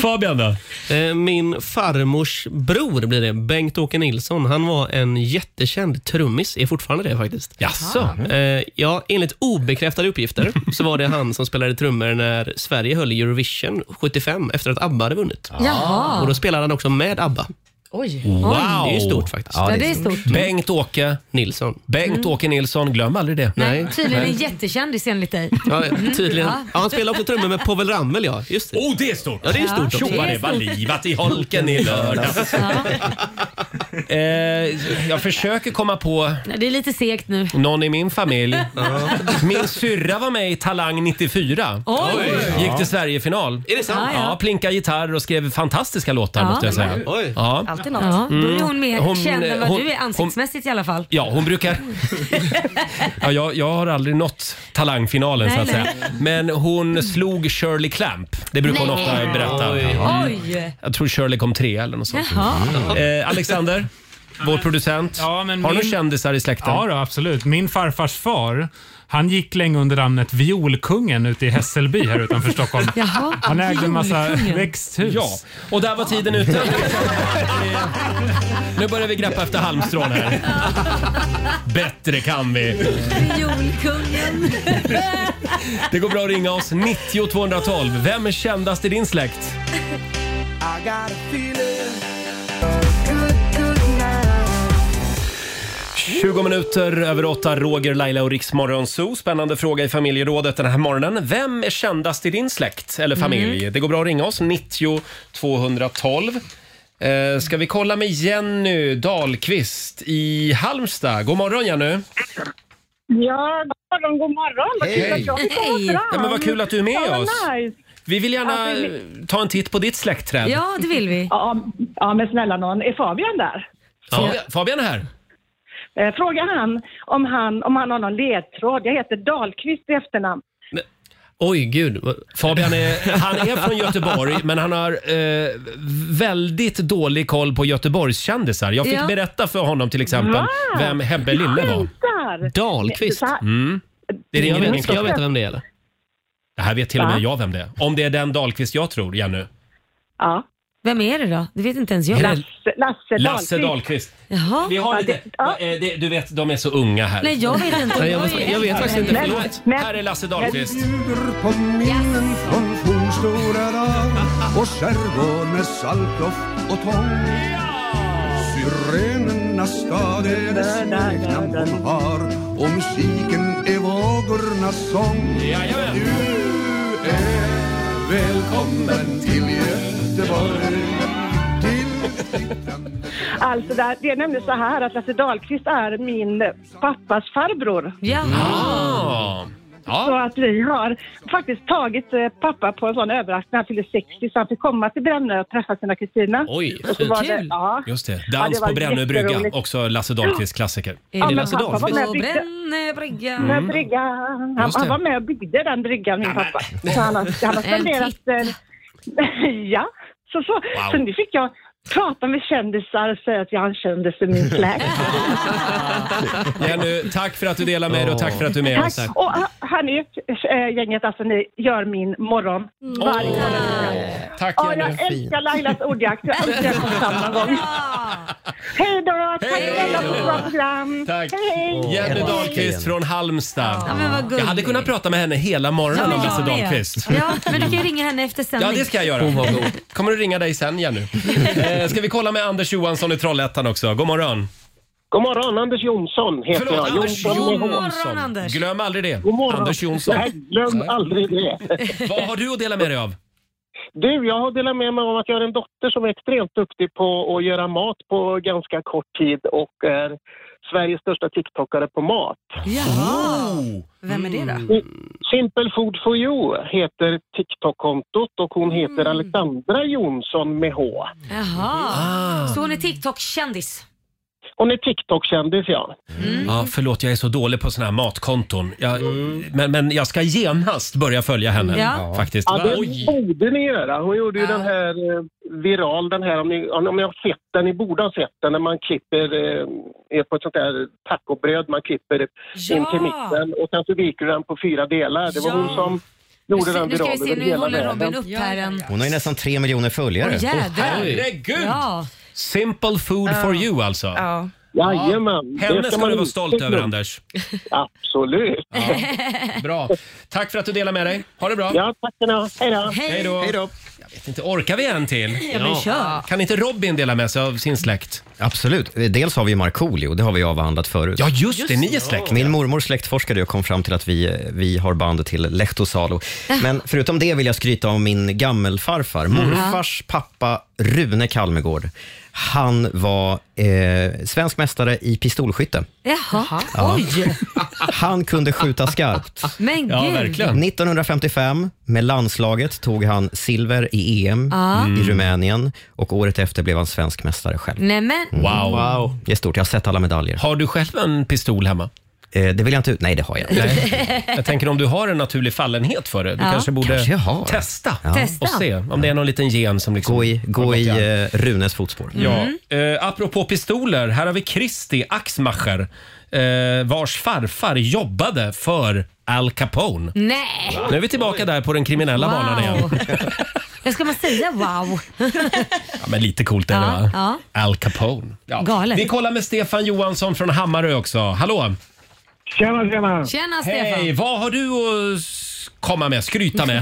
Speaker 1: Fabian då?
Speaker 8: Eh, Min farmors bror blir det, Bengt-Åke Nilsson. Han var en jättekänd trummis, är fortfarande det faktiskt.
Speaker 1: Jaså?
Speaker 3: Ah.
Speaker 8: Eh, Ja, enligt obekräftade uppgifter så var det han som spelade trummor när Sverige höll i Eurovision 75 efter att ABBA hade vunnit.
Speaker 3: Jaha.
Speaker 8: Och då spelade han också med ABBA.
Speaker 3: Oj.
Speaker 1: Mm.
Speaker 8: Wow!
Speaker 3: Oj.
Speaker 8: Det är stort faktiskt.
Speaker 3: Ja, det är stort. Mm.
Speaker 1: Bengt-Åke
Speaker 8: Nilsson.
Speaker 1: Bengt-Åke Nilsson, glöm aldrig det.
Speaker 8: Nej.
Speaker 3: Tydligen en
Speaker 1: Mm.
Speaker 8: Nej.
Speaker 3: jättekändis enligt dig.
Speaker 8: Ja, tydligen.
Speaker 3: Mm. Ja.
Speaker 8: Ja, han spelade också trummor med Povel Ramel, ja. Just det.
Speaker 1: Oh, det är stort!
Speaker 8: Ja, det är
Speaker 3: Ja,
Speaker 8: stort.
Speaker 1: Tjoa, det var livat i holken i lördags. Eh, jag försöker komma på
Speaker 3: Nej, Det är lite segt nu.
Speaker 1: någon i min familj. Min syrra var med i Talang 94.
Speaker 3: Oj.
Speaker 1: Gick till Sverigefinal.
Speaker 8: Är det sant?
Speaker 1: Ja, ja. plinka gitarr och skrev fantastiska låtar
Speaker 3: Ja.
Speaker 1: måste jag säga.
Speaker 8: Oj.
Speaker 1: Ja. Mm.
Speaker 3: Alltid något. Ja. Då är hon mer
Speaker 1: Hon-
Speaker 3: känd än vad
Speaker 1: hon-
Speaker 3: du är ansiktsmässigt i alla fall.
Speaker 1: Ja, hon brukar... Ja, jag, jag har aldrig nått talangfinalen så att
Speaker 3: Nej,
Speaker 1: säga.
Speaker 3: nej.
Speaker 1: Men hon slog Shirley Clamp. Det brukar hon
Speaker 3: Nej.
Speaker 1: ofta berätta.
Speaker 3: Oj.
Speaker 1: Ja.
Speaker 3: Oj.
Speaker 1: Jag tror Shirley kom tre eller något sånt.
Speaker 3: Jaha.
Speaker 1: Eh, Alexander, vår producent.
Speaker 6: Ja, men
Speaker 1: har du
Speaker 6: min-
Speaker 1: kändisar i släkten?
Speaker 6: Ja, då, absolut. Min farfars far han gick länge under namnet Violkungen ute i Hässelby här utanför Stockholm.
Speaker 4: Jaha,
Speaker 6: han ägde en massa
Speaker 4: Violkungen.
Speaker 6: växthus.
Speaker 1: Ja, och där var tiden ute. Eh, Nu börjar vi greppa efter halmstrån här. Bättre kan vi.
Speaker 3: Violkungen.
Speaker 1: Det går bra att ringa oss. 90 212. Vem är kändast i din släkt?
Speaker 4: I got a feeling
Speaker 1: 20 minuter över åtta, Roger, Laila och Riksmorgon Zoo. Spännande fråga i familjerådet den här morgonen. Vem är kändast i din släkt
Speaker 6: Mm.
Speaker 1: eller familj? Det går bra att ringa oss, 90 212. Eh, ska vi kolla med Jenny Dahlqvist i Halmstad? God morgon Jenny!
Speaker 15: Ja, god morgon, god morgon. Vad kul att jag fick komma
Speaker 1: Hej.
Speaker 15: fram.
Speaker 1: Ja, men vad kul att du är med
Speaker 15: Ja, vad
Speaker 1: oss.
Speaker 15: Nice.
Speaker 1: Vi vill gärna
Speaker 15: Alltså,
Speaker 1: eh, ta en titt på ditt släktträd.
Speaker 15: Ja,
Speaker 3: det vill vi.
Speaker 15: Ja, ja, men snälla någon, är Fabian där?
Speaker 1: Fabian, Fabian är här.
Speaker 15: Eh, Fråga han om, han om han har någon ledtråd. Jag heter Dahlqvist i efternamn.
Speaker 8: Oj, gud.
Speaker 1: Fabian är, han är från Göteborg, men han har eh, väldigt dålig koll på Göteborgs kändisar. Jag fick
Speaker 4: Ja.
Speaker 1: berätta för honom till exempel vem Hebbe Lille var.
Speaker 4: Skämtar!
Speaker 1: Dahlqvist.
Speaker 4: Så här-
Speaker 1: Mm. Det ringer
Speaker 4: Jag vet-
Speaker 1: ingen klocka.
Speaker 4: jag vet vem
Speaker 8: det är eller?
Speaker 1: Det här vet till och med
Speaker 3: Va?
Speaker 1: jag vem det är. Om det är den Dahlqvist jag tror, Jenny.
Speaker 3: Ja. Vem är det då? Det vet inte ens jag.
Speaker 1: Är det-
Speaker 3: Lasse
Speaker 1: Lasse Dahlqvist.
Speaker 3: Jaha.
Speaker 1: Vi har lite, eh, det, du vet, de är så unga här.
Speaker 3: Nej, jag vet inte.
Speaker 1: Nej, jag,
Speaker 3: Jag
Speaker 1: vet-
Speaker 3: är-
Speaker 1: jag vet faktiskt inte.
Speaker 3: Men-
Speaker 1: Förlåt. här är Lasse Dahlqvist.
Speaker 13: bjuder på minnen från fornstora dagar och skärgård med saltdoft och tång. Syrenernas stad är dess smeknamn hon har och musiken är vågornas sång. Du är välkommen till Göteborg.
Speaker 15: Alltså det, det är nämligen så här att Lasse Dahlqvist är min pappas farbror.
Speaker 1: Ah.
Speaker 15: Så
Speaker 1: Ja.
Speaker 15: att vi har faktiskt tagit eh, pappa på en sån överraskning när han fyllde 60 så han fick komma till Brännö och träffa sina kusiner.
Speaker 1: Oj,
Speaker 15: Och så var
Speaker 1: fint.
Speaker 15: det, ja.
Speaker 1: Just det.
Speaker 15: Ja, det
Speaker 1: Dans
Speaker 15: var
Speaker 1: på Brännö brygga,
Speaker 15: jätteroligt.
Speaker 1: också Lasse Dahlqvists klassiker.
Speaker 15: Ja, men pappa var med och
Speaker 3: På
Speaker 15: byggde-
Speaker 3: Brännö brygga.
Speaker 1: Mm.
Speaker 15: Den bryggan. Han,
Speaker 1: Just det.
Speaker 15: han var med och byggde den bryggan, min pappa. Så han har, han har
Speaker 3: En
Speaker 15: spenderat... eh, ja, så, så.
Speaker 1: Wow.
Speaker 15: så nu fick jag prata med kändisar och säga att jag är en kändis i min släkt.
Speaker 1: Jenny, tack för att du delar med dig och tack för att du är med oss.
Speaker 15: Tack. Och eh, hörni, eh, gänget, alltså ni gör min morgon varje morgon.
Speaker 1: Tack
Speaker 15: Ja,
Speaker 1: Jenny.
Speaker 15: jag älskar Lailas ordjakt. Jag önskar jag kom fram någon gång. Hej då! Tack snälla för ett bra program.
Speaker 1: Tack.
Speaker 15: Hej.
Speaker 1: Jenny Dahlqvist från Halmstad. jag hade kunnat prata med henne hela morgonen om Lasse
Speaker 3: med.
Speaker 1: Dahlqvist.
Speaker 3: Ja, men du kan ju ringa henne efter sändning.
Speaker 1: Ja, det ska jag göra.
Speaker 3: Hon var god.
Speaker 1: Kommer du ringa dig sen, Jenny? eh, ska vi kolla med Anders Johansson i Trollhättan också? God morgon.
Speaker 16: God morgon, Anders Jonsson heter
Speaker 1: Förlåt,
Speaker 16: jag.
Speaker 1: Anders
Speaker 16: med H.
Speaker 1: Jonsson. Glöm aldrig det.
Speaker 16: God morgon.
Speaker 1: Anders Jonsson.
Speaker 16: Nej, glöm aldrig det.
Speaker 1: Vad har du att dela med dig av?
Speaker 16: Du, jag har delat med mig om att jag har en dotter som är extremt duktig på att göra mat på ganska kort tid och är Sveriges största TikTokare på mat. Oh.
Speaker 4: Jaha! Vem är det
Speaker 1: Mm.
Speaker 4: då?
Speaker 16: Simple Food for You heter TikTok-kontot och hon heter
Speaker 1: Mm.
Speaker 16: Alexandra Jonsson med H.
Speaker 3: Jaha.
Speaker 1: Ah.
Speaker 3: Så hon är TikTok-kändis?
Speaker 16: Hon är TikTok-kändis, ja. Mm.
Speaker 1: Ja, förlåt, jag är så dålig på såna här matkonton. Jag, men, men jag ska genast börja följa henne.
Speaker 16: Ja.
Speaker 1: Faktiskt.
Speaker 16: Ja,
Speaker 1: Oj.
Speaker 16: det borde ni göra. Hon gjorde ju den här eh, viral, den här om ni, om ni har sett den, ni borde ha sett den, när man klipper eh, är på ett sånt där tacobröd, man klipper in till mitten och sen så viker du den på fyra delar. Det var
Speaker 3: Ja.
Speaker 16: hon som
Speaker 3: Nu
Speaker 16: gjorde
Speaker 3: ska,
Speaker 16: den
Speaker 3: nu ska vi
Speaker 16: viral
Speaker 3: se,
Speaker 16: över
Speaker 3: nu
Speaker 16: hela
Speaker 3: håller Robin
Speaker 16: världen.
Speaker 3: upp här en...
Speaker 2: Hon har ju nästan tre miljoner följare.
Speaker 3: Åh, jädrar.
Speaker 1: herregud!
Speaker 3: Ja.
Speaker 1: Simple food for you alltså. Ja.
Speaker 16: Jajamän. Det
Speaker 1: Henne
Speaker 16: ska
Speaker 1: ska
Speaker 16: man
Speaker 1: du vara
Speaker 16: inte
Speaker 1: stolt över
Speaker 16: glömma.
Speaker 1: Anders.
Speaker 16: Absolut.
Speaker 1: Bra. Tack för att du delar med dig. Ha det bra.
Speaker 16: Ja, tack ska ni ha. Hej då.
Speaker 3: Hej.
Speaker 1: Hej då. Jag vet inte, orkar vi en till?
Speaker 3: Ja, men kör.
Speaker 1: Kan inte Robin dela med sig av sin släkt?
Speaker 2: Absolut. Dels har vi Markoolio, det har vi avhandlat förut.
Speaker 1: Ja, just det, ni är släkt.
Speaker 2: Min mormor släktforskade och kom fram till att vi, vi har band till Lehtosalo.
Speaker 1: Ah.
Speaker 2: Men förutom det vill jag skryta om min gammelfarfar.
Speaker 1: Mm.
Speaker 2: Morfars pappa Rune Kalmegård. Han var eh, svensk mästare i pistolskytte.
Speaker 3: Jaha.
Speaker 2: Ja.
Speaker 3: Oj!
Speaker 2: Han kunde skjuta skarpt.
Speaker 3: Men gud.
Speaker 2: 1955 med landslaget tog han silver i EM
Speaker 3: Ja.
Speaker 2: i
Speaker 3: Mm.
Speaker 2: Rumänien och året efter blev han svensk mästare själv.
Speaker 3: Nej men.
Speaker 2: wow. Det är stort. Jag har sett alla medaljer.
Speaker 1: Har du själv en pistol hemma?
Speaker 2: Eh, det vill jag inte ut. Nej, det har jag inte.
Speaker 1: Nej. Jag tänker om du har en naturlig fallenhet för det. Du
Speaker 2: Ja.
Speaker 1: kanske borde
Speaker 2: Kanske jag har.
Speaker 1: testa
Speaker 2: Ja.
Speaker 1: och
Speaker 2: Testa.
Speaker 1: se om det är någon liten gen som liksom...
Speaker 2: Gå i, gå i eh, Runes fotspår.
Speaker 3: Mm.
Speaker 1: Ja. Eh, apropå pistoler, här har vi Christy Axmacher eh, vars farfar jobbade för Al Capone.
Speaker 3: Nej.
Speaker 1: Nu är vi tillbaka där på den kriminella
Speaker 3: Wow.
Speaker 1: banan igen.
Speaker 3: Jag ska man säga wow?
Speaker 1: Ja, men lite coolt är det
Speaker 3: Ja,
Speaker 1: va?
Speaker 3: ja.
Speaker 1: Al Capone. Ja.
Speaker 3: Galet.
Speaker 1: Vi kollar med Stefan Johansson från Hammarö också. Hallå!
Speaker 17: Tjena, tjena!
Speaker 3: Tjena Stefan.
Speaker 1: Hej! Vad har du att s- komma med, skryta med?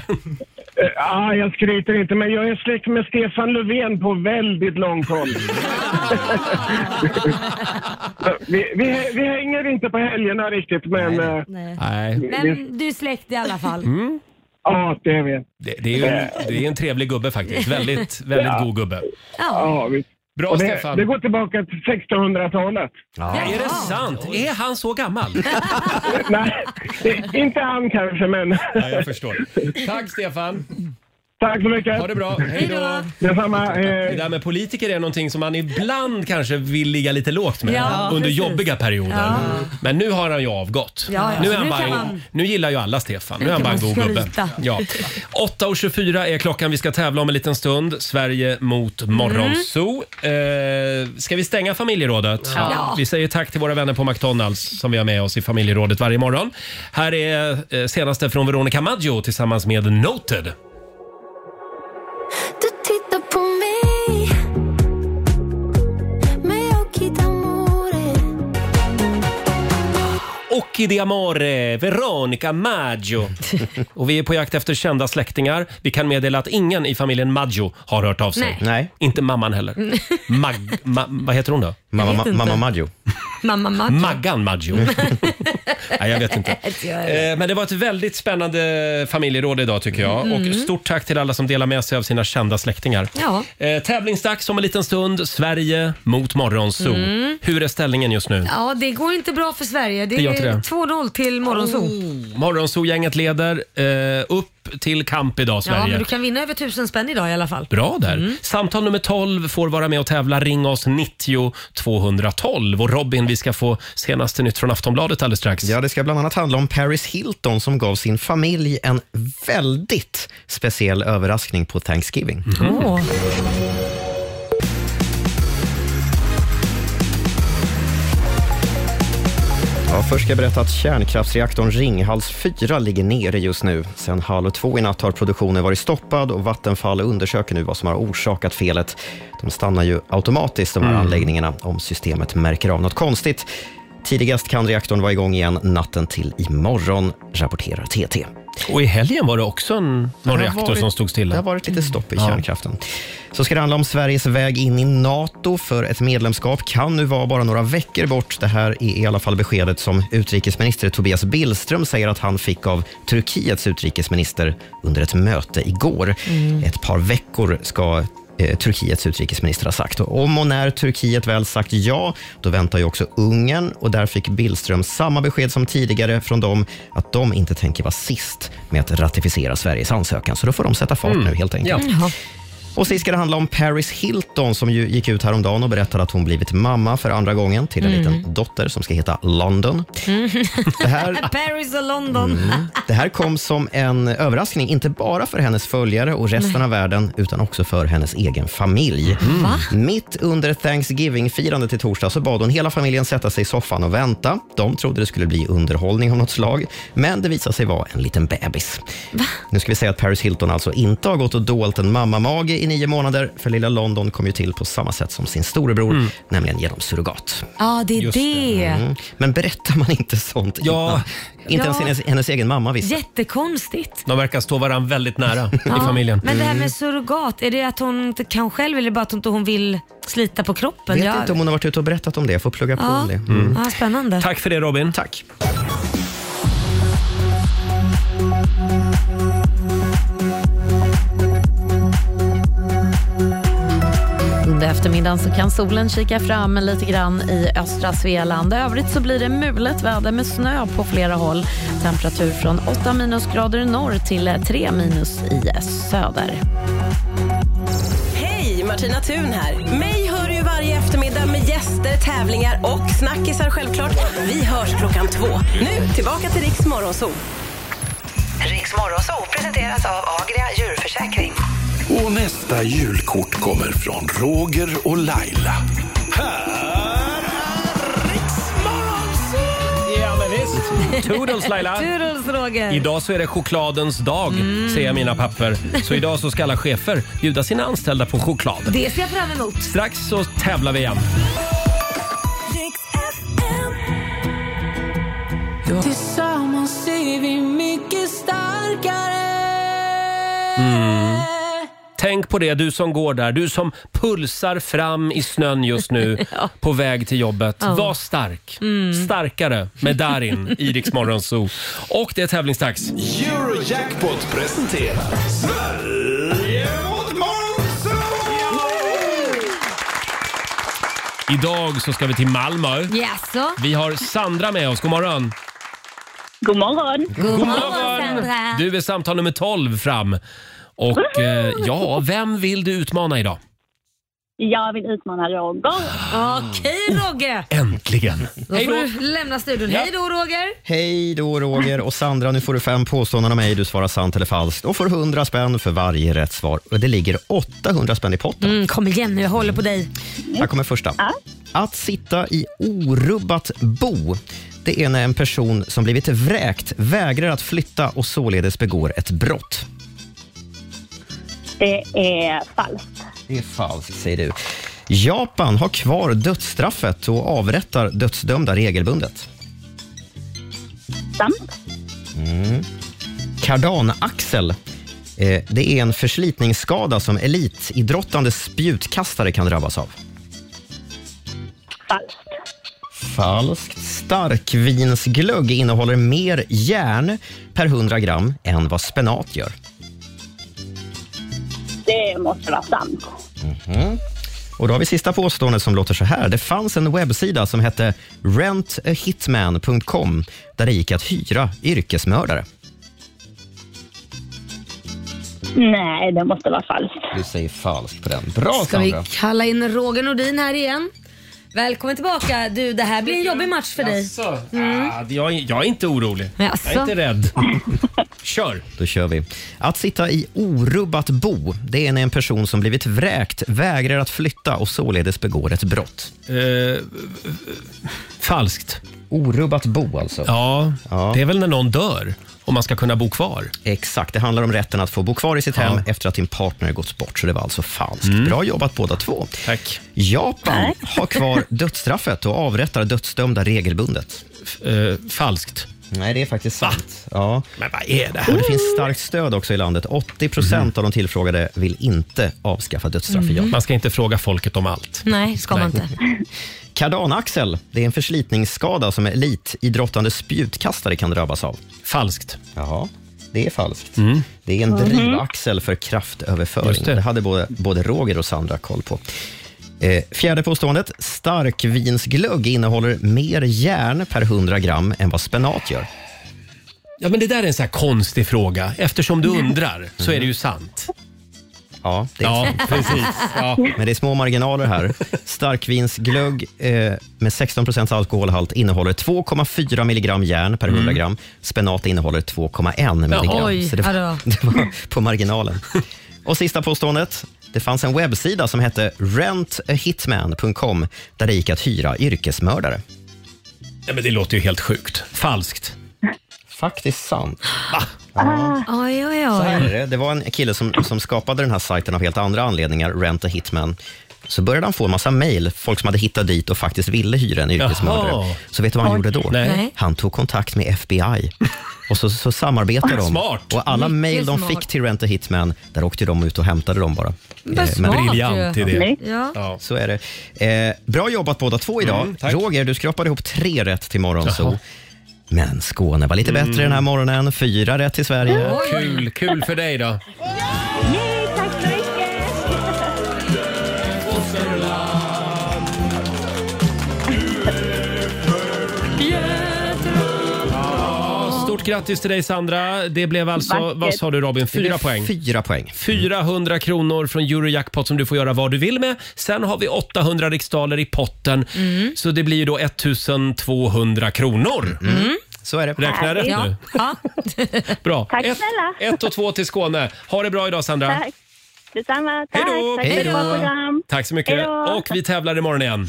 Speaker 17: Eh, ah, jag skryter inte, men jag är släkt med Stefan Löfven på väldigt långt håll. vi, vi, vi hänger inte på helgerna riktigt, men... eh,
Speaker 1: Nej.
Speaker 3: Men du är släkt i alla fall.
Speaker 17: Ja, det är vi. Eh,
Speaker 1: Det, det, är ju en, det är en trevlig gubbe faktiskt. Väldigt, väldigt
Speaker 17: Ja.
Speaker 1: god gubbe.
Speaker 17: Ja, visst.
Speaker 1: Bra,
Speaker 17: Och det,
Speaker 1: Stefan.
Speaker 17: Det går tillbaka till 1600-talet.
Speaker 1: Är det sant? Är han så gammal?
Speaker 17: Nej, inte han kanske, men...
Speaker 1: Ja, jag förstår. Tack Stefan.
Speaker 17: Tack så mycket.
Speaker 1: Ha det bra. Hej då.
Speaker 17: Detsamma.
Speaker 1: Det
Speaker 4: Eh.
Speaker 1: där med politiker är någonting som man ibland kanske vill ligga lite lågt med
Speaker 4: Ja,
Speaker 1: under
Speaker 4: precis.
Speaker 1: jobbiga perioder.
Speaker 4: Ja.
Speaker 1: Men nu har han ju avgått.
Speaker 4: Ja, ja.
Speaker 1: Nu, är
Speaker 4: Så
Speaker 1: han
Speaker 4: nu
Speaker 1: bara,
Speaker 4: kan
Speaker 1: en-
Speaker 4: man-
Speaker 1: nu gillar ju alla Stefan. Nu
Speaker 4: Nu
Speaker 1: är han bara en
Speaker 4: kan
Speaker 1: god
Speaker 4: man
Speaker 1: gubbe.
Speaker 4: skryta.
Speaker 1: Ja. 8.24 är klockan. Vi ska tävla om en liten stund. Sverige mot Morgonzoo. Eh, ska vi stänga familjerådet?
Speaker 4: Ja.
Speaker 1: Vi säger tack till våra vänner på McDonalds som vi har med oss i familjerådet varje morgon. Här är eh, senaste från Veronica Maggio tillsammans med Noted.
Speaker 4: Du tittar på mig med occhi d'amore
Speaker 1: Occhi di amore, Veronica Maggio. Och vi är på jakt efter kända släktingar. Vi kan meddela att ingen i familjen Maggio har hört av sig.
Speaker 3: Nej.
Speaker 1: Inte mamman heller. Mag, ma, vad heter hon då?
Speaker 3: Mamma- vet inte. mamma
Speaker 1: Maggio.
Speaker 3: Mamma Maggio. Mm.
Speaker 1: Maggan Maggio. Mm. Nej, jag vet inte.
Speaker 3: Det gör jag.
Speaker 1: Eh, Men det var ett väldigt spännande familjeråd idag tycker jag.
Speaker 3: Mm.
Speaker 1: Och stort tack till alla som delar med sig av sina kända släktingar.
Speaker 3: Ja.
Speaker 1: Eh, tävlingsdags om en liten stund. Sverige mot Morgonzoo.
Speaker 3: Mm.
Speaker 1: Hur är ställningen just nu?
Speaker 3: Ja, det går inte bra för Sverige. Det
Speaker 1: Det gör
Speaker 3: är
Speaker 1: inte det.
Speaker 3: 2-0 till Morgonzoo.
Speaker 1: Morgonzoo-gänget leder eh, upp till kamp idag,
Speaker 3: Ja,
Speaker 1: Sverige.
Speaker 3: men Mm. du kan vinna över 1000 spänn idag i alla fall.
Speaker 1: Bra där. Samtal nummer 12 får vara med och tävla. Ring oss 90 212. Och Robin, vi ska få senaste nytt från Aftonbladet alldeles strax.
Speaker 2: Ja, det ska bland annat handla om Paris Hilton som gav sin familj en väldigt speciell överraskning på Thanksgiving.
Speaker 1: Mhm.
Speaker 3: Åh.
Speaker 2: Ja, först ska jag berätta att kärnkraftsreaktorn Ringhals 4 ligger nere just nu. Sen halv två i natt har produktionen varit stoppad och Vattenfall undersöker nu vad som har orsakat felet. De stannar ju automatiskt, de här
Speaker 11: Mm.
Speaker 2: anläggningarna, om systemet märker av något konstigt. Tidigast kan reaktorn vara igång igen natten till imorgon, rapporterar TT.
Speaker 1: Och i helgen var det också en,
Speaker 2: Det har
Speaker 1: någon reaktor
Speaker 2: varit-
Speaker 1: som stod stilla. Mm.
Speaker 2: Det har varit lite stopp i
Speaker 1: Ja.
Speaker 2: kärnkraften. Så ska det handla om Sveriges väg in i NATO, för ett medlemskap kan nu vara bara några veckor bort. Det här är i alla fall beskedet som utrikesminister Tobias Billström säger att han fick av Turkiets utrikesminister under ett möte igår. Ett par veckor ska eh, Turkiets utrikesminister har sagt. Och om och när Turkiet väl sagt ja, då väntar ju också Ungern och där fick Billström samma besked som tidigare från dem att de inte tänker vara sist med att ratificera Sveriges ansökan. Så då får de sätta
Speaker 1: Mm.
Speaker 2: fart nu helt enkelt. Och sist ska det handla om Paris Hilton som ju gick ut häromdagen och berättade att hon blivit mamma för andra gången till en
Speaker 3: Mm.
Speaker 2: liten dotter som ska heta London. Det här-
Speaker 3: Paris och London.
Speaker 2: Mm. Det här kom som en överraskning, inte bara för hennes följare och resten
Speaker 3: Nej.
Speaker 2: av världen, utan också för hennes egen familj. Mitt under Thanksgiving-firandet i torsdag så bad hon hela familjen sätta sig i soffan och vänta. De trodde det skulle bli underhållning av något slag, men det visade sig vara en liten bebis. Nu ska vi säga att Paris Hilton alltså inte har gått och dolt en mammamage i nio månader, för lilla London kom ju till på samma sätt som sin storebror, nämligen genom surrogat.
Speaker 3: Ja, det är det.
Speaker 2: Mm. Men berättar man inte sånt innan? Inte ens
Speaker 3: Ja.
Speaker 2: hennes, hennes egen mamma visste.
Speaker 3: Jättekonstigt.
Speaker 1: De verkar stå varandra väldigt nära
Speaker 3: Ja,
Speaker 1: i familjen.
Speaker 3: Men det här
Speaker 2: Mm.
Speaker 3: med surrogat, är det att hon inte kan själv eller bara att hon inte hon vill slita på kroppen?
Speaker 2: vet
Speaker 3: Jag-
Speaker 2: inte om hon har varit ute och berättat om det. Jag får plugga på
Speaker 3: Ja.
Speaker 2: om det. Mm.
Speaker 3: Ja, spännande.
Speaker 1: Mm. Tack för det Robin.
Speaker 2: Tack.
Speaker 18: Under eftermiddagen så kan solen kika fram lite grann i östra Svealand. I övrigt så blir det mulet väder med snö på flera håll. Temperatur från 8 minusgrader i norr till
Speaker 3: E
Speaker 18: 3 minus i söder.
Speaker 19: Hej, Martina Thun här. Mig hör du ju varje eftermiddag med gäster, tävlingar och snackisar självklart. Vi hörs klockan två. Nu tillbaka till Riks Morgonzoo.
Speaker 20: Riks Morgonzoo presenteras av Agria djurförsäkring.
Speaker 21: Och nästa julkort kommer från Roger och Laila.
Speaker 1: Ja, men visst. Toodles Laila.
Speaker 3: Toodles Roger.
Speaker 4: Eh.
Speaker 1: Idag så är det chokladens dag,
Speaker 4: Mm.
Speaker 1: ser jag i mina papper. Så idag så ska alla chefer bjuda sina anställda på choklad.
Speaker 3: Det ser jag fram emot.
Speaker 1: Strax så tävlar vi igen.
Speaker 4: Tillsammans är vi mycket starkare
Speaker 1: Mm. Tänk på det, du som går där, du som pulsar fram i snön just nu
Speaker 4: Ja.
Speaker 1: på väg till jobbet.
Speaker 4: Ja.
Speaker 1: Var stark.
Speaker 4: Mm.
Speaker 1: Starkare med Darin i Rix Morgon Zoo. Och det är tävlingsdags.
Speaker 21: Eurojackpot presenterar Sverige mot
Speaker 1: Idag så ska vi till Malmö.
Speaker 3: Jaså?
Speaker 1: Vi har Sandra med oss. God morgon.
Speaker 22: God morgon.
Speaker 3: God morgon, Sandra.
Speaker 1: Äh. Du är samtal nummer 12 fram. Och eh, ja, vem vill du utmana idag?
Speaker 15: Jag vill utmana Roger.
Speaker 3: Okej
Speaker 2: Oh,
Speaker 3: Roger!
Speaker 1: Äntligen!
Speaker 3: Då får du lämna studion. Hej då Roger!
Speaker 2: Hej då Roger och Sandra, nu får du fem påståenden av mig. Du svarar sant eller falskt och får 100 spänn för varje rätt svar. Och det ligger 800 spänn i potten.
Speaker 3: Mm, kom igen nu, jag håller på dig.
Speaker 2: Här kommer första. Att sitta i orubbat bo, det är när en person som blivit vräkt vägrar att flytta och således begår ett brott.
Speaker 15: Det är falskt.
Speaker 2: Det är falskt, säger du. Japan har kvar dödsstraffet och avrättar dödsdömda regelbundet.
Speaker 15: Sant.
Speaker 2: Mm. Kardanaxel. Eh, det är en förslitningsskada som elitidrottande spjutkastare kan drabbas av.
Speaker 15: Falskt.
Speaker 2: Falskt. Starkvinsglögg innehåller mer järn per 100 gram än vad spenat gör.
Speaker 15: Det måste vara sant.
Speaker 2: Mhm. Och då har vi sista påståendet som låter så här. Det fanns en webbsida som hette rentahitman.com där det gick att hyra yrkesmördare.
Speaker 15: Nej, det måste vara falskt.
Speaker 2: Du säger falskt på den. Bra
Speaker 3: Ska
Speaker 2: Sandra!
Speaker 3: vi kalla in Roger Nordin här igen? Välkommen tillbaka. Du, det här blir en jobbig match för dig. Mm.
Speaker 1: Ja, ah, Jag, är- jag är inte orolig.
Speaker 3: Jaså?
Speaker 1: Jag är inte rädd. Kör!
Speaker 2: Då kör vi. Att sitta i orubbat bo, det är när en person som blivit vräkt vägrar att flytta och således begår ett brott.
Speaker 1: Eh, falskt.
Speaker 2: Orubbat bo alltså?
Speaker 1: Ja, det är väl när någon dör och man ska kunna bo kvar.
Speaker 2: Exakt, det handlar om rätten att få bo kvar i sitt hem efter att din partner gått bort, så det var alltså falskt. Bra jobbat båda två.
Speaker 1: Mm. Tack.
Speaker 2: Japan har kvar dödsstraffet och avrättar dödsdömda regelbundet.
Speaker 1: eh, falskt.
Speaker 2: Nej, det är faktiskt sant. Ja.
Speaker 1: Men vad är det Mm.
Speaker 2: här? Och det finns starkt stöd också i landet. 80 procent av de tillfrågade vill inte avskaffa dödsstraff i
Speaker 3: Mhm.
Speaker 2: Japan.
Speaker 3: Man
Speaker 1: ska inte fråga folket om allt.
Speaker 3: Nej, ska man inte.
Speaker 2: Kardanaxel, det är en förslitningsskada som elitidrottande spjutkastare kan drabbas av.
Speaker 1: Falskt.
Speaker 2: Ja, det är falskt. Det är
Speaker 1: Mhm.
Speaker 2: en drivaxel för kraftöverföring.
Speaker 1: Just
Speaker 2: Det.
Speaker 1: det.
Speaker 2: hade både, både Roger och Sandra koll på. Eh, Fjärde påståendet. Starkvinsglögg innehåller mer järn per 100 gram än vad spenat gör.
Speaker 1: Ja, men det där är en sån här konstig fråga. Eftersom du undrar så är det ju sant.
Speaker 2: Ja, det är
Speaker 1: Ja,
Speaker 2: sant.
Speaker 1: precis. Ja.
Speaker 2: Men det är små marginaler här. Starkvinsglögg eh, med 16 alkoholhalt innehåller 2,4 milligram järn per 100
Speaker 1: Mm.
Speaker 2: gram. Spenat innehåller 2,1 milligram.
Speaker 3: oj,
Speaker 2: Så det,
Speaker 3: ja
Speaker 2: var, det var på marginalen. Och sista påståendet. Det fanns en webbsida som hette rentahitman.com där det gick att hyra yrkesmördare.
Speaker 1: Ja, men det låter ju helt sjukt. Falskt.
Speaker 2: Faktiskt sant.
Speaker 3: Oj, oj,
Speaker 2: Så här är
Speaker 3: oj.
Speaker 2: det. Det var en kille som, som skapade den här sajten av helt andra anledningar, Rent a Hitman. Så började han få en massa mejl, folk som hade hittat dit och faktiskt ville hyra en
Speaker 1: Jaha.
Speaker 2: yrkesmördare. Så vet du vad han
Speaker 1: Oj.
Speaker 2: gjorde då?
Speaker 1: Nej.
Speaker 2: Han tog kontakt med FBI. Och så, så samarbetade de.
Speaker 1: Smart.
Speaker 2: Och alla
Speaker 1: Mycket
Speaker 2: mejl de
Speaker 1: smart.
Speaker 2: fick till Rent a Hitman, där åkte de ut och hämtade dem bara.
Speaker 3: Vad
Speaker 2: Eh,
Speaker 3: smart ju. Mm. Ja.
Speaker 1: Ja.
Speaker 2: Så är det. Eh, bra jobbat båda två idag.
Speaker 1: Mm, tack.
Speaker 2: Roger, du skrapade ihop tre rätt till Morgonzoo.
Speaker 1: Jaha.
Speaker 2: Men Skåne var lite
Speaker 1: Mm.
Speaker 2: bättre den här morgonen. Fyra rätt till Sverige.
Speaker 1: Kul, kul för dig då.
Speaker 15: Yay, tack så mycket!
Speaker 1: Stort grattis till dig Sandra. Det blev alltså,
Speaker 2: Vackert.
Speaker 1: vad sa du Robin,
Speaker 2: Det
Speaker 1: fyra
Speaker 2: blev
Speaker 1: poäng?
Speaker 2: Fyra poäng.
Speaker 1: 400 kronor från Eurojackpot som du får göra vad du vill med. Sen har vi 800 riksdaler i potten.
Speaker 15: Mm.
Speaker 1: Så det blir ju då 1200 kronor.
Speaker 15: Mm.
Speaker 2: Så är det.
Speaker 1: Räknar jag rätt
Speaker 3: ja.
Speaker 1: nu?
Speaker 3: Ja.
Speaker 1: Bra.
Speaker 15: Tack
Speaker 1: ett,
Speaker 15: snälla.
Speaker 1: ett och två till Skåne. Ha det bra idag Sandra.
Speaker 15: Tack. Detsamma. Tack.
Speaker 1: Hej då.
Speaker 15: Tack för ett bra program.
Speaker 1: Tack så mycket.
Speaker 15: Hej då.
Speaker 1: Och vi tävlar imorgon igen.